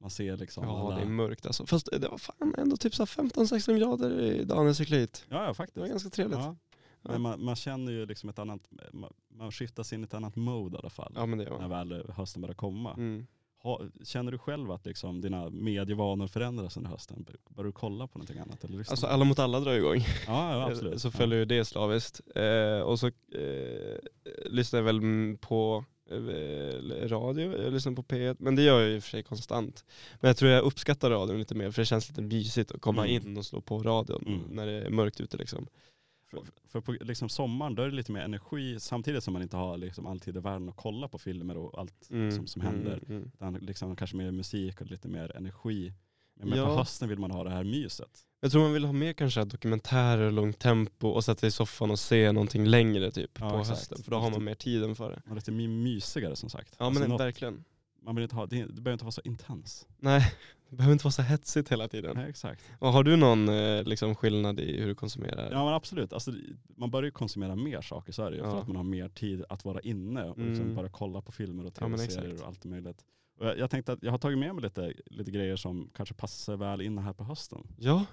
[SPEAKER 2] Man ser liksom
[SPEAKER 1] Ja,
[SPEAKER 2] alla...
[SPEAKER 1] det är mörkt alltså. Fast det var fan ändå typ så här 15-16 grader idag när jag cyklade hit.
[SPEAKER 2] Ja, ja
[SPEAKER 1] Det var
[SPEAKER 2] faktiskt.
[SPEAKER 1] ganska trevligt. Ja,
[SPEAKER 2] Ja. Men man, man känner ju liksom ett annat, man, man skiftas in i ett annat mode i alla fall.
[SPEAKER 1] men det gör
[SPEAKER 2] När
[SPEAKER 1] man.
[SPEAKER 2] väl hösten börjar komma.
[SPEAKER 1] Mm.
[SPEAKER 2] Ha, känner du själv att liksom dina medievanor förändras under hösten? Börjar du kolla på någonting annat? Eller lyssna
[SPEAKER 1] Alltså
[SPEAKER 2] på-
[SPEAKER 1] alla mot alla drar igång.
[SPEAKER 2] ja,
[SPEAKER 1] [laughs]
[SPEAKER 2] ja, absolut.
[SPEAKER 1] Så följer ju det slaviskt. Eh, och så eh, lyssnar jag väl mm, på eh, radio, jag lyssnar på P1, men det gör jag ju i och för sig konstant. Men jag tror jag uppskattar radion lite mer för det känns lite mysigt att komma
[SPEAKER 2] Mm.
[SPEAKER 1] in och slå på radion
[SPEAKER 2] Mm.
[SPEAKER 1] när det är mörkt ute liksom.
[SPEAKER 2] För, för på liksom sommaren då är det lite mer energi samtidigt som man inte har liksom alltid i världen att kolla på filmer och allt. Som- som händer.
[SPEAKER 1] mm.
[SPEAKER 2] Utan liksom kanske mer musik och lite mer energi. Men men på
[SPEAKER 1] Ja.
[SPEAKER 2] hösten vill man ha det här myset.
[SPEAKER 1] Jag tror man vill ha mer kanske dokumentärer, långt tempo och sätta sig i soffan och se någonting längre typ
[SPEAKER 2] Ja,
[SPEAKER 1] på
[SPEAKER 2] exakt.
[SPEAKER 1] hösten. För då har man mer tiden för det.
[SPEAKER 2] Man är lite my- mysigare som sagt.
[SPEAKER 1] Ja
[SPEAKER 2] Alltså
[SPEAKER 1] men
[SPEAKER 2] något-
[SPEAKER 1] verkligen.
[SPEAKER 2] man vill inte ha, det, det behöver inte vara så intens.
[SPEAKER 1] Nej, det behöver inte vara så hetsigt hela tiden.
[SPEAKER 2] Nej, exakt.
[SPEAKER 1] Och har du någon eh, liksom, skillnad i hur du konsumerar?
[SPEAKER 2] Ja men absolut, alltså, man börjar ju konsumera mer saker så är det ju. För
[SPEAKER 1] Ja.
[SPEAKER 2] att man har mer tid att vara inne och liksom
[SPEAKER 1] Mm.
[SPEAKER 2] bara kolla på filmer och
[SPEAKER 1] Ja, men
[SPEAKER 2] tv-serier
[SPEAKER 1] exakt.
[SPEAKER 2] och allt möjligt. Och jag, jag tänkte att jag har tagit med mig lite, lite grejer som kanske passar väl in här på hösten.
[SPEAKER 1] Ja.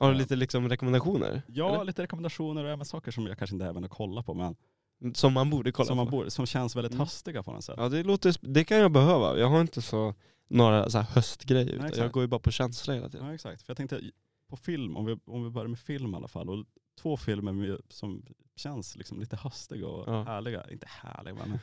[SPEAKER 1] Har du
[SPEAKER 2] Ja.
[SPEAKER 1] lite liksom, rekommendationer?
[SPEAKER 2] Ja,
[SPEAKER 1] Eller?
[SPEAKER 2] lite rekommendationer och även saker som jag kanske inte även har kollat på men
[SPEAKER 1] Som man borde kolla
[SPEAKER 2] som, man
[SPEAKER 1] på?
[SPEAKER 2] borde, som känns väldigt
[SPEAKER 1] Mm.
[SPEAKER 2] höstiga på något sätt.
[SPEAKER 1] Ja det, låter, det kan jag behöva. Jag har inte så några så här höstgrejer. utan jag
[SPEAKER 2] exakt.
[SPEAKER 1] går ju bara på känsla hela tiden.
[SPEAKER 2] Ja exakt, för jag tänkte på film, om vi, om vi börjar med film i alla fall. Och två filmer med, som känns liksom lite höstiga och
[SPEAKER 1] Ja.
[SPEAKER 2] härliga. Inte härliga men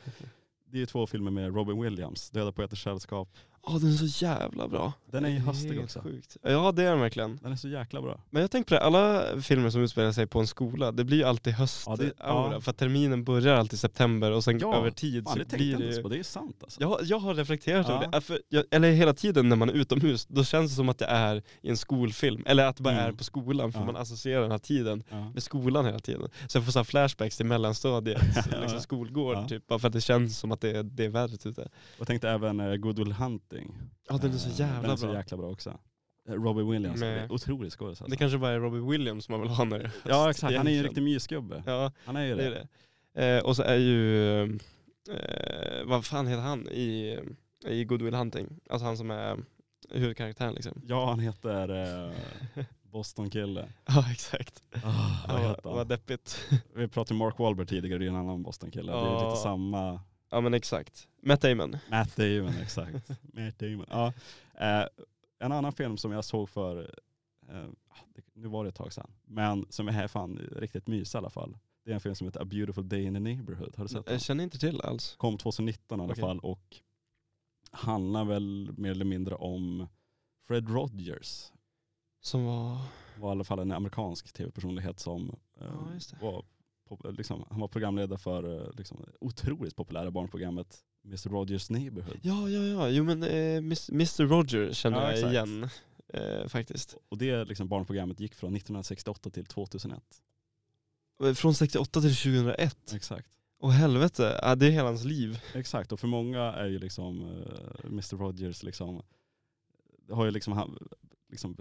[SPEAKER 2] det är ju två filmer med Robin Williams, Döda poeters sällskap.
[SPEAKER 1] Ja den är så jävla bra.
[SPEAKER 2] Den är ju
[SPEAKER 1] Det
[SPEAKER 2] höstig
[SPEAKER 1] helt
[SPEAKER 2] också.
[SPEAKER 1] Sjukt. Ja det är den verkligen.
[SPEAKER 2] Den är så jäkla bra.
[SPEAKER 1] Men jag tänker på det, alla filmer som utspelar sig på en skola, det blir ju alltid
[SPEAKER 2] Ja,
[SPEAKER 1] höst-aura.
[SPEAKER 2] det- ja.
[SPEAKER 1] För att terminen börjar alltid i september och sen
[SPEAKER 2] Ja,
[SPEAKER 1] över tid
[SPEAKER 2] Fan, det
[SPEAKER 1] så
[SPEAKER 2] tänkte
[SPEAKER 1] blir
[SPEAKER 2] jag
[SPEAKER 1] det
[SPEAKER 2] inte ens
[SPEAKER 1] ju...
[SPEAKER 2] på, det är sant alltså.
[SPEAKER 1] Jag, jag har reflekterat över
[SPEAKER 2] Ja.
[SPEAKER 1] det. Äh, För jag, eller hela tiden när man är utomhus, då känns det som att det är i en skolfilm. Eller att det bara
[SPEAKER 2] Mm.
[SPEAKER 1] är på skolan, för
[SPEAKER 2] Ja.
[SPEAKER 1] man associerar den här tiden
[SPEAKER 2] Ja.
[SPEAKER 1] med skolan hela tiden. Så jag får så här flashbacks till mellanstadiet,
[SPEAKER 2] [laughs] Ja.
[SPEAKER 1] liksom skolgård
[SPEAKER 2] Ja.
[SPEAKER 1] typ, bara för att det känns som att det, det är värdigt ute.
[SPEAKER 2] Och jag tänkte även eh, Good Will Hunting.
[SPEAKER 1] Ja den är så
[SPEAKER 2] Eh,
[SPEAKER 1] jävla
[SPEAKER 2] den är
[SPEAKER 1] bra.
[SPEAKER 2] så jäkla bra också. Eh, Robin Williams,
[SPEAKER 1] Med-
[SPEAKER 2] det är otrolig skådis
[SPEAKER 1] Det
[SPEAKER 2] alltså.
[SPEAKER 1] kanske bara är Robbie Williams man vill ha nu.
[SPEAKER 2] Ja exakt, han är ju
[SPEAKER 1] egentligen.
[SPEAKER 2] en riktig mysgubbe.
[SPEAKER 1] Ja,
[SPEAKER 2] Han är ju
[SPEAKER 1] det är
[SPEAKER 2] det.
[SPEAKER 1] det. Eh, och så är ju, eh, vad fan heter han i, i Good Will Hunting? Alltså han som är huvudkaraktären liksom.
[SPEAKER 2] Ja han heter eh, Boston-kille.
[SPEAKER 1] [laughs] Ja exakt.
[SPEAKER 2] Ah, vad
[SPEAKER 1] Ja,
[SPEAKER 2] heter han?
[SPEAKER 1] vad deppigt.
[SPEAKER 2] Vi pratade om Mark Wahlberg tidigare, det är en annan Boston-kille. Det är
[SPEAKER 1] Ja.
[SPEAKER 2] lite samma.
[SPEAKER 1] Ja men exakt. Matt Damon.
[SPEAKER 2] Matt Damon, exakt. Matt Damon. Ja. Eh, en annan film som jag såg för, eh, det- nu var det ett tag sedan, men som är här fan riktigt mys i alla fall. Det är en film som heter A beautiful day in the neighborhood. Har du sett den?
[SPEAKER 1] Jag känner inte till alls.
[SPEAKER 2] Kom 2019 i alla
[SPEAKER 1] Mm, eh, Okej.
[SPEAKER 2] fall och handlar väl mer eller mindre om Fred Rogers.
[SPEAKER 1] Som var...
[SPEAKER 2] Var i alla fall en amerikansk tv-personlighet som eh,
[SPEAKER 1] Ja, just det.
[SPEAKER 2] var pop- liksom, han var programledare för eh, liksom, otroligt populära barnprogrammet Mr. Rogers Neighborhood.
[SPEAKER 1] Ja, ja, ja. Jo men eh, Miss- Mr Roger känner
[SPEAKER 2] Ja,
[SPEAKER 1] jag
[SPEAKER 2] exakt.
[SPEAKER 1] igen eh, faktiskt.
[SPEAKER 2] Och det liksom, barnprogrammet gick från 1968 till 2001.
[SPEAKER 1] Från 68 till 2001.
[SPEAKER 2] Exakt.
[SPEAKER 1] Och helvete, ja, det är hela hans liv.
[SPEAKER 2] Exakt, och för många är ju liksom eh, Mr. Rogers liksom, har ju liksom, han, liksom,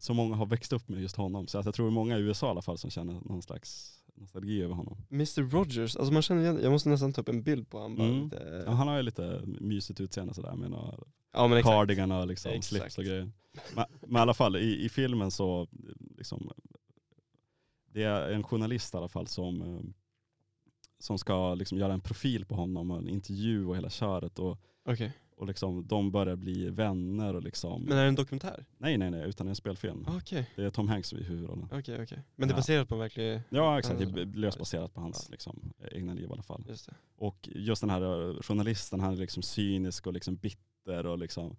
[SPEAKER 2] så många har växt upp med just honom. Så att jag tror många i USA i alla fall som känner någon slags nostalgi över honom.
[SPEAKER 1] Mr Rogers, alltså man känner igen, jag måste nästan ta upp en bild på honom bara.
[SPEAKER 2] Mm.
[SPEAKER 1] lite-
[SPEAKER 2] Ja, han har ju lite mysigt utseende sådär med några
[SPEAKER 1] ja men exakt.
[SPEAKER 2] cardigan och liksom
[SPEAKER 1] Exakt.
[SPEAKER 2] slips och grejer. Men, men i alla fall i, i filmen så, eh, liksom, det är en journalist i alla fall som, eh, som ska liksom göra en profil på honom och en intervju och hela köret. Och,
[SPEAKER 1] Okej.
[SPEAKER 2] och liksom, de börjar bli vänner och liksom,
[SPEAKER 1] Men är det en dokumentär?
[SPEAKER 2] nej nej nej, utan en spelfilm.
[SPEAKER 1] Ah, Okej,
[SPEAKER 2] Det är Tom Hanks i huvudrollen.
[SPEAKER 1] okej, okej. Men det är
[SPEAKER 2] Ja.
[SPEAKER 1] baserat på en verklig,
[SPEAKER 2] Ja exakt, det
[SPEAKER 1] Ja,
[SPEAKER 2] är
[SPEAKER 1] ja.
[SPEAKER 2] löst baserat på hans liksom, egna liv i alla fall.
[SPEAKER 1] just det.
[SPEAKER 2] Och just den här eh, journalisten, han är liksom cynisk och liksom bitter och liksom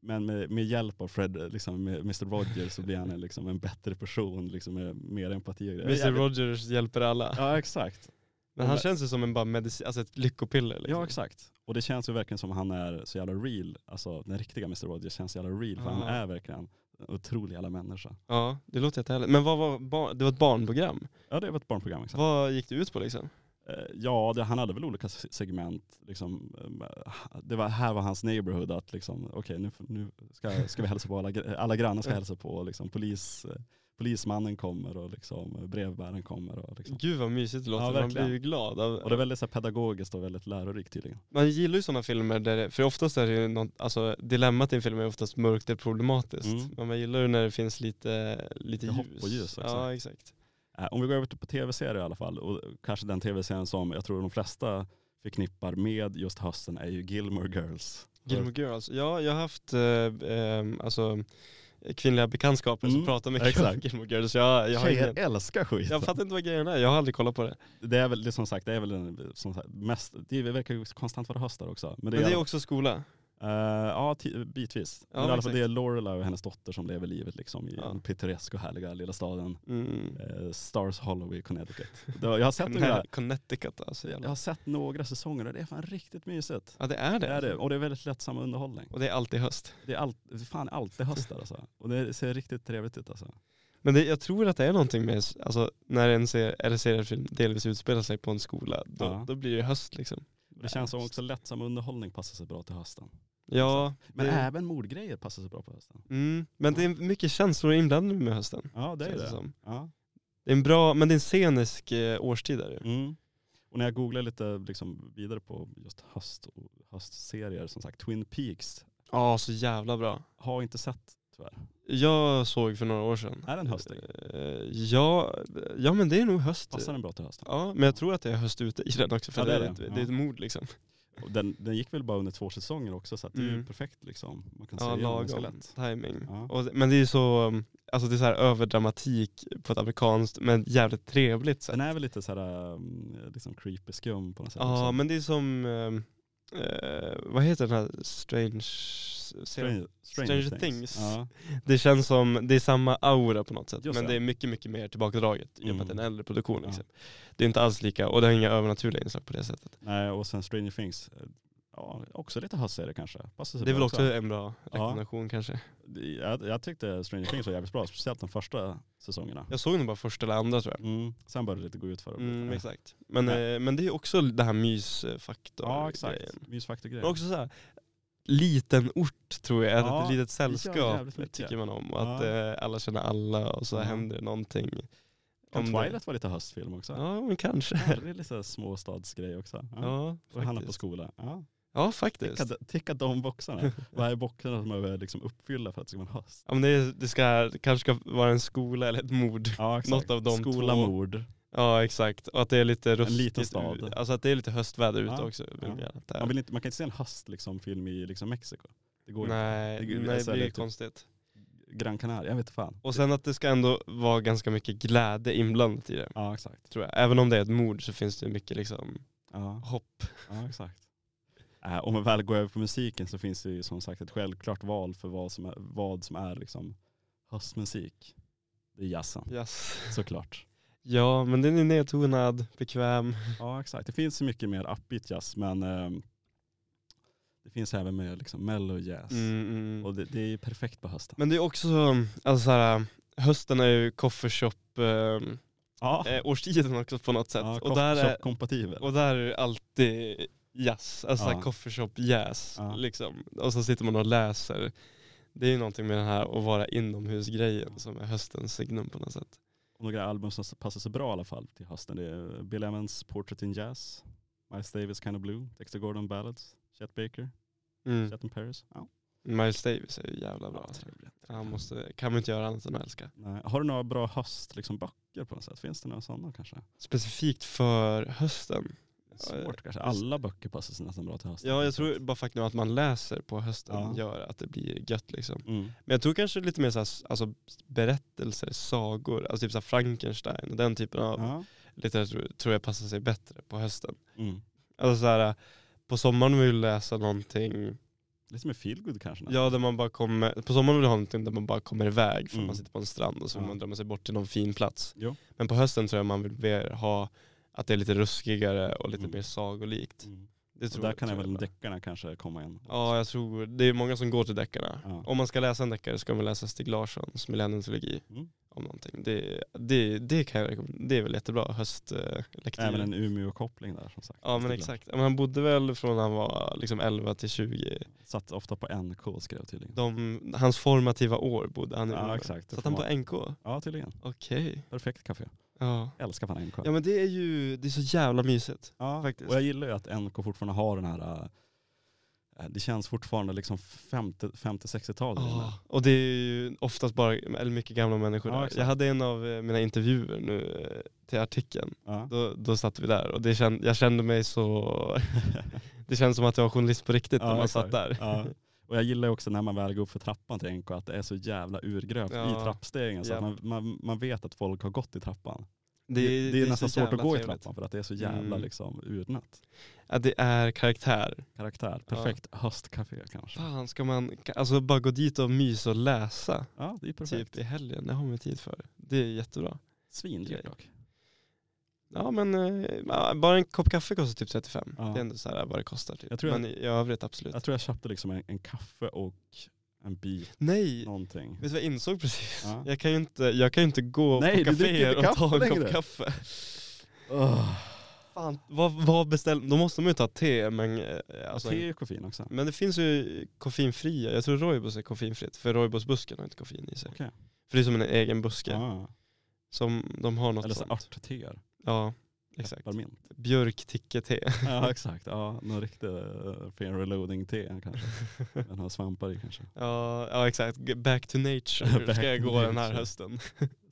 [SPEAKER 2] men med, med hjälp av Fred, eh, liksom med Mr. Rogers så blir han en, liksom en bättre person, liksom med mer empati och grejer.
[SPEAKER 1] Mr
[SPEAKER 2] Jävligt-
[SPEAKER 1] Rogers hjälper alla.
[SPEAKER 2] Ja exakt.
[SPEAKER 1] Men han känns ju som en bara medicin, alltså ett lyckopiller liksom.
[SPEAKER 2] Ja exakt. Och det känns ju verkligen som han är så jävla real, alltså den riktiga Mr. Rogers känns så jävla real för han
[SPEAKER 1] Ja.
[SPEAKER 2] är verkligen en otrolig jävla människa.
[SPEAKER 1] Ja, det låter jättehärligt. Men vad var, bar- det var ett barnprogram.
[SPEAKER 2] Ja det var ett barnprogram exakt.
[SPEAKER 1] Vad gick det ut på liksom?
[SPEAKER 2] Eh, Ja, det, han hade väl olika se- segment. Liksom, eh, det var, här var hans neighborhood att liksom, okej nu, f- nu ska, ska vi hälsa på alla, gr- alla grannar ska hälsa på. och Liksom, polis, eh, polismannen kommer och liksom, eh, brevbäraren kommer. Och, liksom.
[SPEAKER 1] Gud vad mysigt det låter,
[SPEAKER 2] Ja,
[SPEAKER 1] man
[SPEAKER 2] verkligen.
[SPEAKER 1] blir ju glad. Av,
[SPEAKER 2] och det är väldigt så här, pedagogiskt och väldigt lärorikt tydligen.
[SPEAKER 1] Man gillar ju sådana filmer där det, för oftast är det ju något, alltså dilemmat i en film är oftast mörkt och problematiskt.
[SPEAKER 2] Mm.
[SPEAKER 1] Men man gillar ju när det finns lite, lite
[SPEAKER 2] Lite
[SPEAKER 1] ljus.
[SPEAKER 2] hopp och ljus också.
[SPEAKER 1] Ja exakt.
[SPEAKER 2] Eh, Om vi går över till- på tv-serier i alla fall, och kanske den tv-serien som jag tror de flesta förknippar med just hösten är ju Gilmore Girls.
[SPEAKER 1] Gilmore Girls, ja jag har haft eh, ehm, alltså, kvinnliga bekantskaper som
[SPEAKER 2] Mm,
[SPEAKER 1] pratar mycket om
[SPEAKER 2] exakt.
[SPEAKER 1] Gilmore Girls. Jag, jag, har
[SPEAKER 2] Tjejer
[SPEAKER 1] ingen,
[SPEAKER 2] älskar skit.
[SPEAKER 1] jag fattar inte vad grejen är, jag har aldrig kollat på det.
[SPEAKER 2] Det är väl det är som sagt, det är väl den som sagt, mest, det verkar ju konstant vara höst där också. Men det,
[SPEAKER 1] Men det
[SPEAKER 2] är,
[SPEAKER 1] är också skola.
[SPEAKER 2] Eh, ja, ti- bitvis.
[SPEAKER 1] Ja,
[SPEAKER 2] men i alla fall
[SPEAKER 1] exakt.
[SPEAKER 2] det är Lorelai och hennes dotter som lever livet liksom i
[SPEAKER 1] Ja.
[SPEAKER 2] den pittoreska och härliga lilla staden
[SPEAKER 1] Mm.
[SPEAKER 2] eh, Stars Hollow i Connecticut. Det var, jag, har sett några,
[SPEAKER 1] Conne- [laughs] Connecticut alltså.
[SPEAKER 2] jag
[SPEAKER 1] Jävlar.
[SPEAKER 2] har sett några säsonger och det är fan riktigt mysigt.
[SPEAKER 1] Ja det är det.
[SPEAKER 2] Det är det, och det är väldigt lättsam underhållning.
[SPEAKER 1] Och det är alltid höst.
[SPEAKER 2] Det är allt, fan alltid höst där alltså. Och det ser riktigt trevligt ut alltså.
[SPEAKER 1] Men det, jag tror att det är någonting med, alltså när en ser, eller seriefilm delvis utspelar sig på en skola, då,
[SPEAKER 2] Ja.
[SPEAKER 1] då blir det höst liksom.
[SPEAKER 2] Det känns som också lättsam underhållning passar sig bra till hösten.
[SPEAKER 1] Ja,
[SPEAKER 2] Men
[SPEAKER 1] det,
[SPEAKER 2] även mordgrejer passar sig bra på hösten.
[SPEAKER 1] mm, men det är mycket känslor inblandade med hösten.
[SPEAKER 2] Ja det är
[SPEAKER 1] känns
[SPEAKER 2] det.
[SPEAKER 1] som.
[SPEAKER 2] Ja.
[SPEAKER 1] Det är en bra, men det är en scenisk eh, årstid där ju.
[SPEAKER 2] Mm. Och när jag googlar lite liksom, vidare på just höst och höstserier, som sagt Twin Peaks
[SPEAKER 1] Ja, så jävla bra.
[SPEAKER 2] har inte sett tyvärr.
[SPEAKER 1] Jag såg för några år sedan.
[SPEAKER 2] Är den höstig?
[SPEAKER 1] Eh, ja, ja men det är nog höst.
[SPEAKER 2] Passar den bra till hösten?
[SPEAKER 1] Ja, men jag tror att det är höst ute i den också för
[SPEAKER 2] Ja,
[SPEAKER 1] det,
[SPEAKER 2] det
[SPEAKER 1] är,
[SPEAKER 2] är
[SPEAKER 1] ett,
[SPEAKER 2] det.
[SPEAKER 1] det är ett mord liksom.
[SPEAKER 2] Och Den, den gick väl bara under två säsonger också så att det är
[SPEAKER 1] Mm.
[SPEAKER 2] ju perfekt liksom. Man kan
[SPEAKER 1] Ja,
[SPEAKER 2] se igenom ganska
[SPEAKER 1] lagom
[SPEAKER 2] lätt.
[SPEAKER 1] timing.
[SPEAKER 2] Ja.
[SPEAKER 1] Och, men det är ju så, um, alltså det är så här överdramatik på ett amerikanskt men jävligt trevligt sätt.
[SPEAKER 2] Den är väl lite så här um, liksom creepy skum på något sätt.
[SPEAKER 1] Ja
[SPEAKER 2] också.
[SPEAKER 1] men det är som, um, eh, vad heter den här strange serien?
[SPEAKER 2] Strange, Stranger,
[SPEAKER 1] Stranger Things.
[SPEAKER 2] Ja.
[SPEAKER 1] Det känns som, det är samma aura på något sätt.
[SPEAKER 2] Just
[SPEAKER 1] men
[SPEAKER 2] det.
[SPEAKER 1] det är mycket, mycket mer tillbakadraget i och med att det är en
[SPEAKER 2] Mm.
[SPEAKER 1] äldre produktion.
[SPEAKER 2] Ja.
[SPEAKER 1] Liksom. Det är inte alls lika, och det har inga övernaturliga inslag på det sättet.
[SPEAKER 2] Nej, och sen Stranger Things, eh, ja, också lite höstserie kanske. Passar sig
[SPEAKER 1] Det är väl
[SPEAKER 2] bra
[SPEAKER 1] också en bra
[SPEAKER 2] Ja.
[SPEAKER 1] rekommendation kanske.
[SPEAKER 2] Jag, jag tyckte Stranger Things var jävligt bra, speciellt de första säsongerna.
[SPEAKER 1] Jag såg nog bara första eller andra tror jag.
[SPEAKER 2] Mm. Sen började det lite gå ut för
[SPEAKER 1] Mm, exakt. Men,
[SPEAKER 2] Nej.
[SPEAKER 1] eh, men det är också det här mysfaktorn.
[SPEAKER 2] Ja exakt, mysfaktorgrejer.
[SPEAKER 1] Men också så här, liten ort tror jag,
[SPEAKER 2] Ja,
[SPEAKER 1] ett litet sällskap
[SPEAKER 2] jävligt mycket.
[SPEAKER 1] tycker man om. Och
[SPEAKER 2] Ja.
[SPEAKER 1] att eh, alla känner alla och så
[SPEAKER 2] Ja.
[SPEAKER 1] händer det någonting.
[SPEAKER 2] Om
[SPEAKER 1] det-
[SPEAKER 2] Twilight var lite höstfilm också. Ja.
[SPEAKER 1] Ja, men kanske.
[SPEAKER 2] [laughs] det är lite så här småstadsgrej också. Ja.
[SPEAKER 1] Ja,
[SPEAKER 2] och hamnar på
[SPEAKER 1] faktiskt.
[SPEAKER 2] skola. Ja.
[SPEAKER 1] Ja, faktiskt.
[SPEAKER 2] Ticka, ticka de boxarna. Vad är boxarna som man behöver liksom uppfylla för att det ska vara en höst?
[SPEAKER 1] Ja, men det, är- det ska, kanske ska vara en skola eller ett mord.
[SPEAKER 2] Ja,
[SPEAKER 1] Något av de
[SPEAKER 2] Skola,
[SPEAKER 1] två.
[SPEAKER 2] mord.
[SPEAKER 1] Ja, exakt. Och att det är lite ruskigt.
[SPEAKER 2] liten stad.
[SPEAKER 1] ut- Alltså att det är lite höstväder ute
[SPEAKER 2] Ja,
[SPEAKER 1] också. Vill
[SPEAKER 2] ja.
[SPEAKER 1] jag att det är.
[SPEAKER 2] Man, vill inte, man kan inte se en höst liksom, film i liksom Mexiko. Det går inte.
[SPEAKER 1] Nej,
[SPEAKER 2] Det-
[SPEAKER 1] det, nej,
[SPEAKER 2] alltså,
[SPEAKER 1] det
[SPEAKER 2] det
[SPEAKER 1] blir
[SPEAKER 2] är typ-
[SPEAKER 1] konstigt.
[SPEAKER 2] Gran Canaria, jag vet inte fan.
[SPEAKER 1] Och sen att det ska ändå vara ganska mycket glädje inblandat i det.
[SPEAKER 2] Ja exakt.
[SPEAKER 1] Tror jag. Även om det är ett mord så finns det mycket liksom
[SPEAKER 2] Ja,
[SPEAKER 1] hopp. [laughs]
[SPEAKER 2] ja exakt. Äh, om man väl går över på musiken så finns det ju som sagt ett självklart val för vad som är, vad som är liksom höstmusik. Det är jazzen,
[SPEAKER 1] Yes. [laughs]
[SPEAKER 2] såklart.
[SPEAKER 1] Ja, men den är nedtonad, bekväm.
[SPEAKER 2] Ja exakt, det finns mycket mer upbeat jazz men ehm, det finns även mer liksom mellow jazz.
[SPEAKER 1] Mm, mm.
[SPEAKER 2] Och det, det är ju perfekt på hösten.
[SPEAKER 1] Men det är också, alltså så här, hösten är ju coffee shop eh,
[SPEAKER 2] Ja,
[SPEAKER 1] årstiden också på något sätt.
[SPEAKER 2] Ah. ja
[SPEAKER 1] och, där är,
[SPEAKER 2] kompatibel.
[SPEAKER 1] och där är det alltid jazz, alltså
[SPEAKER 2] Ja.
[SPEAKER 1] ja. coffee shop jazz
[SPEAKER 2] Ja.
[SPEAKER 1] liksom. Och så sitter man och läser. Det är ju någonting med den här att vara inomhusgrejen som är höstens signum på något sätt.
[SPEAKER 2] Och några album som passar så bra i alla fall till hösten. Det är Bill Evans Portrait in Jazz, Miles Davis Kind of Blue, Dexter Gordon Ballads, Chet Baker,
[SPEAKER 1] Mm.
[SPEAKER 2] Chet in Paris. Ja,
[SPEAKER 1] Miles Davis är ju jävla bra.
[SPEAKER 2] ja, trevligt.
[SPEAKER 1] Han måste, kan man inte göra annat än att älska.
[SPEAKER 2] Nej. Har du några bra höstböcker liksom, böcker på något sätt? Finns det några sådana kanske?
[SPEAKER 1] Specifikt för hösten.
[SPEAKER 2] Svårt kanske. Alla böcker passar sig nästan bra till hösten.
[SPEAKER 1] eh, Ja jag tror bara faktum att man läser på hösten
[SPEAKER 2] Ja.
[SPEAKER 1] gör att det blir gött liksom.
[SPEAKER 2] Mm.
[SPEAKER 1] Men jag tror kanske lite mer så här, alltså, berättelser, sagor, alltså typ så här Frankenstein och den typen av
[SPEAKER 2] Ja.
[SPEAKER 1] litteratur tror jag passar sig bättre på hösten.
[SPEAKER 2] Mm.
[SPEAKER 1] Alltså så här, på sommaren vill du läsa någonting,
[SPEAKER 2] Lite mer feelgood kanske. nästan.
[SPEAKER 1] ja där man bara kommer, på sommaren vill du ha någonting där man bara kommer iväg för
[SPEAKER 2] Mm.
[SPEAKER 1] man sitter på en strand och så vill
[SPEAKER 2] Ja.
[SPEAKER 1] man drömma sig bort till någon fin plats.
[SPEAKER 2] Jo.
[SPEAKER 1] Men på hösten tror jag man vill mer ha att det är lite ruskigare och lite
[SPEAKER 2] Mm.
[SPEAKER 1] mer sagolikt.
[SPEAKER 2] Mm.
[SPEAKER 1] Det
[SPEAKER 2] Och
[SPEAKER 1] tror,
[SPEAKER 2] där kan
[SPEAKER 1] tror
[SPEAKER 2] även
[SPEAKER 1] bara.
[SPEAKER 2] deckarna kanske komma in.
[SPEAKER 1] Ja, jag tror det är många som går till deckarna.
[SPEAKER 2] Ja.
[SPEAKER 1] Om man ska läsa en deckare ska man läsa Stig Larssons Millenniumtrilogi
[SPEAKER 2] Mm.
[SPEAKER 1] om någonting. Det, det, det, kan jag, rekommendera. det är väl jättebra höstlektyr.
[SPEAKER 2] Även en Umeå-koppling där som sagt.
[SPEAKER 1] ja men
[SPEAKER 2] Stiglar.
[SPEAKER 1] exakt. Ja, Men han bodde väl från han var liksom 11 till 20.
[SPEAKER 2] Satt ofta på NK skrev tydligen.
[SPEAKER 1] De, hans formativa år bodde han i.
[SPEAKER 2] ja
[SPEAKER 1] Umeå.
[SPEAKER 2] exakt. Det
[SPEAKER 1] Satt
[SPEAKER 2] får
[SPEAKER 1] han på
[SPEAKER 2] man-
[SPEAKER 1] NK?
[SPEAKER 2] Ja tydligen.
[SPEAKER 1] Okej.
[SPEAKER 2] Perfekt café.
[SPEAKER 1] Ja.
[SPEAKER 2] Älskar fan NK.
[SPEAKER 1] ja men det är ju det är så jävla mysigt.
[SPEAKER 2] Ja,
[SPEAKER 1] faktiskt.
[SPEAKER 2] Och jag gillar ju att NK fortfarande har den här, äh, det känns fortfarande liksom 50-60-tal.
[SPEAKER 1] Ja. Ah, Och det är ju oftast bara eller mycket gamla människor
[SPEAKER 2] Ja,
[SPEAKER 1] där.
[SPEAKER 2] exakt.
[SPEAKER 1] Jag hade en av eh, mina intervjuer nu eh, till artikeln.
[SPEAKER 2] Ja.
[SPEAKER 1] Då, då satt vi där och det känd, jag kände mig [laughs] så... det kändes som att jag var journalist på riktigt när man
[SPEAKER 2] exakt.
[SPEAKER 1] satt där.
[SPEAKER 2] Ja. [laughs] Och jag gillar ju också när man väl går upp för trappan till NK att det är så jävla urgröpt
[SPEAKER 1] Ja.
[SPEAKER 2] i trappstegen så att man, man, man vet att folk har gått i trappan.
[SPEAKER 1] Det,
[SPEAKER 2] Det, det, är, nästan
[SPEAKER 1] så
[SPEAKER 2] svårt att
[SPEAKER 1] jävla
[SPEAKER 2] gå i
[SPEAKER 1] trevligt.
[SPEAKER 2] trappan för att det är så jävla
[SPEAKER 1] Mm.
[SPEAKER 2] liksom urnat.
[SPEAKER 1] Ja, det är karaktär.
[SPEAKER 2] Karaktär, perfekt höstcafé kanske.
[SPEAKER 1] Fan, ska man ka- alltså, bara gå dit och mysa och läsa
[SPEAKER 2] Ja det är perfekt.
[SPEAKER 1] typ i helgen? Det har man ju tid för. Det är jättebra.
[SPEAKER 2] Svindyrt dock.
[SPEAKER 1] Typ. Ja men eh, ja, bara en kopp kaffe kostar typ 35.
[SPEAKER 2] Ja.
[SPEAKER 1] Det är ändå så här vad det kostar typ.
[SPEAKER 2] Jag tror
[SPEAKER 1] men i övrigt absolut.
[SPEAKER 2] Jag tror jag köpte liksom en, en kaffe och en bit
[SPEAKER 1] Nej,
[SPEAKER 2] någonting.
[SPEAKER 1] vet du vad jag insåg precis?
[SPEAKER 2] Ja.
[SPEAKER 1] Jag kan ju inte, jag kan ju inte gå
[SPEAKER 2] Nej, du
[SPEAKER 1] på
[SPEAKER 2] dricker
[SPEAKER 1] kaféer
[SPEAKER 2] inte
[SPEAKER 1] och ta
[SPEAKER 2] kaffe
[SPEAKER 1] en
[SPEAKER 2] längre.
[SPEAKER 1] kopp kaffe. Fan, vad, vad beställ... Då måste man ju ta te, men, eh, alltså,
[SPEAKER 2] Te är ju koffein också.
[SPEAKER 1] men det finns ju koffeinfria. Jag tror Roibos är koffeinfritt, för Roibosbusken har inte koffein i sig.
[SPEAKER 2] Okej.
[SPEAKER 1] För det är som en egen buske,
[SPEAKER 2] Ah.
[SPEAKER 1] som de har något
[SPEAKER 2] Eller så
[SPEAKER 1] sånt.
[SPEAKER 2] örtteer.
[SPEAKER 1] Ja, exakt.
[SPEAKER 2] Pepparmint. [laughs]
[SPEAKER 1] Björktickete. [laughs]
[SPEAKER 2] Ja exakt, ja, någon riktig eh, fin reloading te kanske. Den har svampar i kanske.
[SPEAKER 1] ja, ja, exakt. G- Back to nature
[SPEAKER 2] [laughs] Back
[SPEAKER 1] ska jag
[SPEAKER 2] to
[SPEAKER 1] gå den här
[SPEAKER 2] nature.
[SPEAKER 1] hösten.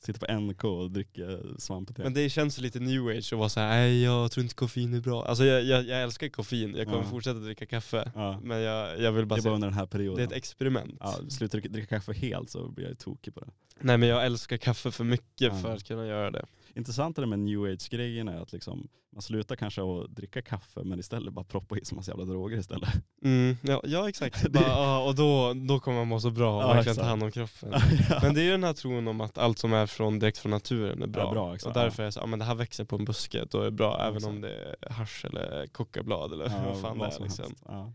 [SPEAKER 2] Sitter på NK och dricker svampte.
[SPEAKER 1] Men det känns lite new age att vara så här, nej jag tror inte koffein är bra. Alltså jag, jag, jag älskar koffein, jag kommer
[SPEAKER 2] Ja.
[SPEAKER 1] fortsätta dricka kaffe.
[SPEAKER 2] ja,
[SPEAKER 1] Men jag, jag vill
[SPEAKER 2] det
[SPEAKER 1] bara
[SPEAKER 2] är bara
[SPEAKER 1] säga,
[SPEAKER 2] under den här
[SPEAKER 1] det är
[SPEAKER 2] perioden.
[SPEAKER 1] ett experiment.
[SPEAKER 2] ja, slutar dricka, dricka kaffe helt så blir jag ju tokig på det.
[SPEAKER 1] Nej men jag älskar kaffe för mycket
[SPEAKER 2] Ja.
[SPEAKER 1] för att kunna göra det.
[SPEAKER 2] Intressant är det med new age-grejen är att liksom, man slutar kanske att dricka kaffe men istället bara proppa i sig massa jävla droger istället.
[SPEAKER 1] Mm, ja, ja exakt,
[SPEAKER 2] [laughs] Det-
[SPEAKER 1] Bara, ja, och då, då kommer man må så bra och
[SPEAKER 2] Ja,
[SPEAKER 1] verkligen ta
[SPEAKER 2] exakt.
[SPEAKER 1] hand om kroppen.
[SPEAKER 2] [laughs] Ja.
[SPEAKER 1] Men det är ju den här tron om att allt som är från, direkt från naturen är bra.
[SPEAKER 2] Ja, bra, exakt.
[SPEAKER 1] och därför är det så, ja men det här växer på en buske, då är det bra
[SPEAKER 2] Ja,
[SPEAKER 1] även
[SPEAKER 2] exakt.
[SPEAKER 1] om det är hasch eller kokablad eller
[SPEAKER 2] Ja,
[SPEAKER 1] vad fan
[SPEAKER 2] vad
[SPEAKER 1] det är
[SPEAKER 2] som
[SPEAKER 1] liksom.
[SPEAKER 2] helst. Ja.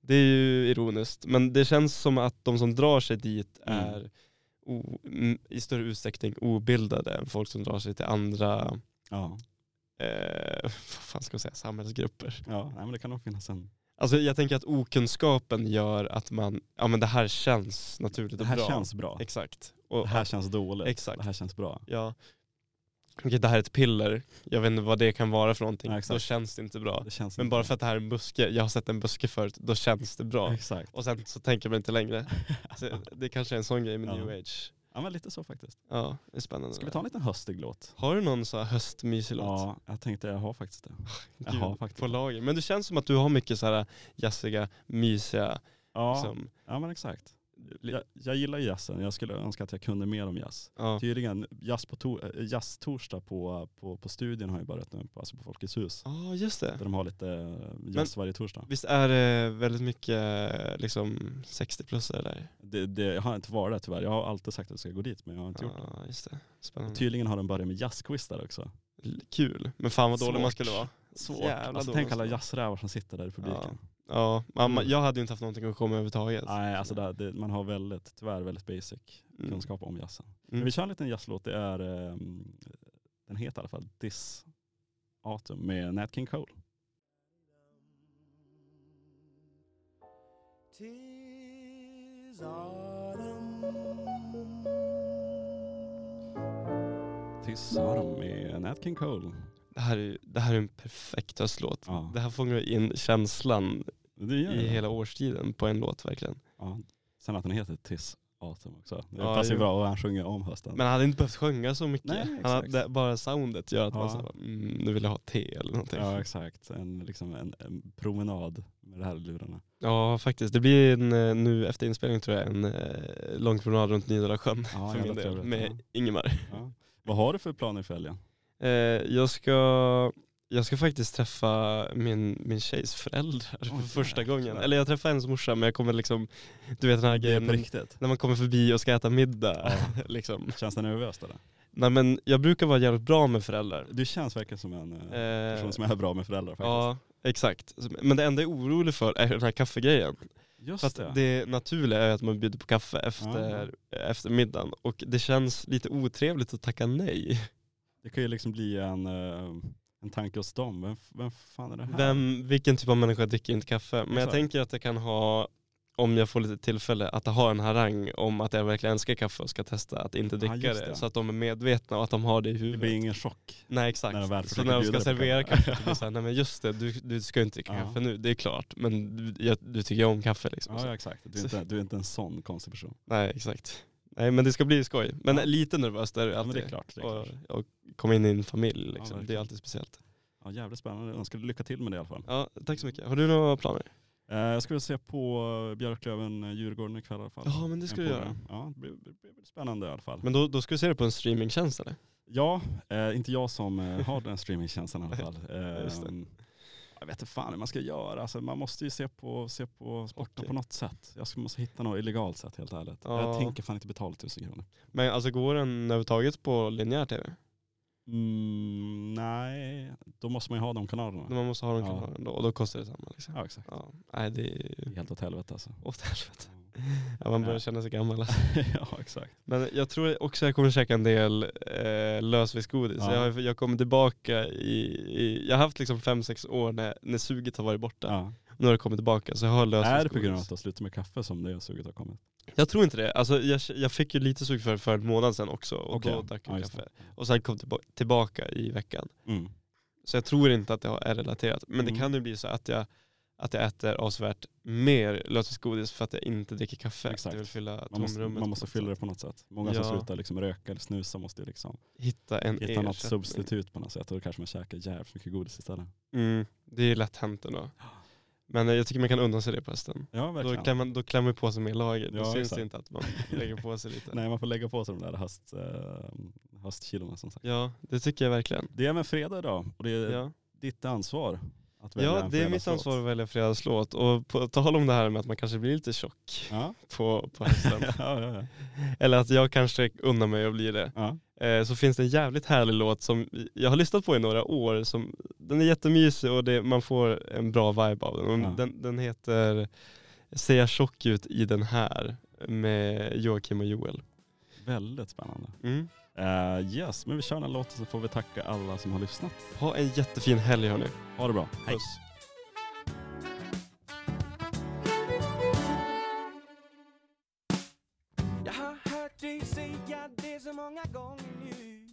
[SPEAKER 1] Det är ju ironiskt, men det känns som att de som drar sig dit
[SPEAKER 2] Mm.
[SPEAKER 1] är o, m, i större utsträckning obildade än folk som drar sig till andra,
[SPEAKER 2] Ja,
[SPEAKER 1] eh, [laughs] vad fan ska man säga, samhällsgrupper.
[SPEAKER 2] ja. Nej, men det kan nog finnas en...
[SPEAKER 1] Alltså jag tänker att okunskapen gör att man, ja men det här känns naturligt
[SPEAKER 2] Det här
[SPEAKER 1] och bra.
[SPEAKER 2] känns bra.
[SPEAKER 1] Exakt.
[SPEAKER 2] Det
[SPEAKER 1] Och,
[SPEAKER 2] här känns dåligt.
[SPEAKER 1] Exakt.
[SPEAKER 2] Det här känns bra.
[SPEAKER 1] ja. Okej, det här är ett piller, jag vet inte vad det kan vara för någonting,
[SPEAKER 2] Ja, exakt.
[SPEAKER 1] då känns det inte bra.
[SPEAKER 2] Det känns
[SPEAKER 1] Men
[SPEAKER 2] inte
[SPEAKER 1] bara
[SPEAKER 2] bra.
[SPEAKER 1] för att det här är en buske, jag har sett en buske förut, då känns det bra.
[SPEAKER 2] Exakt.
[SPEAKER 1] Och sen så tänker man inte
[SPEAKER 2] [laughs]
[SPEAKER 1] längre. Så det kanske är en sån grej med
[SPEAKER 2] Ja.
[SPEAKER 1] new age.
[SPEAKER 2] Ja men lite så faktiskt.
[SPEAKER 1] Ja, det är spännande.
[SPEAKER 2] Ska vi ta en liten höstig låt?
[SPEAKER 1] Har du någon så här höstmysig låt?
[SPEAKER 2] Ja, jag tänkte jag har faktiskt det. jag
[SPEAKER 1] Gud,
[SPEAKER 2] har faktiskt
[SPEAKER 1] På
[SPEAKER 2] det.
[SPEAKER 1] lager. Men det känns som att du har mycket så här jazziga, mysiga,
[SPEAKER 2] Ja,
[SPEAKER 1] liksom,
[SPEAKER 2] ja men exakt. jag, jag gillar jazzen, jag skulle önska att jag kunde mer om jazz.
[SPEAKER 1] Ja.
[SPEAKER 2] Tydligen, jazz på to- eh, jazztorsdag på, på, på studion har ju börjat nu, på, alltså på Folkets hus.
[SPEAKER 1] Ja, just det.
[SPEAKER 2] Där de har lite eh, jazz varje torsdag.
[SPEAKER 1] Visst är det väldigt mycket eh, liksom 60-plussare där?
[SPEAKER 2] Det, det, jag har inte varit där tyvärr, jag har alltid sagt att jag ska gå dit men jag har inte gjort Typ. det.
[SPEAKER 1] Ja, just det. Spännande.
[SPEAKER 2] Tydligen har de börjat med jazzquiz där också.
[SPEAKER 1] L- Kul. Men fan vad dålig man
[SPEAKER 2] Svårt.
[SPEAKER 1] skulle vara.
[SPEAKER 2] Svårt.
[SPEAKER 1] Jävla
[SPEAKER 2] alltså,
[SPEAKER 1] dåligt.
[SPEAKER 2] tänk alla jazzrävar som sitter där i publiken.
[SPEAKER 1] Ja, mamma,
[SPEAKER 2] Mm.
[SPEAKER 1] jag hade ju inte haft någonting att komma med överhuvudtaget.
[SPEAKER 2] Nej, alltså det, det, man har väldigt, tyvärr väldigt basic
[SPEAKER 1] Mm.
[SPEAKER 2] kunskap om jazzen.
[SPEAKER 1] Mm.
[SPEAKER 2] Men vi kör en liten jazzlåt, det är, ehm, den heter i alla fall This Autumn med Nat King Cole.
[SPEAKER 3] Tis autumn.
[SPEAKER 2] This Autumn med Nat King Cole.
[SPEAKER 1] Det, här är, ju- det här är en perfekt höstlåt.
[SPEAKER 2] Ja,
[SPEAKER 1] Det här fångar in känslan
[SPEAKER 2] det gör
[SPEAKER 1] i
[SPEAKER 2] det.
[SPEAKER 1] hela årstiden på en låt verkligen.
[SPEAKER 2] Ja. Sen att den heter This Autumn också. Det
[SPEAKER 1] Ja,
[SPEAKER 2] passar ju
[SPEAKER 1] jo.
[SPEAKER 2] bra och han sjunger om hösten.
[SPEAKER 1] Men han hade inte behövt sjunga så mycket.
[SPEAKER 2] Nej,
[SPEAKER 1] han
[SPEAKER 2] exakt.
[SPEAKER 1] hade, bara soundet gör att man
[SPEAKER 2] Ja.
[SPEAKER 1] såhär, mm, nu vill jag ha te eller någonting.
[SPEAKER 2] ja,
[SPEAKER 1] Ja,
[SPEAKER 2] exakt. En, liksom en, en promenad med de här lurarna.
[SPEAKER 1] faktiskt. Det blir en, eh, nu efter inspelningen tror jag en eh, lång promenad runt Nydala sjön
[SPEAKER 2] Ja,
[SPEAKER 1] för
[SPEAKER 2] jävla
[SPEAKER 1] min del
[SPEAKER 2] trevligt.
[SPEAKER 1] med Ingemar.
[SPEAKER 2] Ja. [laughs] Vad har du för planer för helgen?
[SPEAKER 1] Eh, jag, ska, jag ska faktiskt träffa min, min tjejs föräldrar för
[SPEAKER 2] Oj,
[SPEAKER 1] första
[SPEAKER 2] jäklar.
[SPEAKER 1] gången. Eller jag träffar hennes morsa men jag kommer liksom, du vet den här
[SPEAKER 2] Det är
[SPEAKER 1] grejen
[SPEAKER 2] på
[SPEAKER 1] när-
[SPEAKER 2] riktigt.
[SPEAKER 1] när man kommer förbi och ska äta middag.
[SPEAKER 2] Ja.
[SPEAKER 1] [laughs] liksom.
[SPEAKER 2] Känns det nervöst eller?
[SPEAKER 1] Nej men jag brukar vara jävligt bra med föräldrar.
[SPEAKER 2] Du känns verkligen som en eh,
[SPEAKER 1] Eh,
[SPEAKER 2] person som är bra med föräldrar faktiskt.
[SPEAKER 1] Ja, exakt. Men det enda jag är orolig för är den här kaffegrejen. För
[SPEAKER 2] Just
[SPEAKER 1] att det naturliga är att man bjuder på kaffe efter, efter middagen och det känns lite otrevligt att tacka nej.
[SPEAKER 2] Det kan ju liksom bli en, eh, en tanke hos dem. Vem, vem fan är det här?
[SPEAKER 1] Vem, vilken typ av människa dricker inte kaffe? Men jag
[SPEAKER 2] Exakt.
[SPEAKER 1] tänker att jag kan ha, om jag får lite tillfälle, att ha en harang om att jag verkligen älskar kaffe och ska testa att inte dricka
[SPEAKER 2] just
[SPEAKER 1] det.
[SPEAKER 2] det.
[SPEAKER 1] Så att de är medvetna och att de har det i
[SPEAKER 2] Det
[SPEAKER 1] huvudet.
[SPEAKER 2] blir ingen chock.
[SPEAKER 1] Nej
[SPEAKER 2] när de
[SPEAKER 1] exakt,
[SPEAKER 2] väl
[SPEAKER 1] så
[SPEAKER 2] försöker
[SPEAKER 1] när de
[SPEAKER 2] bjuda
[SPEAKER 1] ska
[SPEAKER 2] det på
[SPEAKER 1] servera
[SPEAKER 2] kaffe.
[SPEAKER 1] kaffe, det blir såhär, nej men just det, du, du ska ju inte dricka
[SPEAKER 2] Ja.
[SPEAKER 1] kaffe nu, det är klart, men du, jag, du tycker ju om kaffe liksom.
[SPEAKER 2] Ja,
[SPEAKER 1] Så-
[SPEAKER 2] ja exakt. Alltså, Du är, inte, du är inte en sån konstig person.
[SPEAKER 1] Nej exakt. Nej men det ska bli skoj. Men
[SPEAKER 2] Ja.
[SPEAKER 1] lite nervöst är det
[SPEAKER 2] Ja, men
[SPEAKER 1] alltid.
[SPEAKER 2] det är klart. Det är klart.
[SPEAKER 1] Och, och komma in i en familj liksom. det är
[SPEAKER 2] verkligen.
[SPEAKER 1] alltid speciellt.
[SPEAKER 2] Ja, jävligt spännande. Jag önskar lycka till med det i alla fall.
[SPEAKER 1] Ja, tack så mycket. Har du några planer?
[SPEAKER 2] Eh, jag skulle se på eh, Björklöven-Djurgården ikväll i alla fall.
[SPEAKER 1] Ja men det ska du
[SPEAKER 2] En
[SPEAKER 1] göra.
[SPEAKER 2] polare. Ja, det blir, det blir spännande i alla fall.
[SPEAKER 1] Men då, då ska du se det på en streamingtjänst eller?
[SPEAKER 2] Ja, eh, inte jag som eh, har den streamingtjänsten i
[SPEAKER 1] [laughs]
[SPEAKER 2] alla fall.
[SPEAKER 1] Just det.
[SPEAKER 2] Ehm, jag vet inte fan hur man ska göra. Alltså, man måste ju se på, se på sporten
[SPEAKER 1] Okej.
[SPEAKER 2] på något sätt. Jag ska, måste hitta något illegalt sätt helt ärligt.
[SPEAKER 1] Ja.
[SPEAKER 2] Jag tänker fan inte betala tusen kronor.
[SPEAKER 1] Men alltså går den överhuvudtaget på linjär tv?
[SPEAKER 2] Mm, nej, då måste man ju ha de kanalerna.
[SPEAKER 1] Man måste ha den
[SPEAKER 2] Ja.
[SPEAKER 1] kanalen då och då kostar det samma liksom.
[SPEAKER 2] Ja exakt.
[SPEAKER 1] Ja. Nej det är
[SPEAKER 2] Det
[SPEAKER 1] ju...
[SPEAKER 2] är Helt åt
[SPEAKER 1] [laughs]
[SPEAKER 2] helvete alltså.
[SPEAKER 1] Åt helvete. Ja, man börjar
[SPEAKER 2] Mm. Ja.
[SPEAKER 1] känna sig gammal alltså.
[SPEAKER 2] ja exakt.
[SPEAKER 1] Men jag tror också jag kommer käka en del eh, lösviktsgodis.
[SPEAKER 2] Ja.
[SPEAKER 1] Jag, har- jag kommer tillbaka i, i, jag har haft liksom fem sex år när, när suget har varit borta.
[SPEAKER 2] Ja.
[SPEAKER 1] Nu har det kommit tillbaka så jag har lösviktsgodis.
[SPEAKER 2] Är det på grund av att du har slutat med kaffe som det suget har kommit?
[SPEAKER 1] Jag tror inte det. Alltså, jag, jag fick ju lite sug för det för en månad sedan också och
[SPEAKER 2] Okej.
[SPEAKER 1] då drack jag
[SPEAKER 2] Ja, just det.
[SPEAKER 1] kaffe. Och sen kom tillba- tillbaka i veckan.
[SPEAKER 2] Mm.
[SPEAKER 1] Så jag tror inte att det har- är relaterat. Men det
[SPEAKER 2] Mm.
[SPEAKER 1] kan ju bli så att jag, att jag äter avsevärt mer lösviktsgodis för att jag inte dricker kaffe.
[SPEAKER 2] Exakt.
[SPEAKER 1] Jag vill fylla
[SPEAKER 2] Man, måste,
[SPEAKER 1] tomrummet.
[SPEAKER 2] man måste fylla det på något sätt. Många
[SPEAKER 1] Ja.
[SPEAKER 2] som slutar liksom röka eller snusa måste ju liksom
[SPEAKER 1] Hitta en
[SPEAKER 2] hitta något
[SPEAKER 1] ersättning.
[SPEAKER 2] substitut på något sätt och då kanske man käkar jävligt mycket godis istället.
[SPEAKER 1] Mm, det är lätt hänt ändå. Men eh, jag tycker man kan unna sig det på hösten.
[SPEAKER 2] Ja
[SPEAKER 1] Då
[SPEAKER 2] verkligen.
[SPEAKER 1] klämmer, man- då klämmer man på sig mer lager. Då
[SPEAKER 2] Ja,
[SPEAKER 1] syns
[SPEAKER 2] exakt.
[SPEAKER 1] det inte att
[SPEAKER 2] [laughs]
[SPEAKER 1] man lägger på sig lite.
[SPEAKER 2] Nej man får lägga på sig de där höst, eh, höstkilona som sagt.
[SPEAKER 1] Ja, det tycker jag verkligen.
[SPEAKER 2] Det är även fredag idag och det är
[SPEAKER 1] Ja,
[SPEAKER 2] ditt ansvar att välja
[SPEAKER 1] ja
[SPEAKER 2] en
[SPEAKER 1] det är mitt
[SPEAKER 2] fredagslåt.
[SPEAKER 1] ansvar att välja fredagslåt. Och på tal om det här med att man kanske blir lite tjock
[SPEAKER 2] Ja, [laughs]
[SPEAKER 1] på, på hösten.
[SPEAKER 2] ja, ja. ja.
[SPEAKER 1] Eller att jag kanske unnar mig att bli det.
[SPEAKER 2] ja.
[SPEAKER 1] Eh, så finns det en jävligt härlig låt som jag har lyssnat på i några år. Som, den är jättemysig och det, man får en bra vibe av den. Och
[SPEAKER 2] Ja.
[SPEAKER 1] den. Den heter Ser jag tjock ut i den här med Joakim och Joel.
[SPEAKER 2] Väldigt spännande.
[SPEAKER 1] Mm.
[SPEAKER 2] Eh, yes, men vi kör den här låten så får vi tacka alla som har lyssnat.
[SPEAKER 1] Ha en jättefin helg hörni.
[SPEAKER 2] Ha det bra.
[SPEAKER 1] Puss.
[SPEAKER 3] Jag har hört dig säga det så många gånger nu